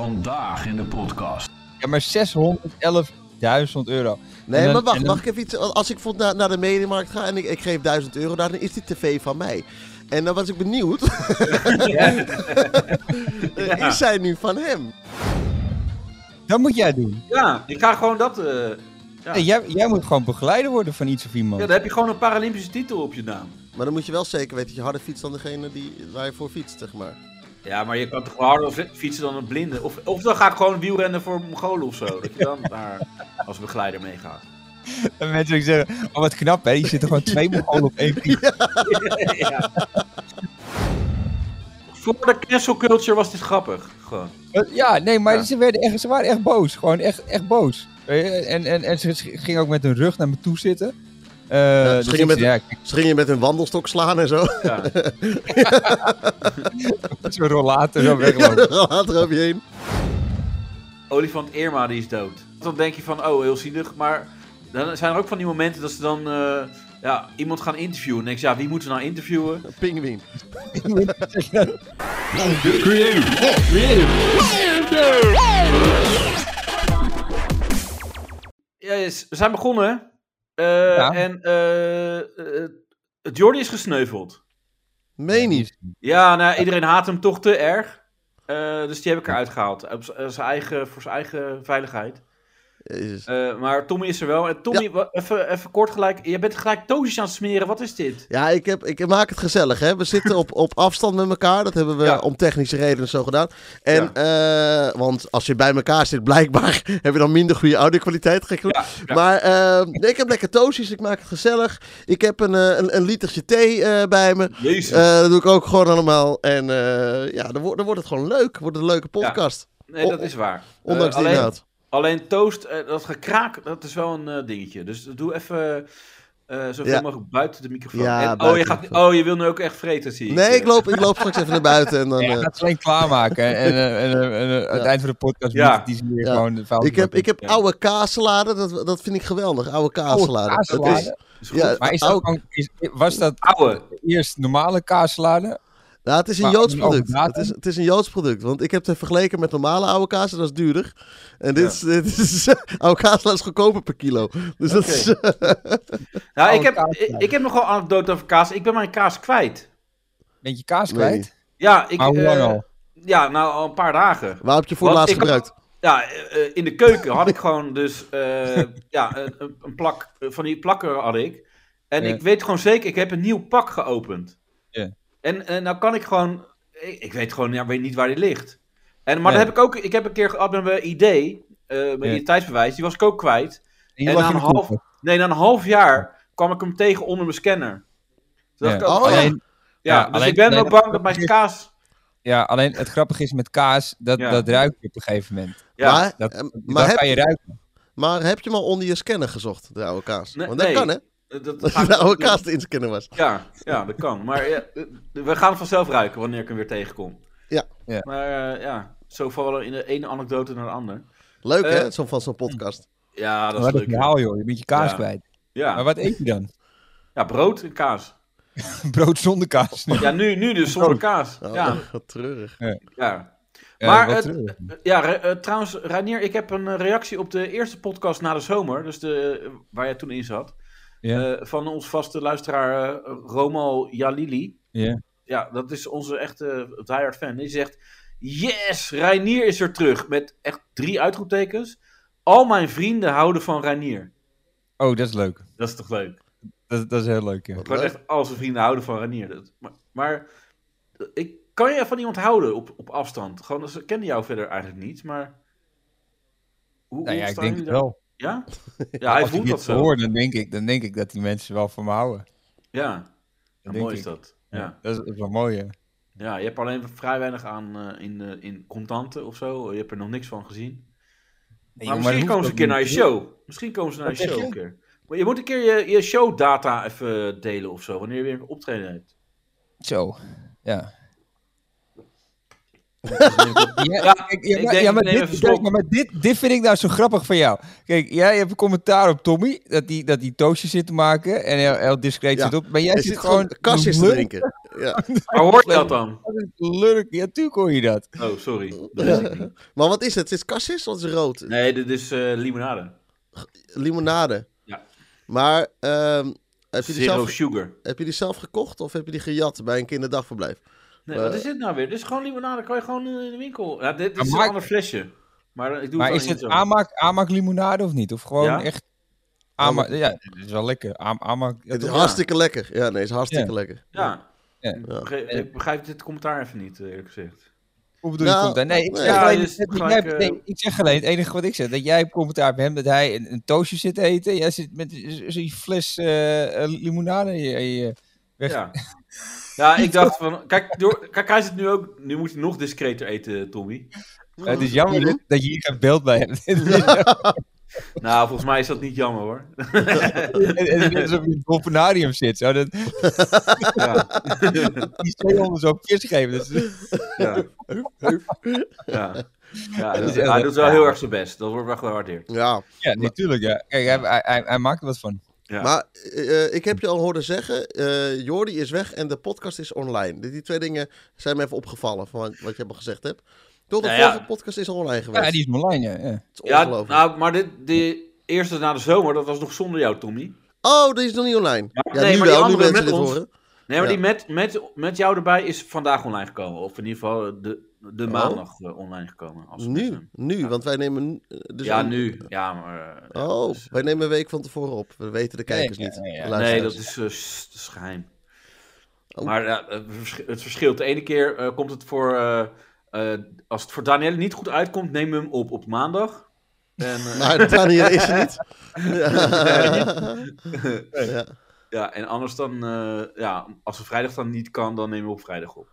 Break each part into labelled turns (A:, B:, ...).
A: Vandaag in de podcast.
B: Ja, maar 611.000 euro.
C: Nee,
B: En dan-
C: maar wacht,
B: en dan-
C: mag ik even iets? Want Als ik bijvoorbeeld naar, naar de mediamarkt ga en ik, ik geef 1000 euro, daar, dan is die tv van mij. En dan was ik benieuwd,
D: Ja.
C: is zij nu van hem?
B: Dat moet jij doen.
D: Ja, ik ga gewoon dat. eh, ja.
B: Nee,
D: ja,
B: jij, jij moet gewoon begeleider worden van iets of iemand.
D: dan heb je gewoon een Paralympische titel op je naam.
C: Maar dan moet je wel zeker weten dat je harder fietst dan degene die, waar je voor fietst, zeg maar.
D: Ja, maar je kan toch gewoon harder fi- fietsen dan een blinde. Of, of dan ga ik gewoon wielrennen voor Mongolen of zo. Dat je dan daar als begeleider meegaat.
B: En mensen ook zeggen, oh wat knap hè, die zitten gewoon twee Mongolen op één fiets.
D: ja. Voor de cancel culture was dit grappig. Gewoon.
B: Eh, Ja, nee, maar
D: Ja.
B: Ze, werden echt, ze waren echt boos. Gewoon echt, echt boos. Eh, En, en, en ze gingen ook met hun rug naar me toe zitten. Eh, dus
C: gingen
B: ik
C: met-
B: zei, ja, ik
C: Ze gingen je met een wandelstok slaan en zo.
D: Ja.
B: heb zo'n rollator zo
C: Ja,
B: weglopen.
C: dan gaat er over je heen.
D: Olifant Irma die is dood. Dan denk je van, oh, heel zielig. Maar dan zijn er ook van die momenten dat ze dan eh, ja, iemand gaan interviewen. En denk je, ja, wie moeten we nou interviewen?
C: Een Pinguïn.
A: Creative.
D: Ja, yes, we zijn begonnen. Eh,
B: Ja.
D: En eh eh, Jordi is gesneuveld.
C: Meen niet.
D: Ja, nou, iedereen haat hem toch te erg. Eh, dus die heb ik eruit gehaald. Op z- eh, zijn eigen, voor zijn eigen veiligheid.
C: Jezus.
D: Eh, maar Tommy is er wel. En Tommy, wa- even, even kort gelijk. Je bent gelijk toosjes aan het smeren. Wat is dit?
C: Ja, ik, heb, ik maak het gezellig. Hè? We zitten op, op afstand met elkaar. Dat hebben we
D: Ja.
C: om technische redenen zo gedaan. En, eh, want als je bij elkaar zit, blijkbaar heb je dan minder goede audio-kwaliteit. Gek genoeg.
D: Ja, ja.
C: Maar eh, nee, ik heb lekker toosjes. Ik maak het gezellig. Ik heb een, eh, een, een litertje thee eh, bij me.
D: Jezus.
C: Eh, dat doe ik ook gewoon allemaal. En eh, ja, dan, wordt dan wordt het gewoon leuk. Wordt het een leuke podcast.
D: nee, dat is waar.
C: Ondanks
D: Eh,
C: de
D: alleen,
C: inhoud.
D: alleen toast, eh, dat gekraak, dat is wel een eh, dingetje. Dus doe even eh zoveel
C: Ja.
D: mogelijk buiten de microfoon.
C: Ja,
D: En- oh,
C: buiten
D: je
C: de
D: gaat,
C: microfoon.
D: oh, je wil nu ook echt vreten, zie ik. Eh,
C: Nee, ik loop, ik loop straks even naar buiten. En dan,
B: Ja,
C: eh,
B: gaat ze alleen klaarmaken. En, en, eh, en, eh, en, eh, aan het eind van de podcast
D: Ja.
B: biedt het die ze weer
C: Ja.
B: gewoon de vuilnisbak
C: ik heb,
B: in.
C: ik heb
D: Ja.
C: oude kaassalade, dat, dat vind ik geweldig. Oude kaassalade.
B: Oude
C: Dat
B: Oh, kaassalade.
C: is- Oh.
D: Is goed.
C: ja,
B: Maar is dat
C: oude-
B: gewoon- is- was dat
D: Ouwe.
B: eerst normale kaassalade?
C: nou, het is een
B: maar
C: Joods
B: ook een
C: product.
B: datum.
C: Het is, het is een Joods product. Want ik heb het vergeleken met normale oude kaas, en dat is duurder. En dit
D: Ja.
C: is, dit is oude kaassalade is goedkoper per kilo. Dus dat is,
D: Nou, ik
B: oude
D: heb,
B: kaas
D: ik, ik heb nogal anekdote over kaas. Ik ben mijn kaas kwijt.
B: Beetje kaas
C: Nee.
B: kwijt?
D: Ja, ik,
B: maar hoe lang
D: eh,
B: al?
D: ja, nou al een paar dagen.
C: waar heb je voor
D: Want
C: laatst
D: ik had-
C: gebruikt?
D: Ja, eh, eh, in de keuken had ik gewoon dus eh, ja, een, een- een plak, eh, van die plakken had ik. En
B: Ja.
D: ik weet gewoon zeker, ik heb een nieuw pak geopend.
B: Ja.
D: En, en nou kan ik gewoon, ik, ik weet gewoon ja, weet niet waar die ligt. En, maar
B: Nee.
D: dat heb ik ook, ik heb een keer gehad met mijn idee, eh mijn
B: Ja.
D: identiteitsbewijs, die was ik ook kwijt.
B: Die
D: en
B: lag
D: na
B: in
D: een,
B: de
D: half,
B: koelkast.
D: nee, na een half jaar kwam ik hem tegen onder mijn scanner. Toen dacht
B: Ja.
D: ik ook,
C: Oh, ja.
D: ja,
B: Alleen, ja,
D: dus
B: alleen-
D: ik ben
B: nee,
D: ook
B: dat-
D: bang dat mijn
B: dat-
D: kaas...
B: ja, alleen het grappige is met kaas, dat,
D: Ja.
B: dat ruik je op een gegeven moment.
D: Ja,
C: maar,
B: dat-
C: eh, maar,
B: Maar dat
C: heb,
B: kan je ruiken.
C: maar heb je hem al onder je scanner gezocht, de oude kaas?
D: Nee,
C: Want dat
D: nee.
C: kan, hè?
D: eh, dat-
C: Dat
D: ga ik
C: de oude
D: doen.
C: kaas in scanner was.
D: Ja, ja, dat kan. Maar ja, eh, we gaan het vanzelf ruiken wanneer ik hem weer tegenkom.
C: Ja.
B: Ja.
D: Maar eh, ja, zo vallen in de ene anekdote naar de ander.
C: Leuk, hè?
D: Eh,
C: Zo van zo'n podcast.
D: Ja, dat is
B: Wat een
D: leuk. hè.
B: verhaal, joh. Je bent je kaas
D: Ja.
B: kwijt. Maar
D: Ja.
B: wat eet je dan?
D: ja, brood en kaas.
B: Brood zonder kaas. nu.
D: Ja, nu, nu dus zonder kaas.
C: Oh,
D: Ja,
C: Wat treurig.
D: ja.
B: Eh,
D: Maar
B: wat
D: het-
B: terug.
D: ja re- eh, trouwens, Rainier, ik heb een eh, reactie op de eerste podcast na de zomer. Dus de, eh, waar jij toen in zat.
B: Ja.
D: eh, van ons vaste luisteraar eh, Romal Jalili.
B: Ja.
D: Ja, dat is onze echte diehard fan. Die zegt: Yes, Reinier is er terug. Met echt drie uitroeptekens. Al mijn vrienden houden van Reinier.
B: Oh, dat is leuk.
D: Dat is toch leuk?
B: Dat, dat is heel leuk, ja.
C: Wat
D: Gewoon
C: leuk.
D: echt al zijn vrienden houden van Reinier. Dat, maar, maar eh, ik, kan je van iemand houden op, op afstand? Gewoon, ze kennen jou verder eigenlijk niet, maar. Hoe,
B: Nou ja,
D: hoe
B: ik
D: staan
B: denk het
D: jullie
B: wel.
D: daar- Ja? Ja, hij
B: Als ik
D: voelt dat
B: dit
D: zo.
B: hoor, dan denk, ik, dan denk ik dat die mensen wel van me houden.
D: Ja, Ja,
B: denk
D: mooi is
B: ik.
D: dat. Ja.
B: Dat is, dat is wel mooi, hè.
D: ja, je hebt alleen vrij weinig aan eh, in, eh, in contanten of zo. Je hebt er nog niks van gezien. Maar
B: Nee, joh,
D: misschien
B: dat
D: komen ze
B: hoeft
D: een
B: ook
D: keer naar je
B: niet.
D: show. Misschien komen ze naar
B: Wat
D: je
B: zeg
D: show
B: je?
D: een keer. Maar je moet een keer je, je showdata even delen of zo, wanneer je weer een optreden hebt.
B: Zo, ja. Ja,
D: Ja,
B: kijk, ja,
D: ik
B: maar-
D: denk,
B: ja,
D: ik
B: maar,
D: neem even
B: dit, kijk,
D: slok.
B: maar maar dit, dit vind ik nou zo grappig van jou. Kijk, jij hebt een commentaar op Tommy, dat die, dat die toastjes zit te maken en heel, heel discreet
C: Ja,
B: zit op. Maar jij
C: Hij
B: zit
C: zit gewoon
B: te
C: kastjes te
B: lurken.
C: drinken. Ja.
D: Maar hoor je dat dan?
B: Dat is lurk. Ja, tuurlijk hoor je dat.
D: Oh, sorry. Dat is het niet.
C: Maar wat is het? Is het kastjes of is het rood?
D: Nee, dit is eh, limonade.
C: Limonade.
D: Ja.
C: Maar ehm, heb, je die
D: Zero
C: zelf,
D: sugar.
C: heb je die zelf gekocht of heb je die gejat bij een kinderdagverblijf?
D: Nee,
C: Eh,
D: wat is dit nou weer? Dit is gewoon limonade. Kan je gewoon eh, in de winkel. Ja, dit, dit
B: Maar
D: is
B: maak-
D: een ander flesje. Maar eh, ik doe
B: Maar
D: het
B: is
D: wel niet
B: het
D: zo.
B: aanmaak, aanmaak limonade of niet? Of gewoon
D: Ja?
B: echt... Aanmaak, ja, dat is wel lekker. Aam- aanmaak, ja,
C: het is
B: toch?
C: hartstikke lekker. Ja, nee, het is hartstikke
B: Ja.
C: lekker.
D: Ja.
B: Ja.
D: Ik begrijp- Ik begrijp dit commentaar even niet, eh, eerlijk gezegd.
B: Hoe bedoel je
C: Nou,
B: commentaar? Nee, ik
C: nee.
B: zeg,
D: Ja,
B: alleen,
D: dus
B: dat-
D: gelijk,
B: jij hebt-
D: eh,
B: nee, ik zeg alleen het enige wat ik zeg. Dat jij hebt commentaar op hem dat hij een, een toastje zit te eten. Jij zit met z- zo'n fles eh, eh, limonade in je- in je weg.
D: Ja. Ja, ik dacht van. Kijk, door, kijk, hij zit nu ook. Nu moet hij nog discreter eten, Tommy.
B: Ja, het is jammer dit- dat je hier geen beeld bij hebt. Het is-
D: Nou, volgens mij is dat niet jammer hoor.
B: het is alsof je in het dolfinarium zit. Zo. Dat,
D: Ja.
B: die zeehonden zo vis geven. Dat is-
D: Ja. Ja. Ja,
B: Dat is
D: hij
B: echt-
D: doet wel
B: ja.
D: heel erg zijn best. Dat wordt wel gewaardeerd.
C: Ja,
B: ja, natuurlijk. Ja. Kijk, hij, hij, hij, hij maakt er wat van.
D: Ja.
C: maar eh, eh, ik heb je al horen zeggen, eh Jordi is weg en de podcast is online. Die- Die twee dingen zijn me even opgevallen van wat je hebt al gezegd hebt. Tot de
D: Nou ja.
C: vorige podcast is online geweest.
B: Ja, die is online, ja. ja.
C: Het is
D: Ja,
C: ongelooflijk.
D: nou, maar dit, de eerste na de zomer, dat was nog zonder jou, Tommy.
C: Oh, die is nog niet online.
D: Maar-
C: ja,
D: nee,
C: nu
D: maar die
C: wel, nu
D: andere
C: mensen
D: met
C: dit
D: ons.
C: horen.
D: Nee, maar
C: Ja.
D: die met, met, met jou erbij is vandaag online gekomen. Of in ieder geval eh, de, de maandag eh, online gekomen. Als
C: Oh. Nu, nu, want wij nemen... nu- eh, Dus
D: ja,
C: een-
D: nu. Ja, maar... eh, ja,
C: Oh,
D: dus-
C: wij nemen een week van tevoren op. We weten de kijkers
B: Nee,
C: niet.
B: ja, ja, ja.
C: de
D: nee,
C: luisteraars.
D: dat is, eh, s- dat is geheim.
C: Oh.
D: Maar ja, het vers- het verschilt. De ene keer eh, komt het voor... eh, eh, als het voor Danielle niet goed uitkomt, nemen we hem op op maandag. En, eh,
C: Maar Daniel is er niet. Ja. Ja.
D: Ja, en anders dan, eh, ja, als het vrijdag dan niet kan, dan nemen we op vrijdag op.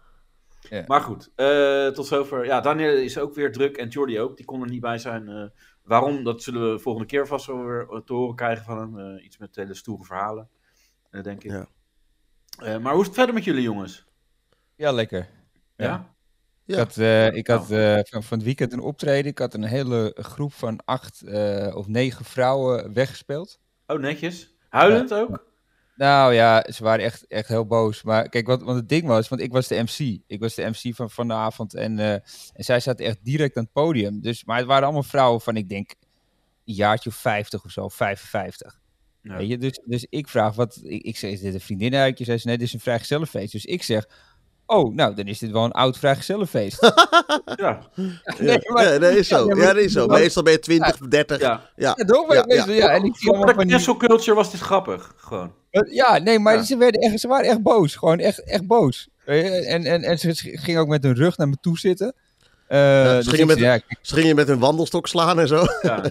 B: Ja.
D: Maar goed, eh, tot zover. Ja, Daniel is ook weer druk en Jordi ook. Die kon er niet bij zijn. eh, waarom, dat zullen we volgende keer vast wel weer eh, te horen krijgen van hem. Eh, iets met hele stoere verhalen, eh, denk ik.
C: Ja.
D: Eh, maar hoe is het verder met jullie jongens?
B: Ja, lekker.
D: Ja?
B: Ja.
C: Ja.
B: Ik had, eh, ik had eh, van, van het weekend een optreden. Ik had een hele groep van acht eh, of negen vrouwen weggespeeld.
D: Oh, netjes. Huilend ook?
B: Nou ja, ze waren echt, echt heel boos. Maar kijk, wat, want het ding was, want ik was de MC. Ik was de MC van, van de avond. En, eh, en zij zaten echt direct aan het podium. Dus, maar het waren allemaal vrouwen van, ik denk, een jaartje of 50 of zo, 55.
D: Ja.
B: Weet je? Dus, dus ik vraag, wat, ik, ik zeg, is dit een vriendinnenuitje? Zij zei, nee, dit is een vrijgezellenfeest. Dus ik zeg, oh, nou, dan is dit wel een oud vrijgezellenfeest.
D: Ja.
B: Nee, maar-
C: Ja, dat is zo.
B: Ja,
C: Ja,
B: maar-
C: dat is zo. Meestal ben je 20, 30. Ja.
D: ja.
B: Ja, toch? Maar
C: Ja,
B: meestal, ja. en ik zie
D: Voor
B: allemaal
D: de
B: van die-
D: cancel culture was dit grappig, gewoon.
B: Eh, Ja, nee, maar
D: Ja.
B: Ze, werden echt, ze waren echt boos. Gewoon echt, echt boos. Weet je, En, en, en ze sch- gingen ook met hun rug naar me toe zitten. Eh,
C: ze
B: dus
C: gingen
B: ik
C: met-
B: zei, ja, ik
C: Ze gingen je met een wandelstok slaan en zo.
D: Ja.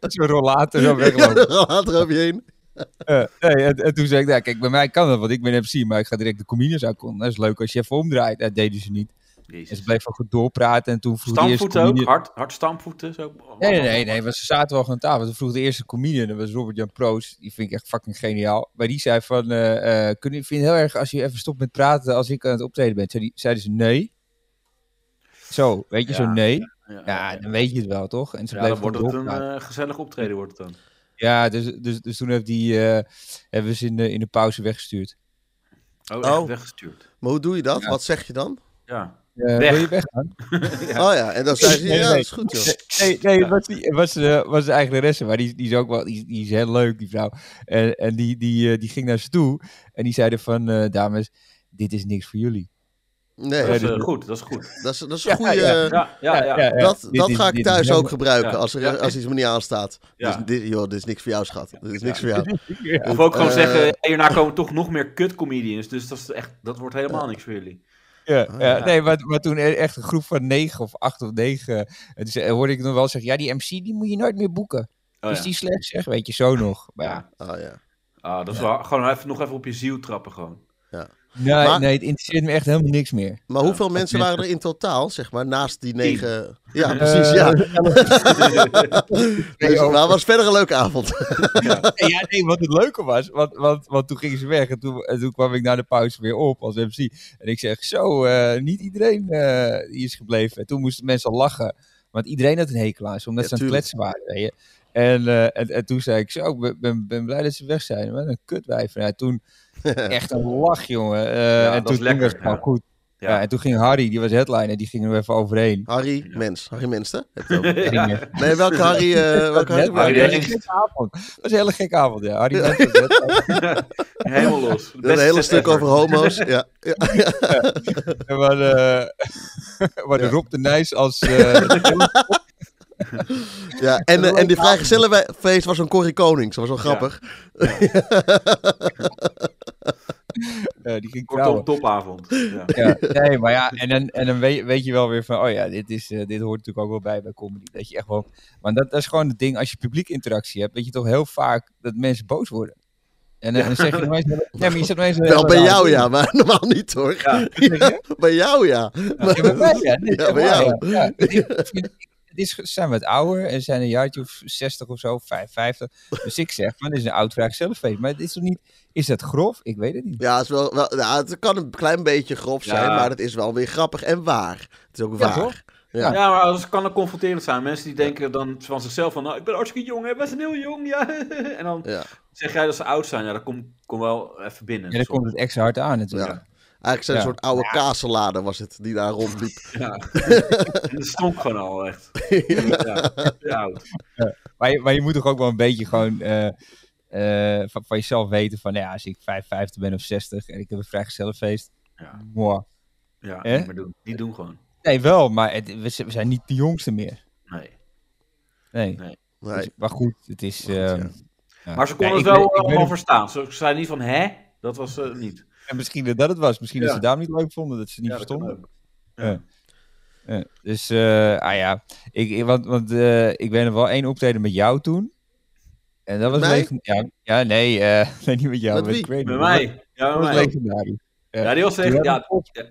B: heb zo'n rollator zo
C: Ja,
B: weglopen.
C: dan gaat er over je heen.
B: Eh, nee, en, en toen zei ik, nou, kijk, bij mij kan dat, want ik ben MC, maar ik ga direct de comedians aankomen. Dat is leuk als je even omdraait. Dat deden ze niet. En
D: Jezus.
B: ze bleven goed doorpraten en toen vroeg de eerste
D: Stampvoeten ook?
B: comedian...
D: Hard, hard stampvoeten? Zo.
B: Nee, nee, nee, nee, want ze zaten wel gewoon aan tafel. Toen vroeg de eerste comedian, dat was Robert-Jan Proost. Die vind ik echt fucking geniaal. Maar die zei van, eh eh kun je, vind je het heel erg als je even stopt met praten als ik aan het optreden ben? Zei die- Zeiden ze nee. Zo, weet je,
D: Ja.
B: zo nee.
D: Ja,
B: Ja, dan weet je het wel, toch? En ze
D: Ja, dan
B: bleven
D: wordt
B: gewoon
D: het een
B: doorpraten.
D: eh, gezellig optreden, wordt het dan.
B: Ja, dus, dus, dus toen heeft die, eh, hebben we ze in de, in de pauze weggestuurd.
D: Oh,
C: echt
D: echt weggestuurd.
C: Maar hoe doe je dat?
B: Ja.
C: Wat zeg je dan?
D: Ja.
B: Eh,
D: Weg.
B: Wil je weggaan?
C: Oh ja, en dan zei ze,
B: Nee,
C: ja,
B: nee.
C: dat is goed joh.
B: Nee, nee het was, die, het was, eh, was de eigenaresse, maar die, is- die is ook wel, die, is- die is heel leuk, die vrouw. En, en die, die, eh, die ging naar ze toe en die zeiden van, eh, dames, dit is niks voor jullie.
C: Nee,
D: dat is
B: dus-
D: eh, goed, dat is goed.
C: dat is, dat is
B: Ja,
C: een goede...
B: ja.
D: Ja, ja, ja.
C: Dat,
B: dit
C: dat
B: is-
C: ga ik
B: dit is
C: thuis
B: helemaal-
C: ook gebruiken
D: Ja.
C: als, er,
D: Ja.
C: als iets me niet aanstaat.
D: Ja.
C: Dus dit, joh, dit is niks voor jou, schat. Dit is niks
D: Ja.
C: voor jou.
D: Of ook gewoon
C: Eh,
D: zeggen, hierna komen toch nog meer kutcomedians, dus dat, is echt, dat wordt helemaal niks voor jullie. Oh,
B: Ja,
C: Ah,
B: ja,
D: ja.
B: nee, maar, maar toen e- echt een groep van negen of acht of negen. En toen ze- hoorde ik nog wel zeggen: Ja, die MC die moet je nooit meer boeken.
D: Oh,
B: is
D: ja.
B: die slecht? Zeg, weet je zo nog. Maar ja.
D: Ja.
C: Oh ja.
D: Ah, dat is wel, gewoon even, nog even op je ziel trappen gewoon.
C: Ja.
B: Nee,
C: Maar-
B: nee, het interesseert me echt helemaal niks meer.
C: Maar hoeveel
B: dat
C: mensen
B: mensen-
C: waren er in totaal, zeg maar, naast die
D: Tien.
C: negen?
B: Eh,
C: Ja, precies, ja. Dus,
B: over.
C: maar het was verder een leuke avond.
B: Nee, ja, nee, wat het leuke was, want, want, want toen gingen ze weg en toen, en toen kwam ik na de pauze weer op als MC. En ik zeg, zo, eh, niet iedereen eh, die is gebleven. En toen moesten mensen al lachen, want iedereen had een hekel aan ze, omdat
C: Ja,
B: ze aan het kletsen
C: tuurlijk.
B: waren. weet je. En, eh, en, en toen zei ik, zo, ik ben- ben, ben blij dat ze weg zijn. Wat een kutwijf. En ja, toen echt een lach, jongen. Eh, en
D: dat
B: toen,
D: was
B: toen
D: lekker,
B: was het gewoon
D: ja.
B: goed. Ja. en toen ging Harry, die was headliner, die ging er even overheen.
C: Harry Mens. Harry Mens, hè? Heb je het over?
B: Ging,
D: Ja.
B: eh,
C: Nee, welke Harry? eh welke Harry?
B: net-
D: Harry
B: Harry, dat was een
D: Hengst.
B: gekke avond. Dat was een hele gekke avond, ja. Harry Hengst was headliner.
D: Helemaal los.
C: Een
D: Beste
C: hele
D: set
C: stuk
D: ever.
C: over homo's. Ja. ja.
B: En waar, eh, waar de Rob de Nijs als... eh,
C: Ja, en, eh, en die vrijgezellenfeest was zo'n Corrie Konings. Dat was wel
D: Ja.
C: grappig.
B: eh, die ging
D: Kortom,
B: trouwen.
D: topavond. Ja.
B: Ja, nee, maar ja, en dan, en dan weet, weet je wel weer van... Oh ja, dit, is, eh, dit hoort natuurlijk ook wel bij bij comedy. Dat je echt wel... Maar dat, dat is gewoon het ding. Als je publiek interactie hebt, weet je toch heel vaak dat mensen boos worden. En eh, dan zeg je nog eens... Nee, maar je zegt nog eens...
C: Wel bij jou ja, maar normaal niet hoor.
D: Ja.
C: Ja, bij jou ja. Maar-
B: Ja, bij mij, ja. Nee,
C: Ja, bij
B: ja,
C: jou.
B: ja. Ja, ik vind- ik vind- Het is, zijn wat ouder en zijn een jaartje of 60 of zo, 55. Dus ik zeg, van, dit is een oud vraag zelffeest. Maar het is toch niet, is dat grof? Ik weet het niet.
C: Ja, het, is wel, wel, ja, het kan een klein beetje grof zijn,
D: Ja.
C: maar het is wel weer grappig en waar. Het is ook
B: Ja,
C: waar.
B: toch?
C: Ja.
D: Ja, maar dat kan ook confronterend zijn. Mensen die denken dan van zichzelf van, nou, ik ben hartstikke jong, hè, we zijn heel jong, ja. En dan
C: Ja.
D: zeg jij dat ze oud zijn, ja, dat komt kom wel even binnen.
B: Ja, dan komt het extra hard aan natuurlijk.
C: Ja. Eigenlijk zijn het
B: Ja.
C: een soort oude kaassalade was het, die daar rondliep.
D: En het stonk gewoon al echt.
C: Ja.
D: Ja, te oud.
B: Maar, je, maar je moet toch ook wel een beetje gewoon eh, eh, van, van jezelf weten van, nou ja, als ik 55 ben of 60 en ik heb een vrijgezellenfeest,
D: Ja.
B: mwah.
D: Ja,
B: Hè?
D: niet meer doen. Die doen gewoon.
B: Nee, wel, maar het- we, z- we zijn niet de jongste meer.
D: Nee.
B: Nee.
D: Nee.
C: Nee.
B: Dus- maar goed, het is...
C: ja.
B: ehm, ja.
D: Maar ze
B: Nee,
D: konden
B: ik
D: het wel eh,
B: ben- ik ben-
D: allemaal verstaan. Ze ze zeiden niet van, hè? Dat was eh, niet.
B: en misschien dat dat het was. Misschien dat
D: Ja.
B: ze daarom niet leuk vonden, dat ze het niet
D: Ja, dat kan
B: verstonden.
D: ook. Ja.
B: Ja, dus, eh, ah ja, ik, ik- want, want eh, ik ben er wel één optreden met jou toen. En dat was
C: Mij?
B: leeg- ja, ja, nee, eh, nee, niet met jou.
C: Met
B: met
C: wie?
B: Craig.
D: Bij
B: Dat
D: mij. Ja,
B: was-
D: bij
B: Dat was
D: mij.
B: legendarisch.
D: Ja, die was
B: Toen
D: echt...
B: hadden
D: Ja,
B: we-
D: ja.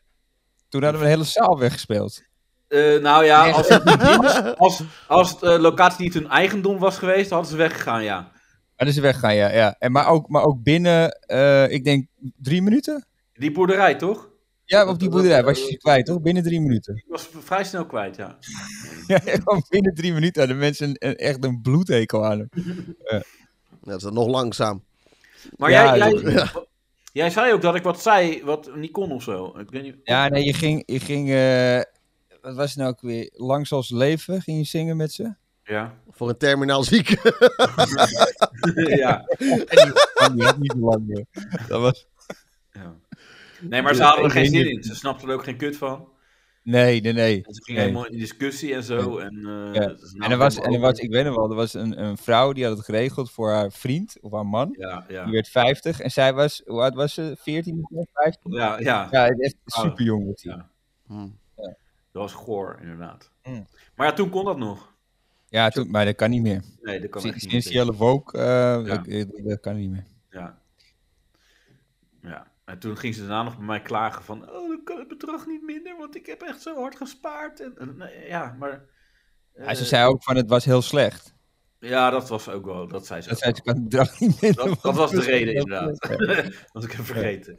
B: Toen hadden we een hele zaal weggespeeld.
D: Eh, nou ja,
B: Nee.
D: als het, niet- als, als het eh, locatie niet hun eigendom was geweest, hadden ze weggegaan, ja.
B: En dus weggaan, ja. ja. En, maar, ook, maar ook binnen, eh, ik denk, drie minuten?
D: Die boerderij, toch?
B: Ja, op die boerderij was je ze kwijt, toch? Binnen drie minuten.
D: Die was vrij snel kwijt, ja.
B: Ja, gewoon binnen drie minuten hadden mensen een- een- echt een bloedhekel aan hem.
C: Dat is dan nog langzaam.
D: Maar
B: Ja,
D: jij,
B: dat-
D: jij, jij zei ook dat ik wat zei wat niet kon of zo. Ik weet niet.
B: Ja, nee, je ging, je ging eh, wat was het nou ook weer? Langs als leven ging je zingen met ze?
D: Ja.
C: Voor een terminaal zieke.
D: ja.
B: En die- en die had niet zo lang meer. Dat was...
D: ja. Nee, maar ze hadden er
B: Ik
D: geen
B: weet
D: zin
B: niet.
D: in. Ze snapten er ook geen kut van.
B: Nee, nee, nee.
D: En ze gingen
B: Nee.
D: helemaal in discussie en zo. En, eh,
B: Ja.
D: ze
B: En
D: namen
B: er was,
D: helemaal
B: en er was
D: over.
B: ik weet nog wel, er was een, een vrouw die had het geregeld voor haar vriend of haar man.
D: Ja,
B: Die
D: ja.
B: werd 50 en zij was, hoe oud was ze? 14 of zo? 15?
D: Ja, ja.
B: Ja, echt super jong was die.
D: Ja.
C: Hm.
D: Dat was goor, inderdaad.
B: Mm.
D: Maar ja, toen kon dat nog.
B: Ja, toen, maar dat kan niet meer.
D: Nee, dat kan echt
B: Sinds,
D: niet.
B: sinds
D: meer.
B: Jelle Woke, eh, dat, eh, dat kan niet meer.
D: Ja. Ja. En toen ging ze daarna nog bij mij klagen van, oh, dan kan het bedrag niet minder, want ik heb echt zo hard gespaard. En, en, nee, ja, maar...
B: Ja, ze
D: eh,
B: zei ook van het was heel slecht.
D: Ja, dat was ook wel, dat zei ze
B: Dat
D: ook
B: zei
D: wel.
B: ze kan het bedrag niet minder.
D: Dat, dat
B: want
D: was de
B: het
D: reden,
B: heel
D: inderdaad.
B: slecht.
D: Want ik heb vergeten.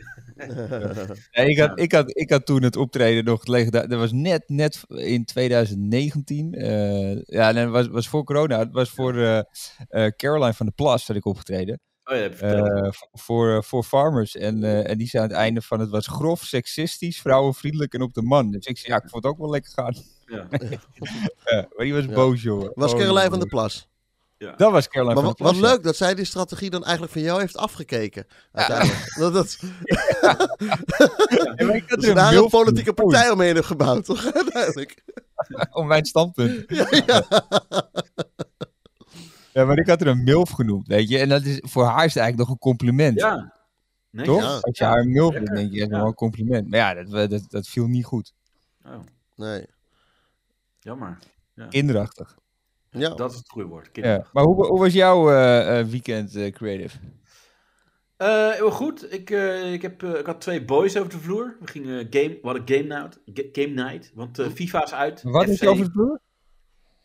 B: Nee, ik, had, ik, had, ik had toen het optreden nog het legenda- Dat was net, net in 2019. eh, ja, en dat was, was voor corona. Het was voor eh, eh, Caroline van de Plas had ik opgetreden.
D: Oh ja, heb je
B: eh,
D: verteld.
B: v- voor, eh, voor farmers. En, eh, en die zei aan het einde van het was grof, seksistisch, vrouwenvriendelijk en op de man. Dus ik zei, ja, ik vond het ook wel lekker gaan.
D: ja.
B: Eh, maar die was
C: Ja.
B: boos, joh.
C: Was
B: Oh,
C: Caroline van
B: joh.
C: der Plas.
B: Dat was Caroline
C: Maar
B: van
C: wa-
B: de Plas.
C: wat
B: ja.
C: leuk dat zij die strategie dan eigenlijk van jou heeft afgekeken. Uiteindelijk. Dat, dat,
B: En ik had
C: dat
B: er
C: ze
B: een
C: daar
B: mail
C: een politieke
B: van-
C: partij omheen hebben gebouwd, toch? Uiteindelijk.
B: Om mijn standpunt. Ja, maar ik had er een milf genoemd, weet je. En dat is, voor haar is het eigenlijk nog een compliment.
D: ja. Nee,
B: Toch?
C: Ja.
B: Als je haar een milf
D: Lekker.
B: bent, denk je, dat is
D: Ja.
B: wel een compliment. Maar ja, dat, dat, dat viel niet goed.
D: Oh,
C: Nee.
D: jammer.
B: Kinderachtig.
C: Ja.
D: Dat is het goede woord.
B: Ja. Maar hoe, hoe was jouw eh, eh, weekend, eh, Creative?
D: Eh, heel goed. Ik, eh, ik, heb, eh, ik had twee boys over de vloer. We gingen game, we hadden game night. ga- Game night want eh, FIFA is uit.
B: Wat is
D: FC.
B: je over het vloer?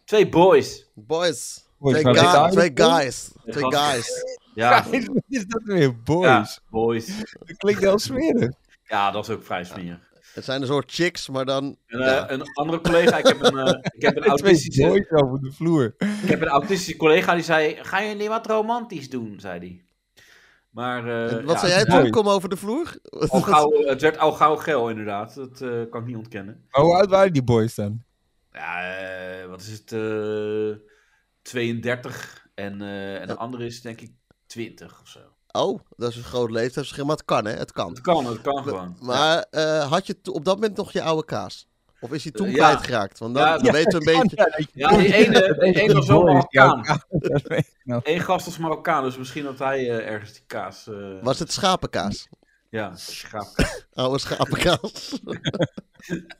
D: Twee boys.
C: Boys.
B: Boys,
C: twee,
B: maar
C: guy-
B: guys,
C: twee
B: toch?
C: guys. Twee
D: gasten.
C: guys.
D: Ja,
B: Wat is dat weer?
D: ja,
B: Boys.
D: boys.
B: Dat klinkt heel smerig.
D: Ja, dat is ook vrij smerig.
C: Het zijn een soort chicks, maar dan...
D: En, eh,
C: Ja.
D: Een andere collega, ik heb een, eh, ik heb een
B: Twee
D: autistische...
B: boys over de vloer.
D: Ik heb een autistische collega die zei: Ga je niet wat romantisch doen? zei die. Maar. eh,
C: En wat
D: ja,
C: zei jij
D: het-
B: mooi.
C: toen? Kom over de vloer?
D: al gauw, het werd al gauw geel, inderdaad. Dat eh, kan ik niet ontkennen.
B: Maar hoe oud waren die boys dan?
D: Ja, eh, wat is het? eh, 32 en, eh, en de andere is denk ik 20 of zo.
C: Oh, dat is een groot leeftijdsverschil, maar het kan hè, het kan.
D: Het kan, het kan gewoon.
C: Maar eh, had je to- op dat moment nog je oude kaas? Of is die toen
D: Eh, ja.
C: kwijtgeraakt? Want dan,
D: Ja,
C: dan weten we een beetje...
D: Ja, die ene, die ene was wel Marokkaan.
B: Nou,
D: Eén gast was Marokkaan, dus misschien had hij eh, ergens die kaas. eh,
C: Was het schapenkaas?
D: ja, schaap.
C: Oude schapenkaas.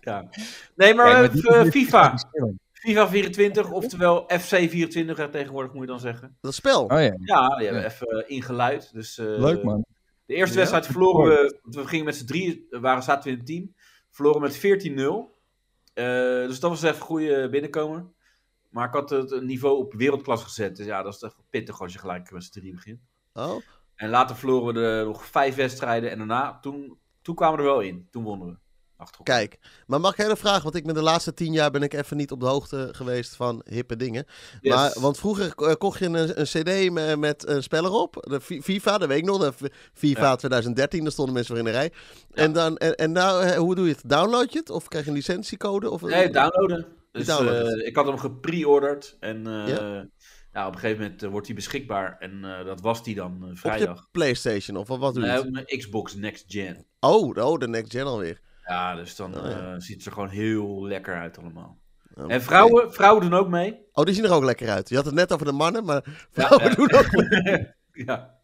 D: Ja. Nee, maar, we
B: kijk, maar
D: hebben
B: die-
D: eh,
B: die-
D: FIFA. FIFA 24, oftewel FC 24 hè, tegenwoordig moet je dan zeggen.
C: Dat spel.
B: Oh ja,
D: Ja, die hebben even eh, ingeluid. Dus, eh,
B: leuk man.
D: De eerste
C: Ja?
D: wedstrijd verloren we. want We gingen met z'n drie, eh, waren, zaten we in het team. Verloren met 14-0. Eh, dus dat was even een goede binnenkomer. Maar ik had het eh, niveau op wereldklas gezet. Dus ja, dat is echt pittig als je gelijk met z'n drie begint.
C: Oh,
D: En later verloren we er nog vijf wedstrijden. En daarna, toen, toen kwamen we er wel in. Toen wonnen we. Achter elkaar.
C: kijk. Maar mag ik heel vragen? Want ik ben de laatste tien jaar ben ik even niet op de hoogte geweest van hippe dingen.
D: Yes.
C: Maar, want vroeger ko- eh, kocht je een, een cd me- met een spel erop. De Fi- FIFA, dat weet ik nog. De F- FIFA 2013, daar stonden mensen voor in de rij. En, dan, en, en nou, eh, hoe doe je het? Download je het? Of krijg je een licentiecode? Of, eh,
D: Nee, downloaden. Dus
C: downloadt
D: eh,
C: het.
D: ik had hem gepre-orderd. En eh,
C: Ja.
D: nou, op een gegeven moment eh, wordt hij beschikbaar. En eh, dat was die dan eh,
C: Op
D: vrijdag.
C: je Playstation of wat, wat doe je?
D: Nee,
C: het?
D: op mijn Xbox Next Gen.
C: Oh, oh, de next gen alweer.
D: Ja, dus dan
C: Oh,
D: eh,
C: ja.
D: ziet het er gewoon heel lekker uit allemaal.
C: Oh,
D: En vrouwen, vrouwen doen ook mee.
C: Oh, die zien er ook lekker uit. Je had het net over de mannen, maar vrouwen
D: ja.
C: doen ook mee.
D: ja.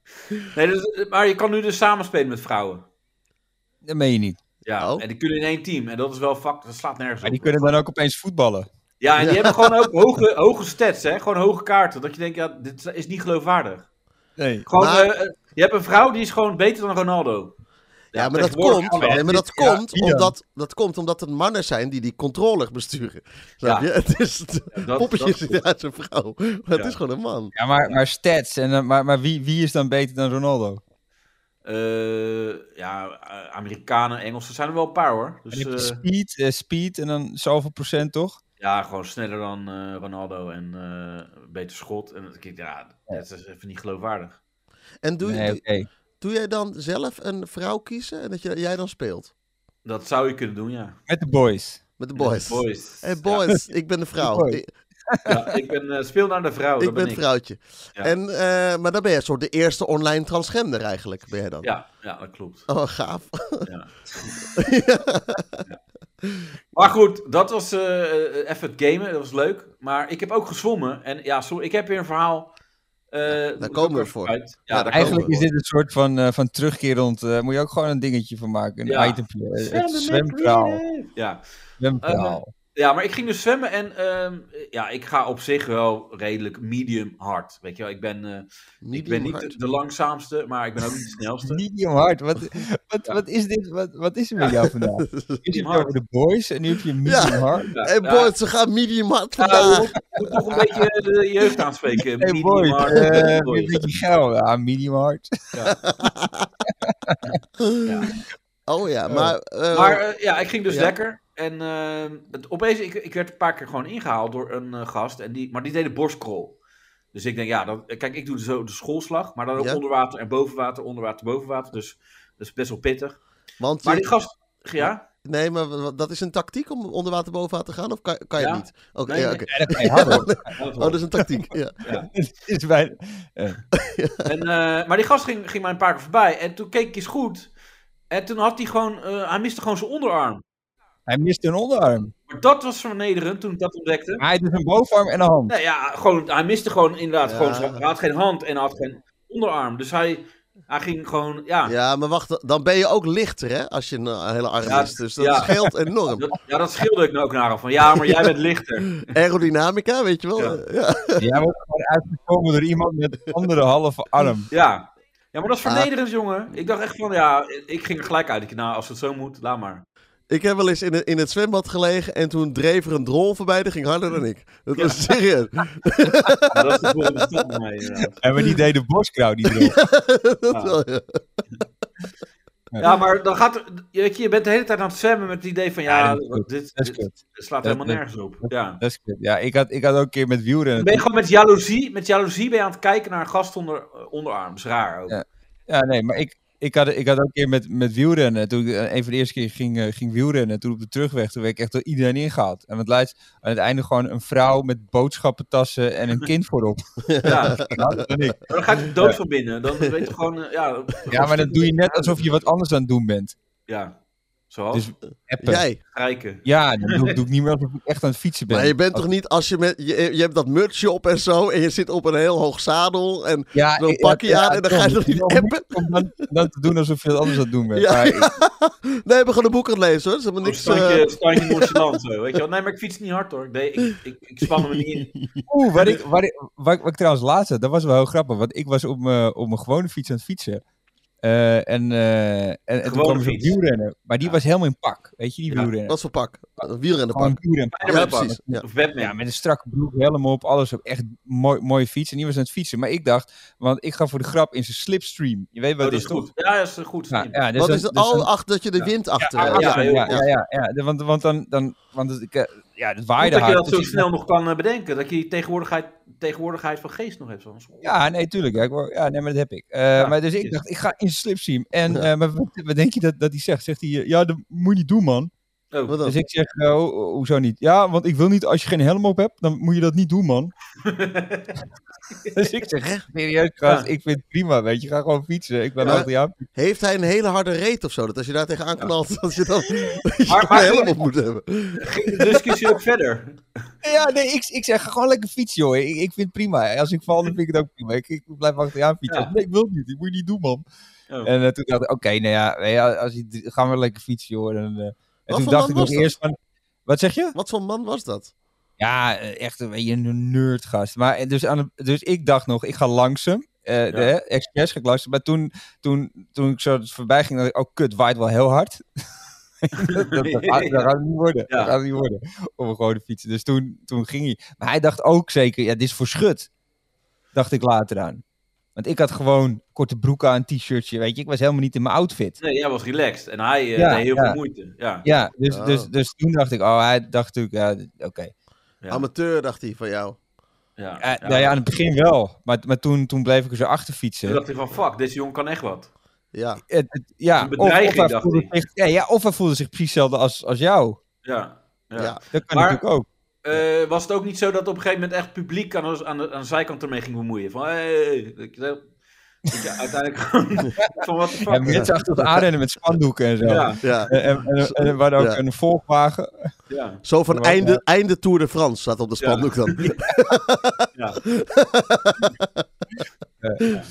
D: Nee, dus, maar je kan nu dus samenspelen met vrouwen.
B: Dat meen je niet.
D: Ja,
C: Oh.
D: en die kunnen in één team. En dat is wel vak, dat slaat nergens
B: Maar
D: op.
B: die kunnen dan ook opeens voetballen.
D: Ja, en die hebben gewoon ook hoge, hoge stats, hè. Gewoon hoge kaarten. Dat je denkt, ja, dit is niet geloofwaardig.
B: Nee.
D: Gewoon,
C: Maar-
D: eh, eh, je hebt een vrouw die is gewoon beter dan Ronaldo.
C: Ja, maar dat
D: tegenwoordig
C: komt,
D: kan
C: nee, maar dat,
B: Ja,
C: komt
B: die dan.
C: omdat, dat komt omdat het mannen zijn die die controller besturen. Snap
D: Ja.
C: je? Het is het
D: Ja, dat-
C: poppetje
D: dat-
C: ziet uit zijn vrouw. Maar het
D: Ja.
C: is gewoon een man.
B: Ja, maar, maar stats. En, eh, maar maar wie, wie is dan beter dan Ronaldo?
D: Eh, ja, eh, Amerikanen, Engelsen zijn er wel een paar, hoor.
B: En
D: Dus,
B: heb je
D: eh,
B: speed, eh, speed en dan zoveel procent toch?
D: Ja, gewoon sneller dan eh, Ronaldo en eh, een beter schot. En dat ik, ja, dat is even niet geloofwaardig.
C: En doe,
B: nee,
C: doe,
B: oké.
C: doe jij dan zelf een vrouw kiezen en dat je, jij dan speelt?
D: Dat zou je kunnen doen, ja.
B: Met de boys.
C: Met de boys.
D: Boys.
C: Hey boys, ik ben de vrouw.
B: Boys.
C: Ik,
D: Ja, ja, ik ben, eh, speel naar de vrouw,
C: ik
D: Oh, dat ben
C: ben
D: ik.
C: het vrouwtje.
D: Ja.
C: En, eh, maar dan ben je een soort de eerste online transgender eigenlijk, ben jij dan.
D: Ja, ja, dat klopt.
C: Oh, gaaf.
D: Ja. Maar goed, dat was eh, eh, even het gamen, dat was leuk. Maar ik heb ook gezwommen. En ja, sorry, ik heb weer een verhaal. eh, moet ik ook
C: komen we
D: even
C: voor.
D: kwijt.
C: Ja,
D: Ja, daar
C: daar
D: komen
B: Eigenlijk
C: we
B: is dit een soort van, eh, van terugkerend. eh, moet je ook gewoon een dingetje van maken. Een
D: Ja.
B: itempje. eh,
D: Zwemmen
B: Het
D: met
B: zwemverhaal.
D: Creative. Ja.
B: Zwemverhaal.
D: Ja, maar ik ging dus zwemmen en ehm, ja, ik ga op zich wel redelijk medium hard. Weet je wel, ik ben, eh, ik ben
C: Medium
D: niet
C: hard.
D: de, de langzaamste, maar ik ben ook niet de snelste.
B: Medium hard. Wat, wat, wat is dit? Wat, wat is er met jou vandaag? Je zit
D: hard.
B: over de boys en nu heb je medium
C: Ja.
B: hard.
D: Ja,
C: Hey
D: ja,
C: boys, ze gaan medium hard
D: ja,
C: vandaag.
D: we moeten- we moeten toch een beetje eh, de jeugd aanspreken.
B: Hey
D: Medium
B: boy,
D: hard,
B: eh,
D: boy.
B: een beetje geil. Ja, medium hard.
C: Oh ja, maar... eh,
D: Maar eh, ja, ik ging dus
C: Ja.
D: lekker. En ehm, het, opeens, ik, ik werd een paar keer gewoon ingehaald door een eh, gast. En die, maar die deed de borstkrol. Dus ik denk, ja, dan, kijk, ik doe zo de schoolslag. Maar dan ook
C: Ja.
D: onder water en boven water, onder water, boven water. Dus dat is best wel pittig.
C: want
D: Maar
C: je-
D: die gast, ja...
C: Nee, maar wa- dat is een tactiek om onder water boven water te gaan? Of kan, kan je
D: Ja.
C: niet? Oké,
D: Nee,
C: ja,
D: nee.
C: oké.
B: Ja, dat kan je harder.
C: Oh, dat is een tactiek. ja.
B: Het is bij...
D: En, eh, maar die gast ging, ging mij een paar keer voorbij. En toen keek ik eens goed. En toen had hij gewoon... eh, hij miste gewoon zijn onderarm.
B: Hij mist een onderarm.
D: Maar dat was vernederend toen ik dat ontdekte.
B: Hij heeft dus een bovenarm en een hand.
D: Nee, ja, gewoon, hij miste gewoon inderdaad...
C: Ja.
D: Gewoon, zijn- hij had geen hand en hij had geen onderarm. Dus hij, hij ging gewoon... Ja, ja.
C: ja, maar wacht, dan ben je ook lichter hè, als je een eh, hele arm
D: Ja,
C: is. Dus dat
D: ja.
C: scheelt enorm.
D: Dat, ja, dat scheelde ik nou ook naar hem. Van ja, maar jij bent lichter.
C: Aerodynamica, weet je wel?
D: Ja.
C: eh, Ja.
B: Jij wordt gewoon uitgekomen door iemand met een andere halve arm.
D: Ja. Ja, maar dat is
C: Ah.
D: vernederend, jongen. Ik dacht echt van, ja, ik ging er gelijk uit. Ik dacht, nou, als het zo moet, laat maar.
C: Ik heb wel eens in, het- in het zwembad gelegen en toen dreef er een drol voorbij. Dat ging harder dan ik. Dat was serieus.
D: Maar dat is de volgende stap bij mij, inderdaad.
B: En we die deden boskrouw die drol.
C: Dat eh, wel, ja.
D: Ja, maar dan gaat... er- Weet je, je bent de hele tijd aan het zwemmen met het idee van,
B: Ja,
D: ja,
B: dat is goed.
D: dit,
B: Dat
D: dit
B: is kut.
D: slaat
B: Dat-
D: helemaal
B: dat-
D: nergens op. Ja.
B: Dat is kut. Ja, ik had, ik had ook een keer met wielrennen.
D: Dan ben je gewoon met jaloezie, met jaloezie ben je aan het kijken naar een gast onder, onderarm. is raar ook.
B: Ja. Ja, nee, maar ik, ik, had, ik had ook een keer met, met wielrennen. Toen ik eh, een van de eerste keer ging, eh, ging wielrennen, toen op de terugweg, toen werd ik echt door iedereen ingehaald. En het lijst aan het einde gewoon een vrouw met boodschappentassen en een kind voorop.
D: Ja.
B: Ja, dat ben ik.
D: Maar dan gaat je dood van binnen. Dan weet je gewoon, eh, ja...
B: ja, maar dan doe je net alsof je wat anders aan het doen bent.
D: Ja, zoals
B: Dus- Appen.
C: Jij.
D: strijken.
B: Ja, dan doe, doe ik niet meer alsof ik echt aan het fietsen ben.
C: Maar je bent toch niet als je met. Je, je hebt dat mutsje op en zo. En je zit op een heel hoog zadel. En
B: ja,
C: zo'n
B: ik-
C: pakje
B: ja,
C: aan en dan ga je
B: Tom,
C: toch niet
B: het is wel
C: appen?
B: moeilijk Om dan, dan te doen alsof je wat anders aan het doen bent.
C: Ja.
B: Maar ik-
C: Nee, we gaan een boek aan het lezen hoor. Ze hebben
D: Niks,
C: niks.
D: standje,
C: eh,
D: standje nonchalant zo, weet je wel. Nee, maar ik fiets niet hard hoor. Nee, ik, ik, ik span me niet in.
B: Oeh, wat ik, wat, ik, wat, ik- wat ik trouwens laatst had, dat was wel heel grappig. Want ik was op mijn, op mijn gewone fiets aan het fietsen. Eh, en, eh, en, en toen
D: Gewone
B: kwam er zo'n
D: fiets.
B: wielrenner. Maar die
D: Ja.
B: was helemaal in pak. Weet je, die
D: Ja,
B: wielrenner.
C: eh, wat voor pak? Een wielrennenpak.
B: Gewoon wielrenpak.
C: Ja, precies. Ja.
D: Of Oh, Batman.
B: Ja, met een strakke broek, helm op, alles op. Echt mooi, mooie fiets. En die was aan het fietsen. Maar ik dacht, want ik ga voor de grap in zijn slipstream. Je weet
D: Oh,
B: wat
D: dat
B: dit
D: is goed. Ja, dat is goed.
B: Ja,
D: slim.
B: ja, dus
C: Wat
B: dan-
C: is het?
B: dus dan-
C: Al Ah, achter dat je de wind achter
D: ja,
C: hebt.
B: ja,
D: heel
B: ja,
D: goed.
B: ja, ja, ja. De- Want, want dan, dan, want het- ik, eh, ja, het
D: Goed
B: waaide
D: dat je
B: hard.
D: dat
B: Dus
D: zo
B: ik-
D: snel nog kan eh, bedenken. Dat je die tegenwoordigheid, tegenwoordigheid van geest nog hebt. Zo.
B: Ja, nee, tuurlijk. Ja, ik wou- ja nee, maar dat heb ik. Eh, maar dus ik
D: precies.
B: dacht, ik ga in zijn slipstream. En
C: Ja.
B: eh, maar wat, wat denk je dat, dat hij zegt? Zegt hij, eh, ja, dat moet je niet doen, man.
D: Oh,
C: Wat dan?
B: Dus ik zeg, eh, ho- ho- hoezo niet? Ja, want ik wil niet, als je geen helm op hebt, dan moet je dat niet doen, man. dus ik zeg, serieus, gast,
D: Ja.
B: ik vind het prima, weet je. Ga gewoon fietsen. Ik ben
C: Ja.
B: achter jou.
C: Heeft hij een hele harde reet of zo? Dat als je daar tegenaan knalt, dat je dan
D: Maar-
C: helemaal
D: maar-
C: op moet hebben.
D: ging de discussie ook verder.
B: Ja, nee, ik, ik zeg, ga gewoon lekker fietsen, joh. Ik, ik vind het prima. Als ik val, dan vind ik het ook prima. Ik, ik blijf achter jou fietsen.
D: Ja.
B: Nee, ik wil het niet. Ik moet je niet doen, man.
D: Oh.
B: En eh, toen dacht ik, oké, nou ja, nee, ja, als je, gaan we lekker fietsen, joh. En, eh, en
C: Wat
B: toen
C: voor
B: dacht
C: man
B: ik nog
C: was dat?
B: eerst van... Wat zeg je?
C: Wat voor man was dat?
B: Ja, eh, echt een beetje een nerdgast. Maar eh, dus, aan de- dus ik dacht nog, ik ga langzaam. eh de, hè, expres ga ik langzaam. Maar toen, toen, toen ik zo voorbij ging, dacht ik, oh kut, waait wel heel hard. dat, dat,
D: Oh.
B: gaat, dat gaat het niet worden.
D: Ja.
B: Dat gaat het niet worden. Om een gewone fietsen. Dus toen, toen ging hij. Maar hij dacht ook zeker, ja, dit is voor schut. Dacht ik later aan. Want ik had gewoon korte broek aan, een t-shirtje, weet je. Ik was helemaal niet in mijn outfit.
D: Nee, jij was relaxed. En hij eh,
B: Ja,
D: deed heel
B: ja.
D: veel moeite. Ja.
B: Ja, dus,
C: Oh.
B: dus, dus toen dacht ik, oh, hij dacht natuurlijk, ja, oké.
D: Ja.
C: Amateur, dacht hij van jou.
D: Ja.
B: Eh, nou ja, aan het begin wel. Maar, maar toen, toen bleef ik er zo achter fietsen.
D: Toen dacht hij van, fuck, deze jongen kan echt wat.
C: Ja.
B: Het- het- ja,
D: Een
B: of, of hij
D: bedreiging, dacht
B: voelde
D: hij.
B: zich, ja, ja, of hij voelde zich precies hetzelfde als, als jou.
D: Ja. Ja.
C: Ja.
B: Dat kan
D: Maar-
B: natuurlijk ook.
D: Eh, was het ook niet zo dat op een gegeven moment echt publiek aan, de- aan, de, aan de zijkant ermee ging bemoeien? Van, hey, dat je- dat je uiteindelijk gewoon van wat de fuck.
B: Ja, mensen achter het aanrennen met spandoeken en zo.
D: Ja,
C: ja.
B: En, en, en, en we hadden ook
C: Ja.
B: een volgwagen.
D: ja,
C: Zo van
B: Ja.
C: einde, einde Tour de France staat op de
D: Ja.
C: spandoek dan.
D: ja. Ja.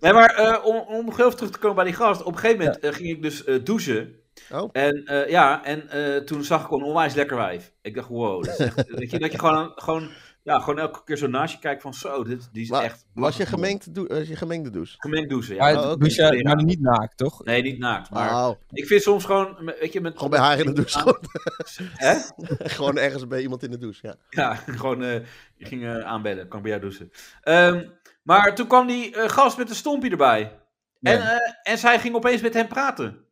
D: Nee, maar eh, om, om nog heel even terug te komen bij die gast. Op een gegeven moment eh, ging ik dus eh, douchen.
C: Oh.
D: En eh, ja, en eh, toen zag ik een onwijs lekker wijf. Ik dacht, wow. Dat, is echt, weet je, dat je gewoon, gewoon, ja, gewoon elke keer zo naast je kijkt van zo, dit, die is
C: Maar
D: echt...
C: Was je gemengde, dou- was je gemengde douche?
D: Gemengd douchen, ja.
B: Maar,
C: Oh, oké.
B: dus, eh,
D: Ja.
B: maar niet naakt, toch?
D: Nee, niet naakt, maar...
C: Wauw.
D: Ik vind soms gewoon, weet je, met...
C: Ah.
D: Ah.
C: Gewoon bij haar in de douche. Gewoon,
D: Hè?
C: gewoon ergens bij iemand in de douche, ja.
D: Ja, gewoon, eh ik ging eh, aanbellen. Kan ik bij jou douchen. Ehm, maar toen kwam die eh, gast met een stompie erbij.
B: Nee.
D: En, eh, en zij ging opeens met hem praten.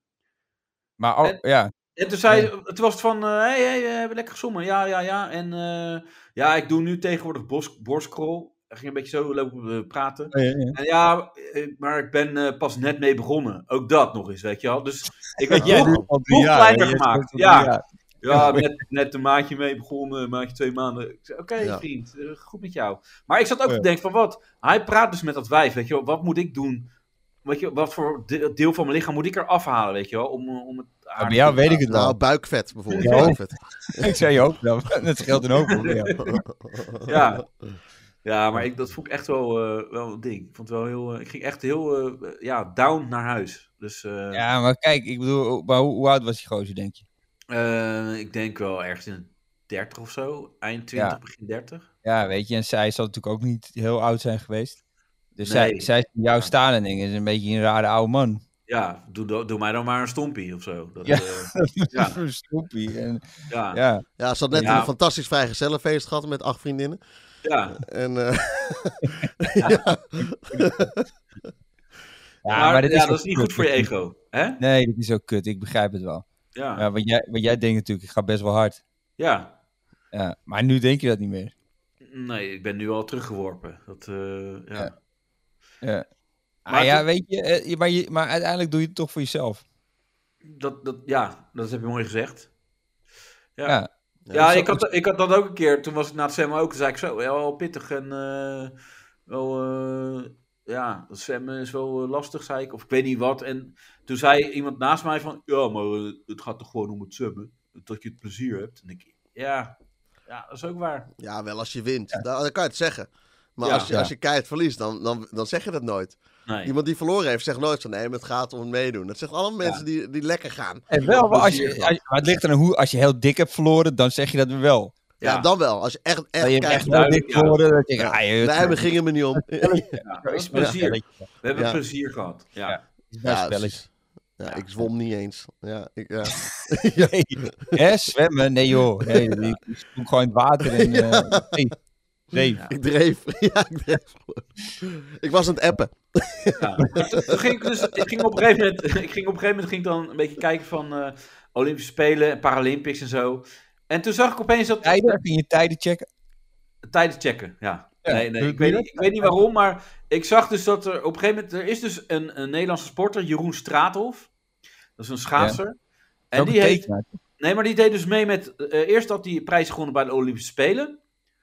B: maar oh,
D: en-
B: ja.
D: En toen, zei, toen was het van, eh hey, hey, eh, hebben we lekker gezongen? Ja, ja, ja. En eh, ja, ik doe nu tegenwoordig bos, borstkrol. Hij ging een beetje zo lopen eh, praten.
B: Ja, ja, ja.
D: En ja, eh, maar ik ben eh, pas net mee begonnen. Ook dat nog eens, weet je wel. Dus ik
B: Kijk,
D: had
B: jij
D: nog,
B: doet het al drie
D: nog
B: jaar,
D: kleiner
B: hè. Je
D: gemaakt,
B: doet het al
D: ja.
B: drie jaar.
D: Ja, net, net een maandje mee begonnen, een maandje, twee maanden. Ik zei, oké
C: Ja.
D: vriend, eh, goed met jou. Maar ik zat ook
B: Oh Ja.
D: te denken van wat, hij praat dus met dat wijf, weet je wel, wat moet ik doen? Weet je, wat voor de- deel van mijn lichaam moet ik er afhalen, weet je wel, om, eh, om het
B: Ja,
D: haar
B: bij
D: te
B: jou
D: doen?
B: weet ik het
C: Nou,
B: wel.
C: buikvet bijvoorbeeld.
B: Ja.
C: buikvet.
B: ik zei je ook wel. Dat scheelt een hoop. hoor, ja.
D: Ja. Ja, maar ik, dat vond ik echt wel, eh, wel een ding. Ik, vond het wel heel, eh, ik ging echt heel eh, ja, down naar huis. Dus eh,
B: Ja, maar kijk, ik bedoel, maar hoe, hoe oud was die gozer, denk je?
D: eh, ik denk wel ergens in de 30 of zo, eind 20, begin 30.
B: Ja, weet je, en zij zal natuurlijk ook niet heel oud zijn geweest. Dus
D: Nee.
B: zij, zij zien jou staan en denken, is een beetje een rare oude man.
D: Ja, doe, do- doe mij dan maar een stompie of zo. Dat,
B: Ja.
D: eh, Ja.
B: Stoepie. En,
D: ja, ja.
B: ja.
C: Ja, ze had net
D: Ja.
C: een fantastisch vrijgezellenfeest gehad met acht vriendinnen. En, eh,
B: Ja,
D: maar,
B: dit
D: ja,
B: ook
D: dat is niet goed
B: kut.
D: voor je ego. Hè? Ja.
B: Nee, dit is ook kut. Ik begrijp het wel.
D: Ja.
B: Ja, want, jij, want jij denkt natuurlijk, ik ga best wel hard. Ja, maar nu denk je dat niet meer.
D: Nee, ik ben nu al teruggeworpen. Dat, eh, ja.
B: Ja. Ja. Ah,
D: Maar
B: ja,
D: het-
B: weet je, eh, je- maar, je, maar uiteindelijk doe je het toch voor jezelf.
D: Dat, dat, ja, dat heb je mooi gezegd. Ja.
B: Ja.
D: Ja,
C: zo-
D: ik had, ik had dat ook een keer. Toen was ik na het zwemmen ook. Toen zei ik zo, ja, wel pittig en eh, wel, eh, ja, dat zwemmen is wel eh, lastig, zei ik. Of ik weet niet wat. En toen zei iemand naast mij van, ja, maar eh, het gaat toch gewoon om het zwemmen. Dat je het plezier hebt. En ik, ja, ja, dat is ook waar.
C: ja, wel als je wint. Nou, Dan, dan kan je het zeggen. Maar
D: Ja.
C: als, je,
B: Ja.
C: als je keihard verliest, dan, dan, dan zeg je dat nooit.
D: Nee.
C: Iemand die verloren heeft, zegt nooit van nee, maar het gaat om het meedoen. Dat zeggen allemaal mensen die, die lekker gaan.
B: En wel, maar, als
D: plezier
B: je,
D: van.
B: als, maar het ligt er aan hoe, als je heel dik hebt verloren, dan zeg je dat wel.
C: Ja,
D: Ja.
C: dan wel. Als je echt, echt
B: Dat je
C: keihard
B: echt
D: wel
B: heel
D: duidelijk,
B: dik
D: ja.
B: verloren, dan denk je,
C: Ja.
B: ah, je-
C: Nee, we gingen me niet om.
D: Ja,
B: Ja,
D: dat is plezier. We hebben
C: Ja.
D: plezier gehad. Ja.
B: Ja. is
C: Ja,
B: best spelletje.
C: precies. Ja, ik zwom niet eens. Ja, ik, ja.
B: Nee. Hè, zwemmen? Nee joh. Nee, die doe gewoon in het water en... eh nee. Nee.
C: ik dreef. Ja, ik dreef. Ik was aan het appen.
D: Ja. Toen ging ik, dus, ik, ging op een gegeven moment, ik ging op een gegeven moment ging ik dan een beetje kijken van eh, Olympische Spelen en Paralympics en zo. En toen zag ik opeens dat...
B: Tijden, kun je tijden checken?
D: Tijden checken, ja.
B: Ja,
D: nee, nee,
B: doe-
D: ik,
B: doe
D: weet
B: je
D: niet, ik weet niet waarom, maar ik zag dus dat er op een gegeven moment... Er is dus een, een Nederlandse sporter, Jeroen Straathof. Dat is een schaatser. En
B: Welke
D: die heeft,
B: tekenaar?
D: nee, maar die deed dus mee met... eh, eerst had hij prijs gewonnen bij de Olympische Spelen.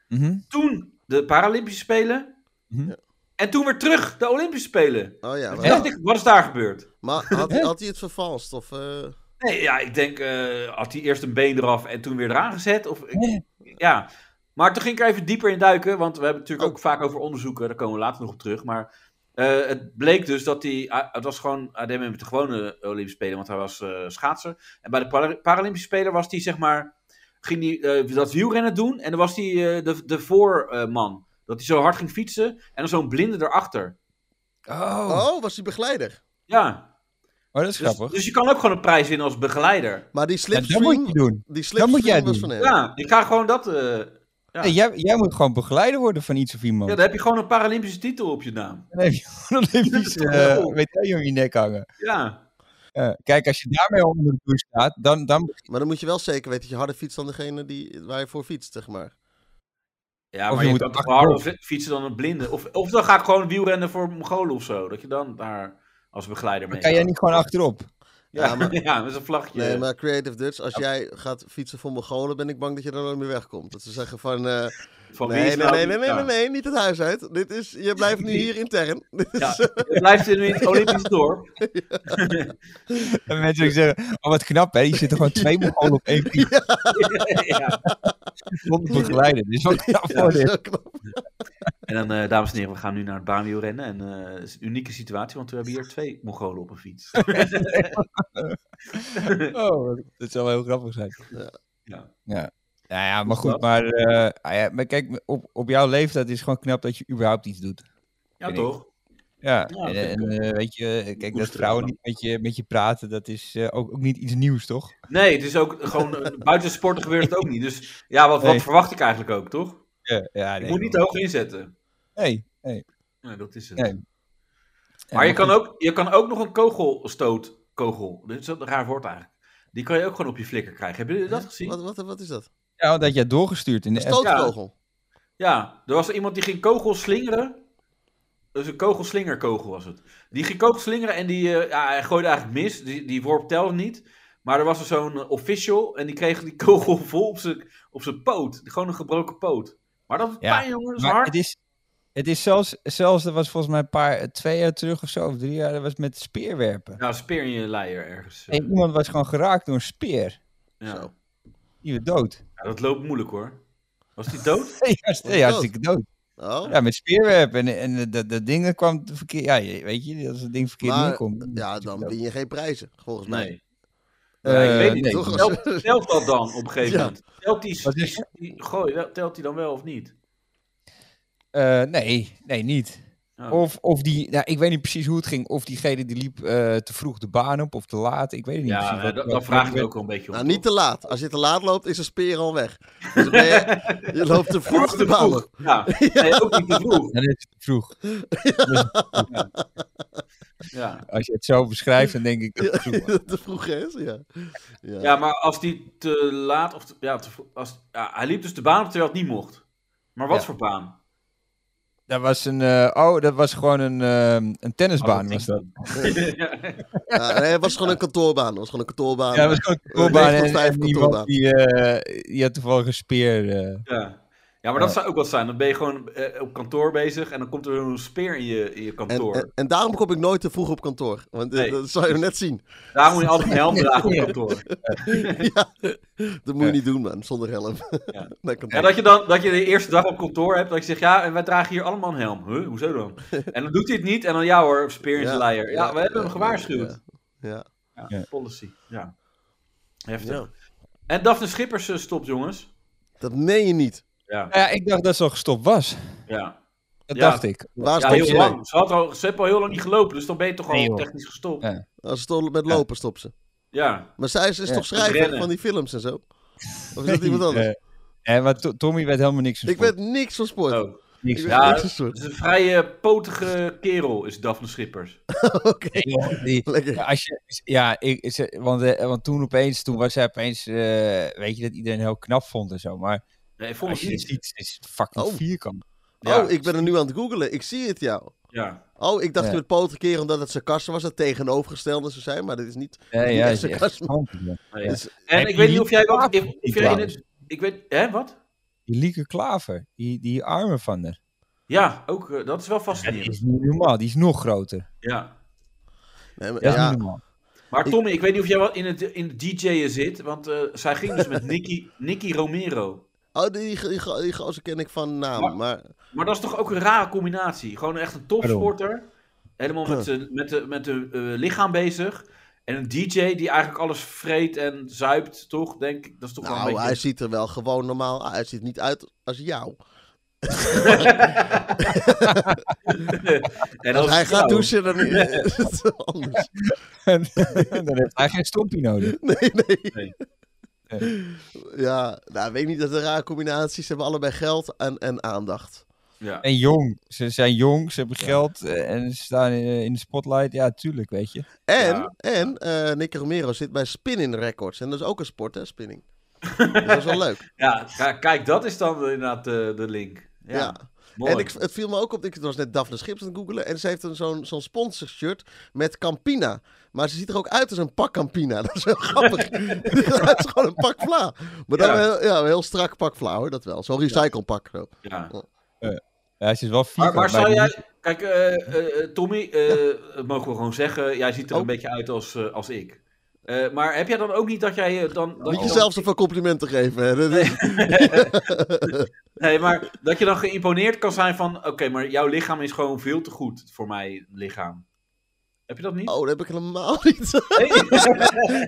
B: Mhm.
D: Toen de Paralympische Spelen.
B: Mhm.
D: En toen weer terug de Olympische Spelen.
C: Oh ja,
D: Toen
C: maar,
D: dacht ik, wat is daar gebeurd?
C: maar had, had hij het vervalst? Of, eh,
D: Nee, ja, ik denk, eh, had hij eerst een been eraf en toen weer eraan gezet? Of, ik-
B: Nee.
D: ja. Maar toen ging ik er even dieper in duiken, want we hebben het natuurlijk
C: Oh.
D: ook vaak over onderzoeken, daar komen we later nog op terug. Maar eh, het bleek dus dat hij, ah, het was gewoon, hij deed mee met de gewone Olympische Spelen, want hij was eh, schaatser. En bij de Para- Paralympische Spelen was hij, zeg maar, ging hij eh, dat wielrennen doen en dan was hij eh, de, de voorman. dat hij zo hard ging fietsen en dan zo'n blinde erachter.
B: Oh.
C: oh, was hij begeleider?
D: Ja,
B: oh, dat is
D: dus,
B: grappig.
D: dus je kan ook gewoon een prijs winnen als begeleider.
C: Maar die
B: Ja, dat moet
C: slipstream,
B: je doen.
C: die
B: Dat moet jij
C: slipstream was
B: doen.
C: van hem.
D: Ja, ik ga gewoon dat... eh, Ja.
B: Nee, jij, jij moet gewoon begeleider worden van iets of iemand.
C: Oh.
D: ja, dan heb je gewoon een Paralympische titel op je naam.
B: Dan heb je gewoon een Olympische eh, medaille om je nek hangen.
D: Ja.
B: Ja, kijk, als je daarmee onder de douche staat, dan, dan
C: Maar dan moet je wel zeker weten dat je harder fietst dan degene die, waar je voor fietst, zeg maar.
D: Ja,
B: Of
D: maar
B: je
D: je,
B: moet
D: kan toch
B: achterop.
D: harder fi- fietsen dan een blinde. Of, of dan ga ik gewoon wielrennen voor Mongolen of zo. Dat je dan daar als begeleider mee
B: kan jij
D: gaat.
B: niet gewoon achterop.
D: Ja,
C: Ja, maar-
D: ja, met een vlagje.
C: Nee, maar Creative Dutch, als jij gaat fietsen voor Mongolen, ben ik bang dat je er nooit meer wegkomt. Dat ze zeggen van, eh,
D: Van wie
C: nee, nee,
D: is
C: nee,
D: nou-
C: nee, nee, nee,
D: ja.
C: nee, niet het huis uit. Dit is, je blijft nu hier intern. Dit is,
D: Ja, het blijft nu in het Olympisch dorp.
B: En mensen ook zeggen, oh wat knap hè, je zit er gewoon twee Mongolen op één fiets
D: ja.
B: zonder begeleider. Dit is wel knap
C: dat
D: Oh,
B: voor
C: is
B: dit.
C: zo knap.
D: En dan, eh, dames en heren, we gaan nu naar het baanwielrennen. En eh, het is een unieke situatie, want we hebben hier twee Mongolen op een fiets.
B: Oh, wat- dat zou wel heel grappig zijn.
D: ja.
B: Nou ja, maar
D: Is
B: goed,
D: dat?
B: maar, eh, ah ja, maar kijk, op, op jouw leeftijd is het gewoon knap dat je überhaupt iets doet.
D: ja,
B: ik.
D: toch?
B: Ja,
D: Ja,
B: en,
D: vind ik
B: en, eh, weet je, kijk, dat
D: Koesteren,
B: vrouwen
D: man.
B: niet met je, met je praten, dat is eh, ook, ook niet iets nieuws, toch?
D: Nee, het is ook gewoon, eh, buiten sporten gebeurt het ook niet. Dus ja, wat,
B: Nee.
D: wat verwacht ik eigenlijk ook, toch?
B: Ja, ja,
D: Ik
B: nee,
D: moet niet te
B: man.
D: hoog inzetten.
B: Nee, nee.
D: Nee, dat is het.
B: nee.
D: Maar je
B: Ja,
D: kan, ook, je kan ook nog een kogelstoot. Kogel. Dit is een raar woord eigenlijk. Die kan je ook gewoon op je flikker krijgen. Hebben jullie dat gezien?
C: Wat, wat, wat is dat?
B: Ja, want dat jij doorgestuurd in de app.
C: Stootkogel.
D: Ja, er was iemand die ging kogel slingeren. Dus een kogelslingerkogel was het. Die ging kogel slingeren en die eh, ja, hij gooide eigenlijk mis. Die, die worp telde niet. Maar er was er zo'n eh, official en die kreeg die kogel vol op zijn, op zijn poot. Gewoon een gebroken poot. Maar dat is
B: Ja,
D: pijn, jongen. Dat is
B: Maar
D: hard.
B: het is, het is zelfs, zelfs, dat was volgens mij een paar, twee jaar terug of zo, of drie jaar, dat was met speerwerpen.
D: Ja, speer in je leier ergens. eh,
B: En iemand was gewoon geraakt door een speer.
D: ja.
C: Zo.
B: Die werd dood.
D: Ja, dat loopt moeilijk hoor. Was die dood?
B: Ja, hartst-
C: Was
B: ja,
C: dood?
B: hartstikke dood.
C: Oh,
B: Ja, met speerwerpen. En, en dat, dat ding dat kwam verkeerd. Ja, je- weet je, als het ding verkeerd
C: Maar,
B: neerkomt. dan
C: ja,
B: is het
C: dan
B: dood.
C: win je geen prijzen, volgens mij.
D: Nee. Ja, ik
B: Eh,
D: weet niet,
B: nee,
C: toch?
B: dat-
D: Telt, telt dat dan op een gegeven
C: Ja.
D: moment? Telt die,
B: Wat
D: die,
B: is-
D: die gooi, wel- telt die dan wel of niet?
B: eh, nee, nee, niet.
D: Ja.
B: Of, of die, nou, ik weet niet precies hoe het ging. Of diegene die liep eh, te vroeg de baan op of te laat. Ik weet het niet
D: ja,
B: precies.
D: nou,
B: wat-
D: dat,
B: wat-
D: dat vraag
B: wat-
D: ik ook wel een beetje om.
C: Nou, niet te laat. Als je te laat loopt, is een speer al weg. Dus ben je, je loopt te vroeg de baan op.
D: Ja, nee, ook niet te vroeg.
B: Dan is het te vroeg.
D: Ja.
B: Als je het zo beschrijft, dan denk ik dat het te vroeg was.
C: te vroeg is, ja. Ja,
D: ja, maar als die te laat of te- ja, te vroeg- als, ja, hij liep dus de baan op terwijl het niet mocht. Maar wat
B: Ja.
D: voor baan?
B: Dat was een, eh, oh, dat was gewoon een, ehm, een tennisbaan.
D: Oh,
B: was dat.
D: ja.
C: Ja, nee, het was gewoon een kantoorbaan. Het was gewoon een kantoorbaan.
B: Ja, dat was gewoon een
C: Eh,
B: koorbaan.
C: negen tot
B: En,
C: vijf
B: en iemand
C: kantoorbaan.
B: die, eh, die had toevallig een speer. eh.
D: Ja. ja, maar dat zou ook wat zijn. Dan ben je gewoon eh, op kantoor bezig en dan komt er een speer in je, in je
C: en, eh,
D: kantoor.
C: en, en daarom kom ik nooit te vroeg op kantoor. Want eh,
D: Nee.
C: dat zou je net zien.
D: Daar moet je altijd een helm dragen op kantoor.
C: ja, dat moet je
B: Ja.
C: niet doen, man. Zonder helm.
D: Ja.
C: Naar kantoor.
D: En dat je dan dat je de eerste dag op kantoor hebt, dat je zegt, ja, en wij dragen hier allemaal een helm. Huh? Hoezo dan? En dan doet hij het niet en dan, ja hoor, speer in zijn
C: Ja,
D: leier. Ja,
C: ja,
D: we hebben
C: ja,
D: hem gewaarschuwd.
C: Ja, ja.
D: Ja,
B: Ja.
D: policy. Ja. Heftig.
C: Ja.
D: En Daphne Schippers eh, stopt, jongens.
C: Dat meen je niet.
D: Ja,
B: Ja, ik dacht dat ze al gestopt was.
D: ja.
B: Dat
D: Ja.
B: dacht ik.
C: Waar
D: ja
C: stop
D: heel
C: ze? mee?
D: lang. Ze, had al, ze hebben al heel lang niet gelopen, dus dan ben je toch al
B: Nee, joh.
D: technisch gestopt.
B: Ja.
D: Ja.
C: Als ze stopt met lopen, stopt ze. Maar zij is, is
B: Ja,
C: toch schrijver
D: rennen.
C: van die films en zo? Of is dat iemand
B: Eh,
C: anders?
B: eh, maar To- Tommy weet helemaal niks van
C: ik
B: sport.
C: weet niks van sport.
D: Oh.
C: Ik
B: Niks
C: weet
B: van
D: Ja,
C: niks van
D: Het
C: sport.
D: is een vrij eh, potige kerel, is Daphne Schippers.
C: Oké,
B: sport. Die-
C: lekker.
B: Ja, als je, ja ik, ze- want, eh, want toen opeens, toen was hij opeens, eh, weet je, dat iedereen heel knap vond en zo. Maar
D: Nee, volgens
B: als je
D: mij
B: het
D: niet.
B: ziet, het is fucking
C: Oh.
B: vierkant.
D: Ja.
C: Oh, ik ben er nu aan het googelen. Ik zie het jou.
D: Ja.
C: Oh, ik dacht
B: Ja.
C: je met poten keren omdat het sarcasme was. Dat tegenovergestelde zou zijn, maar dat is niet.
B: Nee, ja,
C: echt
B: het is echt
C: sarcasme.
B: gigantisch, ja.
D: Nee.
C: Dus-
D: en
B: Heb
D: ik
B: je
D: weet niet
B: niet
D: of jij wat...
B: klaar-
D: Of, of jij in
B: klaar
D: het, ik weet... Hè, wat?
B: Die Lieke Klaver, die, die armen van haar.
D: Ja, ook, eh, dat is wel
B: Die
D: fascinerend.
B: is niet normaal, die is nog groter.
D: Ja.
C: Nee, maar-
B: Dat is
C: ja,
B: niet normaal.
D: Maar
C: Ik-
D: Tommy, ik, weet niet of jij wat in het, in het DJ'en zit, want eh, zij ging dus met Nicky, Nicky Romero.
C: Oh, die, die, die, die gozer ken ik van naam. Maar
D: Maar dat is toch ook een rare combinatie. Gewoon echt een topsporter, helemaal met, z'n- met de, met de eh, lichaam bezig. En een DJ die eigenlijk alles vreet en zuipt, toch? Denk ik, dat is toch wel
C: nou,
D: een beetje...
C: hij ziet er wel gewoon normaal uit. Hij ziet niet uit als jou.
D: en
C: Als
D: als
C: hij
D: vrouw.
C: gaat douchen, dan is het anders.
B: En dan heeft hij geen stompie nodig.
C: Nee, nee.
D: Nee.
C: Ja, nou, weet ik niet dat een rare combinatie. Ze hebben allebei geld en, en aandacht.
D: Ja.
B: En jong, ze zijn jong, ze hebben geld eh, en ze staan eh, in de spotlight. Ja, tuurlijk, weet je.
C: En,
D: Ja.
C: en eh Nicky Romero zit bij Spinning Records. En dat is ook een sport, hè, spinning. Dus dat is wel leuk.
D: Ja, k- kijk, dat is dan inderdaad de, de link. Ja,
C: Ja.
D: mooi.
C: En ik, het viel me ook op, ik was net Daphne Schips aan het googelen. En ze heeft een zo'n zo'n sponsorshirt met Campina. Maar ze ziet er ook uit als een pak Campina. Dat is heel grappig. Het is gewoon een pak vla. Maar dan
D: Ja.
C: Heel, ja, een heel strak pak vla hoor, dat wel. Zo'n recyclepak. zo.
D: Ja.
B: Ja, ze is wel
D: Maar,
B: vierkant.
D: maar zou
B: die-
D: jij... Kijk, eh, eh, eh, Tommy, eh, dat mogen we gewoon zeggen, jij ziet er
C: Oh.
D: een beetje uit als, eh, als ik. Eh, maar heb jij dan ook niet dat jij eh, dan... Dat
C: Niet
D: je dan-
C: jezelf zoveel complimenten geven. Hè. Dat is-
D: Nee, maar dat je dan geïmponeerd kan zijn van... Oké, maar jouw lichaam is gewoon veel te goed voor mijn lichaam. Heb je dat niet?
C: Oh, dat heb ik helemaal niet.
D: Nee?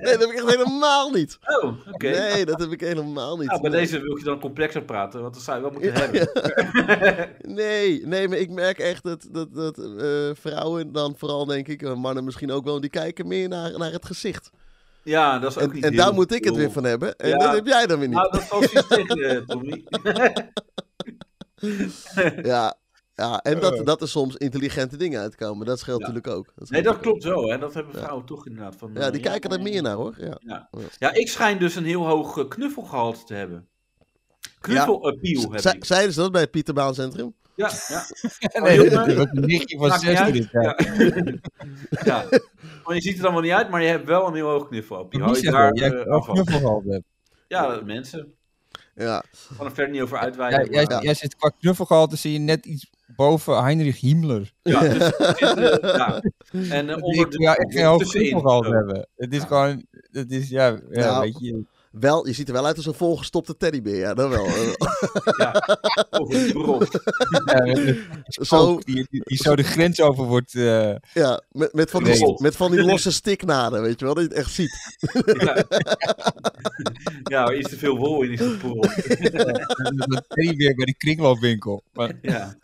C: Nee, dat heb ik echt helemaal niet.
D: Oh, oké.
C: Nee, dat heb ik helemaal niet.
D: Nou, bij
C: Nee.
D: deze wil ik je dan complexer praten, want dat zou je wel moeten hebben.
C: Nee, nee, maar ik merk echt dat, dat, dat eh, vrouwen dan vooral, denk ik, en mannen misschien ook wel, die kijken meer naar, naar het gezicht.
D: Ja, dat is ook
C: En,
D: niet
C: en
D: heel
C: daar moet ik het
D: cool.
C: weer van hebben. En
D: Ja.
C: dat heb jij dan weer niet.
D: Nou, dat valt je tegen, eh, Tommy.
C: Ja, ja en dat, dat er soms intelligente dingen uitkomen. Dat scheelt
D: Ja.
C: natuurlijk ook. Dat
D: Nee,
C: scheelt
D: dat
C: ook.
D: klopt zo, hè. Dat hebben
C: Ja.
D: vrouwen toch inderdaad. Van,
C: Ja,
D: eh,
C: die kijken er
D: eh,
C: meer naar, hoor. Ja.
D: Ja, ik schijn dus een heel hoog eh, knuffelgehalte te hebben. Knuffelappeal heb
C: Z-
D: ik.
C: Zeiden ze dat bij het Pieterbaanscentrum?
D: Ja, ja.
B: Nee,
D: Oh,
B: dat
D: jongen,
B: dat was een nichtje van
D: maakt niet
B: 16.
D: uit.
B: ja.
D: Ja. ja. Maar je ziet er dan wel niet uit, maar je hebt wel een heel hoog knuffelappeal.
B: Wie
D: Hou je
B: zegt
D: daar
B: dat? Jij
D: eh,
B: hebt
D: af
B: ook
D: van?
B: knuffel gehad, hè?
D: Ja, mensen.
C: Ja.
D: Ik kan er verder niet over
B: Jij,
D: uitwijken.
B: jij,
D: maar-
B: jij zit qua knuffelgehalte zie je net iets boven Heinrich Himmler.
D: Ja, dus het zit, eh, ja. En eh,
B: Die
D: onder
B: ik ja, echt geen hoog
D: tussenin.
B: knuffelgehalte
D: Zo.
B: hebben. Het is
D: Ja.
B: gewoon, het is ja, ja
C: Nou.
B: weet je.
C: Wel, je ziet er wel uit als een volgestopte teddybeer. Ja, dat wel. Eh,
D: Ja. Of een bron.
B: Ja, een
C: Zo,
B: spook die, die, die zo de grens over wordt. eh,
C: ja, met, met, van die,
D: Nee.
C: met van die losse stiknaden, weet je wel. Dat je het echt ziet.
D: Ja. ja, er is te veel wol in die pool.
B: dat ben je weer bij de kringloopwinkel. Maar,
D: Ja.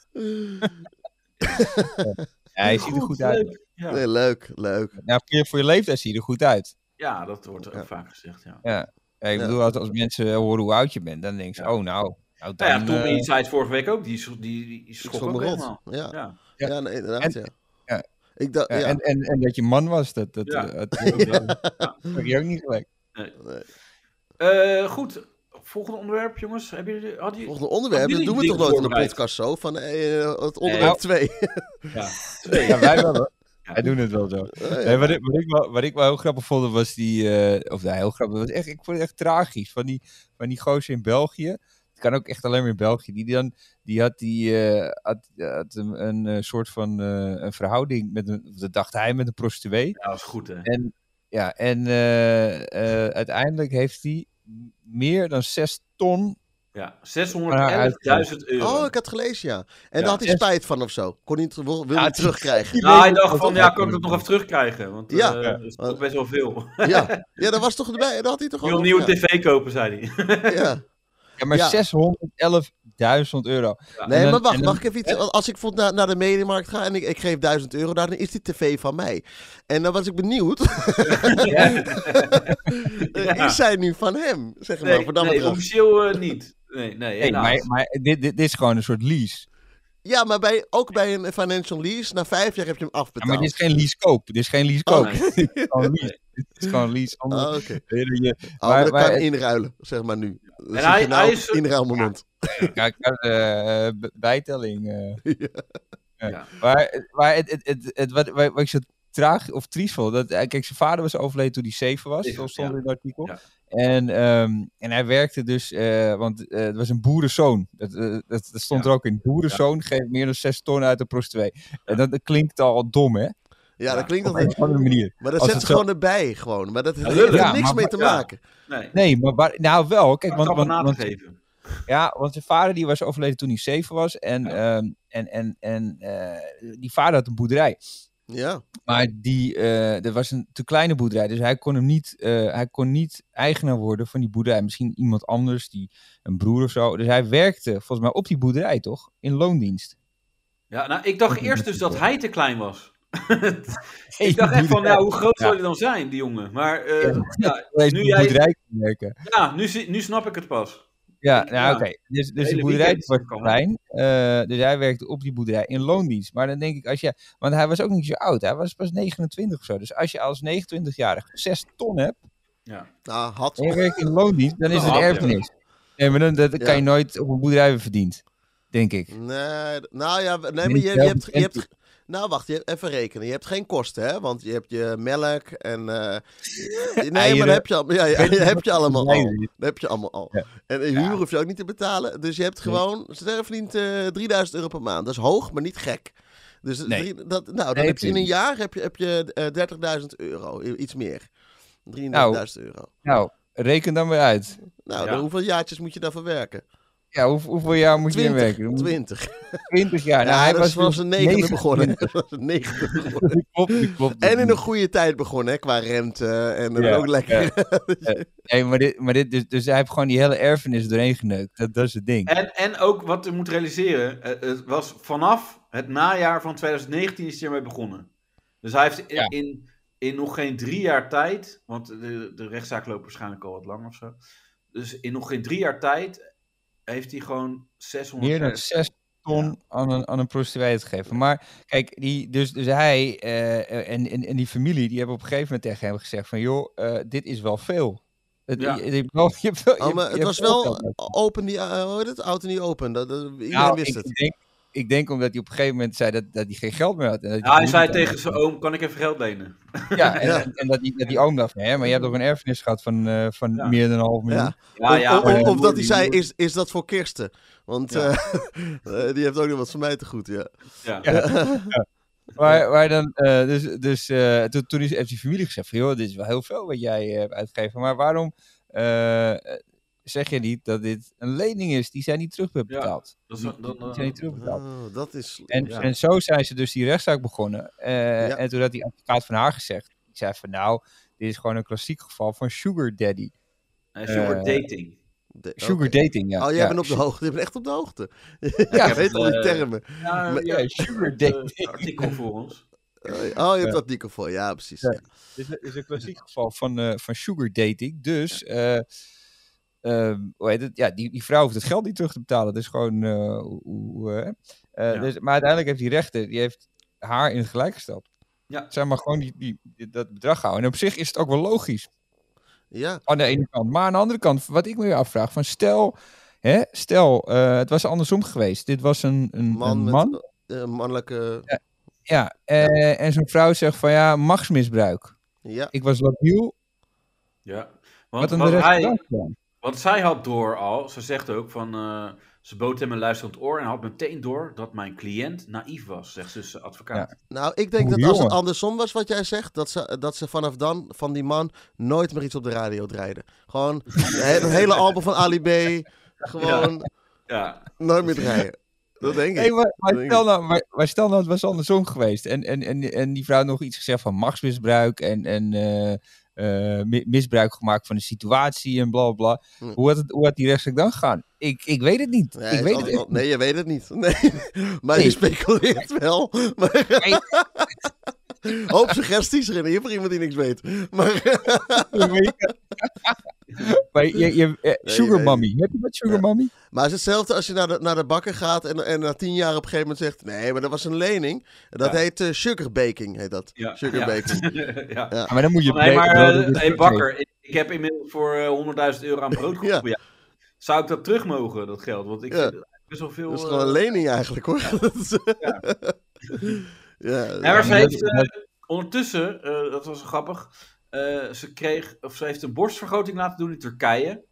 B: Ja, hij ziet er goed uit.
D: leuk. Ja.
C: Nee, leuk, leuk.
B: Nou, voor je, voor je leeftijd zie je er goed uit.
D: Ja, dat wordt ook
C: Ja.
D: vaak gezegd. Ja.
B: Ja, ik
C: Ja.
B: bedoel, als, als mensen horen hoe oud je bent, dan denken ze,
D: Ja.
B: oh nou. nou dan,
D: Nou ja, Tommy
B: eh,
D: zei het vorige week ook. Die, is- die, die
C: Ik
D: schrok
C: schrok
D: ook
C: me
D: helemaal.
C: rot. Ja, ja.
D: Ja.
B: Ja.
C: nee, inderdaad,
B: En-
C: ja.
B: ja.
C: Ik dacht,
B: ja,
C: ja.
B: En, en, en dat je man was, dat, dat, eh,
D: Ja.
B: dat,
D: ook wel.
B: dat heb je ook niet gelijk.
D: Eh, goed, volgende onderwerp, jongens. Hebben jullie... Had je...
C: Volgende onderwerp,
D: Hadden
C: dat doen we
D: jullie
C: toch nooit in de
D: voorbereid?
C: podcast zo? Van eh, het onderwerp 2.
D: Ja, twee.
B: Ja, wij wel hoor.
D: Ja.
B: Wij doen het wel zo.
C: Oh,
B: Nee, wat, ik, wat, ik wel, wat ik wel heel grappig vond, was die... eh, of nou, heel grappig. Was echt, ik vond het echt tragisch. Van die, van die gozer in België. Het kan ook echt alleen maar in België. Die, dan, die had, die, eh, had, had een, een eh, soort van eh, een verhouding met een... Dat dacht hij met een prostituee.
D: Ja, dat is goed, hè.
B: En, ja, en eh, eh, uiteindelijk heeft hij meer dan 6 ton...
D: Ja, 611.000
B: 611.000
D: euro.
C: Oh, ik had het gelezen, ja. En
D: Ja.
C: daar had hij spijt van of zo. Kon hij het, wil, wil hij het
B: het is-
C: terugkrijgen.
D: Nou, hij dacht van, ja, kan ik dat nog even terugkrijgen? Want eh,
C: Ja.
D: dat is toch best wel veel.
C: Ja. ja, dat was toch erbij. Dat had hij toch
D: Ik wil
C: ook
D: een nieuwe
C: nog-
D: tv kopen, zei hij.
C: ja. ja.
B: Ja, maar
C: Ja.
B: 611.000 euro.
C: Nee,
B: En dan-
C: maar wacht,
B: en dan-
C: mag ik even iets? Als ik vond naar, naar de mediamarkt ga en ik, ik geef 1000 euro, daar, dan is die tv van mij. En dan was ik benieuwd,
D: Ja.
C: is zij nu van hem? Zeg maar,
D: Nee,
C: voor dat
D: nee
C: bedrag.
D: officieel eh, niet. Nee, nee,
B: Nee,
D: helaas.
B: maar maar dit, dit, dit is gewoon een soort lease.
C: Ja, maar bij, ook bij een financial lease, na vijf jaar heb je hem
B: Ja,
C: afbetaald.
B: maar dit is geen lease koop. Dit is
D: Oh,
B: geen lease koop. dit is gewoon lease. Dit is gewoon lease. Anders-
C: Ah, oké.
B: Weet je,
C: Oh,
B: Maar-
C: maar dat
B: maar-
C: kan inruilen, zeg maar nu. Dan zit
D: hij-
C: je nou
D: hij
C: op
D: is-
C: het inruilmoment.
B: Ja, ik had, eh, b- bijtelling. eh.
C: Ja.
B: Ja.
D: Ja.
B: Maar, maar het, het, het, het- wat, wat, wat ik zo traag of triest vond, dat, eh, kijk, zijn vader was overleden toen hij zeven was,
D: Zeven,
B: zo stond
D: ja.
B: in het artikel.
D: Ja.
B: En, ehm, en hij werkte dus, eh, want eh, het was een boerenzoon. Dat, eh, dat, dat stond
D: Ja.
B: er ook in. Boerenzoon geeft meer dan zes ton uit de prostituee. En dat, dat klinkt al dom, hè?
C: Ja, dat
D: Ja.
C: klinkt
B: Op
C: altijd.
B: een of andere manier.
C: Maar dat
B: Als
C: zet ze
B: het
C: gewoon erbij, gewoon. Maar dat heeft
D: lullig.
C: er
B: Ja,
C: niks
B: maar-
C: mee te
D: ja.
C: maken.
D: Nee,
B: Nee, maar waar- nou wel. Kijk,
D: ik
B: want,
D: kan
B: want,
D: na te
B: want-
D: geven.
B: Ja, want zijn vader die was overleden toen hij zeven was. En, ehm, en, en, en eh, die vader had een boerderij.
C: Ja.
B: Maar die, eh dat was een te kleine boerderij. Dus hij kon, hem niet, eh, hij kon niet eigenaar worden van die boerderij. Misschien iemand anders, die, een broer of zo. Dus hij werkte volgens mij op die boerderij, toch? In loondienst.
D: Ja, nou, ik dacht eerst dus dat hij te klein was. ik dacht
B: Die
D: echt van,
B: boerderij-
D: ja, hoe groot
B: Ja.
D: zou hij dan zijn, die jongen? Maar eh,
B: Ja.
D: ja,
B: Deze
D: nu
B: nu
D: jij-
B: boerderij kon werken.
D: ja, nu, zi- nu snap ik het pas.
B: Ja,
D: Ja.
B: nou oké. Dus, dus de
D: hele
B: boerderij
D: weekend
B: was
D: kan.
B: klein. eh, dus hij werkte op die boerderij in loondienst. Maar dan denk ik, als je. Want hij was ook niet zo oud. Hij was pas 29 of zo. Dus als je als 29-jarige 6 ton hebt.
D: Ja.
C: Nou, had.
B: en je werkt in loondienst. dan is het
D: Nou,
B: een
D: ja.
B: erfenis. Nee, maar dan dat
C: Ja.
B: kan je nooit op een boerderij hebben verdiend. Denk ik.
C: Nee, d- nou ja, w- nee,
B: Min
C: maar je, je hebt, je
B: 11%.
C: hebt. ge- Nou, wacht, je hebt, even rekenen. Je hebt geen kosten, hè? Want je hebt je melk en. eh, nee, maar
B: Eieren.
C: dat heb je, al- ja, ja, dat heb je allemaal al.
B: Nee,
C: Dat heb je allemaal al.
B: Ja.
C: En de huur hoef je ook niet te betalen. Dus je hebt gewoon. Sterre verdient eh, 3000 euro per maand. Dat is hoog, maar niet gek. Dus
B: Nee.
C: drie- dat, nou, dan
B: Nee,
C: heb je in een
B: tuurlijk.
C: jaar heb je, heb je eh, 30.000 euro. i- Iets meer. 33.000 euro.
B: Nou, reken dan maar uit.
C: Nou,
D: Ja.
C: dan hoeveel jaartjes moet je daarvoor werken?
B: Ja, hoe, hoeveel jaar moet je
C: 20.
B: werken? Dan moet je
C: 20.
B: 20 jaar.
C: Ja,
B: Nou, hij
C: dat
B: was
C: is vanaf
B: dus
C: zijn negende
B: 29.
C: begonnen. Dat was zijn negende begonnen.
B: Klopt, klopt, klopt.
C: En in een goede tijd begonnen, hè, qua rente. En dan
B: Ja,
C: ook lekker.
B: Nee, maar dit, maar dit, dus, dus hij heeft gewoon die hele erfenis doorheen geneukt. Dat, dat is het ding.
D: En, en ook wat u moet realiseren, eh, het was vanaf het najaar van 2019 is hij ermee begonnen. Dus hij heeft in,
B: Ja.
D: in, in nog geen drie jaar tijd, want de, de rechtszaak loopt waarschijnlijk al wat lang of zo. Dus in nog geen drie jaar tijd heeft hij gewoon 600...
B: Meer dan 6 ton aan een, aan een prostituee het geven. Maar kijk, die, dus, dus hij eh, en, en, en die familie, die hebben op een gegeven moment tegen hem gezegd van... joh, eh, dit is wel veel. Het,
D: Ja.
B: je, je hebt wel- je hebt wel- je
C: Oh,
B: hebt-
C: maar
B: je
C: het
B: hebt
C: was
B: geld
C: wel
B: nodig.
C: open, die, eh, hoe heet het? Oud en niet open. Dat, dat- iedereen
B: Nou,
C: wist
B: ik,
C: het.
B: Denk, ik denk omdat hij op een gegeven moment zei dat, dat hij geen geld meer had. En dat
D: Ja, hij zei
B: niet-
D: tegen zijn oom, kan ik even geld lenen?
B: Ja, en,
C: Ja.
B: en- en dat, die, dat die oom dacht van... hè, maar je hebt toch een erfenis gehad van, eh, van
D: Ja.
B: meer dan een half miljoen?
C: Ja.
D: Ja,
C: of,
D: ja,
C: of-
D: maar-
C: of dat hij zei, is, is dat voor Kirsten? Want
D: Ja.
C: eh, eh, die heeft ook nog wat van mij te goed, ja.
D: Ja.
B: Maar, maar dan, eh, dus, dus eh, toen, toen is, heeft die familie gezegd van, joh, dit is wel heel veel wat jij eh, hebt uitgegeven. Maar waarom eh, zeg je niet dat dit een lening is die zij niet terug hebben
D: Ja,
B: betaald?
D: dat is-
B: Die-
D: dat-
B: die- die
D: dat-
B: zijn niet terugbetaald.
C: Oh, dat is...
B: En,
C: ja.
B: en zo zijn ze dus die rechtszaak begonnen. Eh,
C: Ja.
B: En toen had die advocaat van haar gezegd, die zei van, nou, dit is gewoon een klassiek geval van sugar daddy.
D: Hij is super
B: Eh,
D: dating.
C: De-
B: Sugar
C: oké.
B: dating, ja.
C: Oh, jij
B: ja.
C: bent op de
B: su-
C: hoogte. Je bent echt op de hoogte.
B: Ja,
C: Ja, weet al die
D: eh,
C: termen.
D: Ja,
C: Maar-
D: ja,
B: ja, sugar dating.
D: eh, artikel voor ons.
C: Oh, je hebt
B: Ja.
C: dat Nico voor. Ja, precies.
B: Ja. Dit is- is een klassiek geval van, eh, van sugar dating. Dus eh, ehm, hoe heet het? Ja, die, die vrouw hoeft het geld niet terug te betalen. Dus gewoon. eh, hoe- hoe, eh, eh,
D: Ja.
B: dus, maar uiteindelijk heeft die rechter die heeft haar in het gelijk gesteld.
D: Ja.
B: Zij mag gewoon die, die, die- dat bedrag houden. En op zich is het ook wel logisch.
C: Ja,
B: Aan de ene kant. Maar aan de andere kant, wat ik me weer afvraag. Van stel, hè, stel eh, het was andersom geweest. Dit was een, een
C: man,
B: een
C: met
B: man.
C: eh, een mannelijke...
B: Ja, eh, en zo'n vrouw zegt van ja, machtsmisbruik.
C: Ja,
B: Ik was labiel.
D: Ja.
B: Wat
D: Want,
B: een de
D: want
B: rechter
D: hij,
B: dan gedaan?
D: Want zij had door al, ze zegt ook van, eh, ze bood hem een luisterend oor en had meteen door dat mijn cliënt naïef was, zegt ze zijn advocaat.
C: nou, ik denk
B: Oh,
C: dat als het
B: jongen.
C: andersom was wat jij zegt, dat ze, dat ze vanaf dan van die man nooit meer iets op de radio draaiden. Gewoon he- een hele album van Ali B. Gewoon
D: Ja,
C: nooit meer draaien. Dat denk
B: Hey,
C: ik.
B: maar, maar
C: Dat denk
B: stel nou, maar, maar stel nou, het was andersom geweest. En, en, en, en die vrouw had nog iets gezegd van machtsmisbruik en, en eh, eh, mi- misbruik gemaakt van de situatie en bla bla.
C: Hm.
B: Hoe, had het, hoe had die rechtszaak dan gegaan? Ik, ik weet het niet.
C: Nee,
B: ik weet het
C: al-
B: echt
C: al- nee, je weet het niet. Nee. Maar je
B: Nee.
C: speculeert wel. Maar
B: Nee.
C: Hoop suggesties erin. Hier voor iemand die niks weet. Maar
B: niet. Maar je- maar je, je, eh,
C: je
B: sugar
C: weet
B: mommy. Heb je wat sugar
C: Ja.
B: mommy?
C: Maar het is hetzelfde als je naar de, naar de bakker gaat en, en na tien jaar op een gegeven moment zegt... Nee, maar dat was een lening. Dat
D: Ja.
C: heet eh, sugarbaking, heet dat.
D: ja.
C: Sugarbaking.
D: ja. ja.
B: Ja, maar dan moet je...
D: Van, hey, maar,
B: breken, bro,
D: eh,
B: dat is
D: hey,
B: oké.
D: bakker, ik, ik heb inmiddels voor eh, 100.000 euro aan brood
C: Ja.
D: gekocht. voor jou. Zou ik dat terug mogen, dat geld? Want ik
C: Ja.
D: vind het best wel veel...
C: Dat is
D: eh,
C: gewoon een lening eigenlijk, hoor. Dat is- Ja.
D: Ja.
C: ja,
D: Ja, maar ze
B: maar dat-
D: heeft
B: dat-
D: eh, ondertussen, eh, dat was grappig, eh, ze, kreeg, of ze heeft een borstvergroting laten doen in Turkije.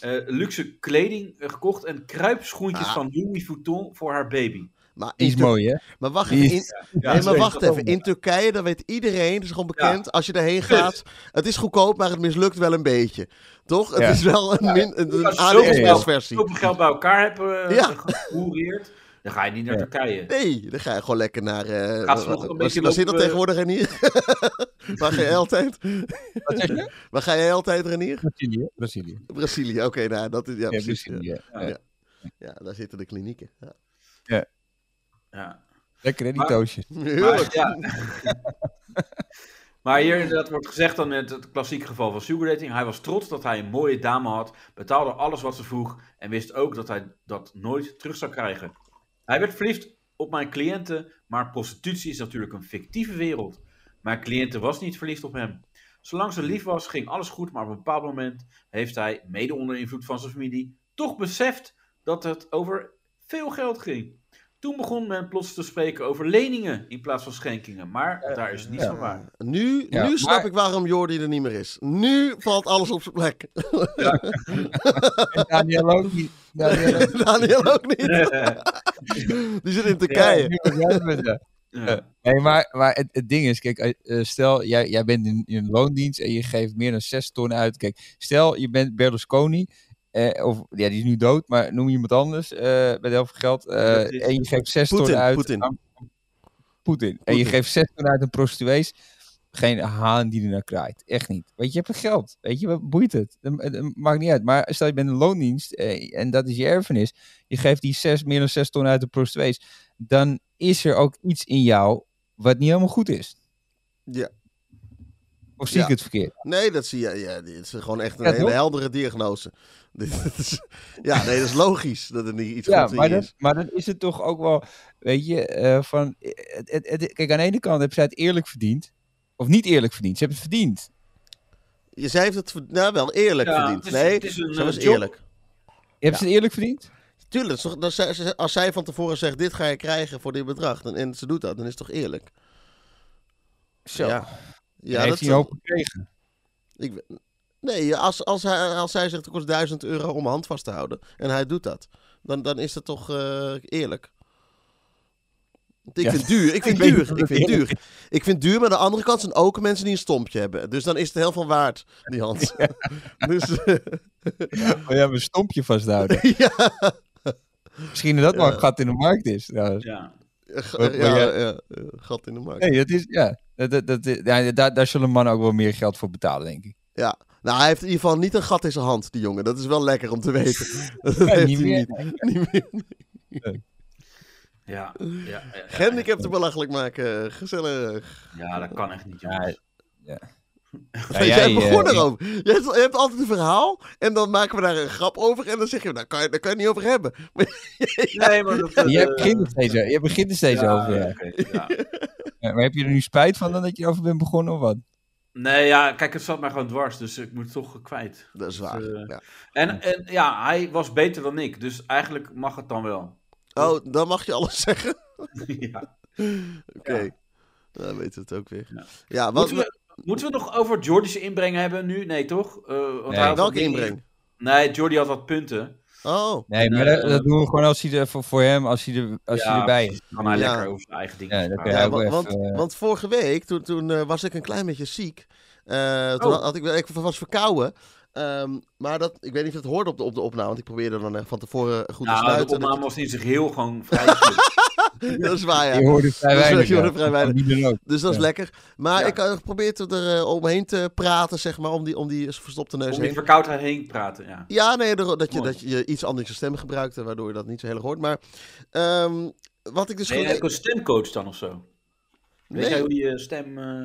D: Eh, luxe kleding eh, gekocht en kruipschoentjes
C: Ah.
D: van Louis Vuitton voor haar baby.
C: maar,
B: Die
C: in
B: is
C: Tur-
B: mooi, hè?
C: maar wacht
B: Die
C: even.
B: is-
C: In,
D: Ja,
C: nee,
D: dat
C: maar
D: is
C: wacht
D: wel
C: even. In Turkije, dat weet iedereen. Dat is gewoon
D: Ja.
C: bekend. Als je daarheen gaat, het is goedkoop, maar het mislukt wel een beetje. Toch? Het
B: Ja.
C: is wel een, min, een,
D: Ja,
C: een
D: zo
C: AliExpress-versie.
D: Zoveel geld bij elkaar hebben eh
C: Ja.
D: gehoereerd, dan ga je niet naar
B: Ja.
D: Turkije.
C: Nee, dan ga je gewoon lekker naar. eh
D: Gaat
C: waar
D: ze nog een
C: waar-
D: beetje
C: waar zit dat
D: lopen- eh.
C: tegenwoordig en hier? waar ga je altijd?
B: Wat zeg je?
C: Waar ga jij altijd Renier?
B: Brazilië. Brazilië.
C: Brazilië, oké, nou, dat is. Ja,
B: Ja,
C: precies. Ja,
B: Brazilië. ja.
D: Ja.
B: Ja.
C: daar zitten de klinieken. Ja.
D: Ja.
B: Lekker, hè, die
D: Maar-
B: toosjes.
C: Heerlijk.
D: Maar, ja. maar hier dat wordt gezegd dan met het klassieke geval van sugardating. Hij was trots dat hij een mooie dame had, betaalde alles wat ze vroeg en wist ook dat hij dat nooit terug zou krijgen. Hij werd verliefd op mijn cliënten, maar prostitutie is natuurlijk een fictieve wereld. Mijn cliënten was niet verliefd op hem. Zolang ze lief was, ging alles goed, maar op een bepaald moment heeft hij, mede onder invloed van zijn familie, toch beseft dat het over veel geld ging. Toen begon men plots te spreken over leningen in plaats van schenkingen, maar daar is niets
B: ja.
D: van waar.
C: Nu,
B: Ja,
C: nu snap
B: maar-
C: ik waarom Jordi er niet meer is. Nu valt alles op zijn plek.
B: En Daniel ook niet. Daniel ook.
C: Daniel ook niet. Die zit in Turkije.
B: Ja, jij bent, ja.
D: Ja.
B: Nee, maar, maar het, het ding is, kijk, eh, eh, stel jij, jij bent in, in loondienst en je geeft meer dan 6 ton uit. Kijk, stel je bent Berlusconi, eh, of ja, die is nu dood, maar noem iemand anders eh, met heel veel geld. eh,
D: Dat is-
B: en je geeft 6 ton
C: Poetin,
B: uit
C: Poetin.
B: aan Poetin. En je
C: Poetin.
B: geeft 6 ton uit aan prostituees. Geen haan die er naar kraait. Echt niet. Weet je, je hebt het geld. Weet je, wat boeit het? Het- Het het maakt niet uit. Maar stel je bent in loondienst eh, en dat is je erfenis. Je geeft die zes, meer dan 6 ton uit de prostituees. Dan is er ook iets in jou wat niet helemaal goed is.
C: Ja.
B: Of zie
C: Ja.
B: ik het verkeerd?
C: Nee, dat zie je. Ja, dit is gewoon echt een
B: Ja,
C: hele
B: toch?
C: heldere diagnose. Dit, is, ja, nee, dat is logisch dat er niet iets
B: Ja,
C: goed
B: maar
C: in
B: dan,
C: is.
B: maar dan is het toch ook wel, weet je, eh, van... Het, het, het- kijk, aan de ene kant heb zij het eerlijk verdiend. Of niet eerlijk verdiend. Ze hebben het verdiend.
C: Je zei heeft het ver- nou, wel eerlijk
D: Ja,
C: verdiend.
D: het is-
C: nee,
D: het is een,
C: ze
D: eh,
C: was
D: job.
C: eerlijk.
B: Hebben ze het eerlijk verdiend?
C: Tuurlijk, dat is toch- dat zij- zij- als zij van tevoren zegt, dit ga je krijgen voor dit bedrag, dan, en ze doet dat, dan is het toch eerlijk?
B: Zo.
C: Ja,
B: Ja,
C: Ja,
B: heeft
C: dat
B: hij
C: zal-
B: een hoop gekregen.
C: ik, we- nee, als, als, hij, als zij zegt, het kost 1000 euro om mijn hand vast te houden, en hij doet dat, dan, dan is dat toch eh, eerlijk? Want Ik
B: Ja.
C: vind duur, ik vind
B: weet niet
C: duur,
B: of
C: ik
B: het
C: vind
B: eerlijk
C: duur. Ik vind duur, maar aan de andere kant zijn ook mensen die een stompje hebben. Dus dan is het heel veel waard, die hand. Dus, eh,
B: Maar ja, een stompje vasthouden.
C: ja,
B: Misschien dat dat maar een gat in de markt is. trouwens.
D: Ja.
C: ja,
B: Maar- maar
C: ja,
B: jij-
C: eh, gat in de markt.
B: Nee, dat is, ja. Dat, dat, dat, ja, daar, daar zullen mannen ook wel meer geld voor betalen, denk ik.
C: Ja, Nou, hij heeft in ieder geval niet een gat in zijn hand, die jongen. Dat is wel lekker om te weten. Dat heeft hij
B: niet meer.
C: niet. Niet meer.
D: Ja, ja, ja, ja,
C: Gehandicapten belachelijk maken. eh, Gezellig.
D: ja, dat kan echt niet, jongens.
B: Ja,
C: jij
B: eh,
C: begon
B: ik-
C: erover. Je hebt, je hebt altijd een verhaal en dan maken we daar een grap over. En dan zeg je, nou, kan je, daar kan je het niet over hebben.
D: Nee, maar dat... eh,
B: Jij begint er steeds, jij begint er steeds
D: ja,
B: over. ja.
D: oké, ja.
B: Ja, maar heb je er nu spijt van dan dat je over bent begonnen of wat?
D: Nee, ja, kijk, het zat mij gewoon dwars, dus ik moet het toch kwijt.
C: Dat is waar.
D: eh,
C: ja.
D: En, en ja, hij was beter dan ik, dus eigenlijk mag het dan wel.
C: Oh, dan mag je alles zeggen.
D: ja.
C: Oké. Dan weten we het ook weer.
D: Ja.
C: Ja, wat,
D: moeten, we, moeten we het nog over Jordi's inbreng hebben nu? Nee, toch? Eh, want
B: Nee.
D: hij had wat
C: welke
D: dingen-
C: inbreng?
D: Nee, Jordi had wat punten.
C: Oh,
B: Nee, maar
D: eh,
B: dat, dat doen we gewoon als hij er, voor, voor hem, als hij, er, als
D: Ja.
B: hij erbij is.
D: Dan kan hij
C: Ja.
D: lekker over zijn eigen dingen
B: Ja, dat
D: praten.
B: kan
C: ja,
B: ook
C: wa-
B: even,
C: want,
B: eh,
C: want vorige week, toen, toen eh, was ik een klein beetje ziek. Eh, toen
D: Oh.
C: had- had ik, ik was verkouden. Ehm, maar dat, ik weet niet of je het hoorde op de, op de opname, want ik probeerde dan echt van tevoren goed te
D: Nou, de
C: sluiten.
D: opname was in zich heel gewoon vrij goed.
C: dat is waar, ja.
B: Je hoorde vrij
C: Dus, eh,
B: weinig.
C: je hoorde
B: ja.
C: vrij weinig.
B: Van wie dan ook.
C: Dus dat is
B: Ja.
C: lekker. Maar
D: Ja.
C: ik had geprobeerd er eh, omheen te praten, zeg maar, om die, om die verstopte neus
D: Om
C: heen.
D: die verkoudheid heen praten, ja.
C: Ja, nee, er- dat je,
D: Mooi.
C: dat je iets anders je stem gebruikte, waardoor je dat niet zo heel erg hoort. Maar ehm, wat ik dus
D: Ben je
C: gewoon...
D: ook een stemcoach dan of zo? Weet
C: Nee.
D: jij hoe je stem eh,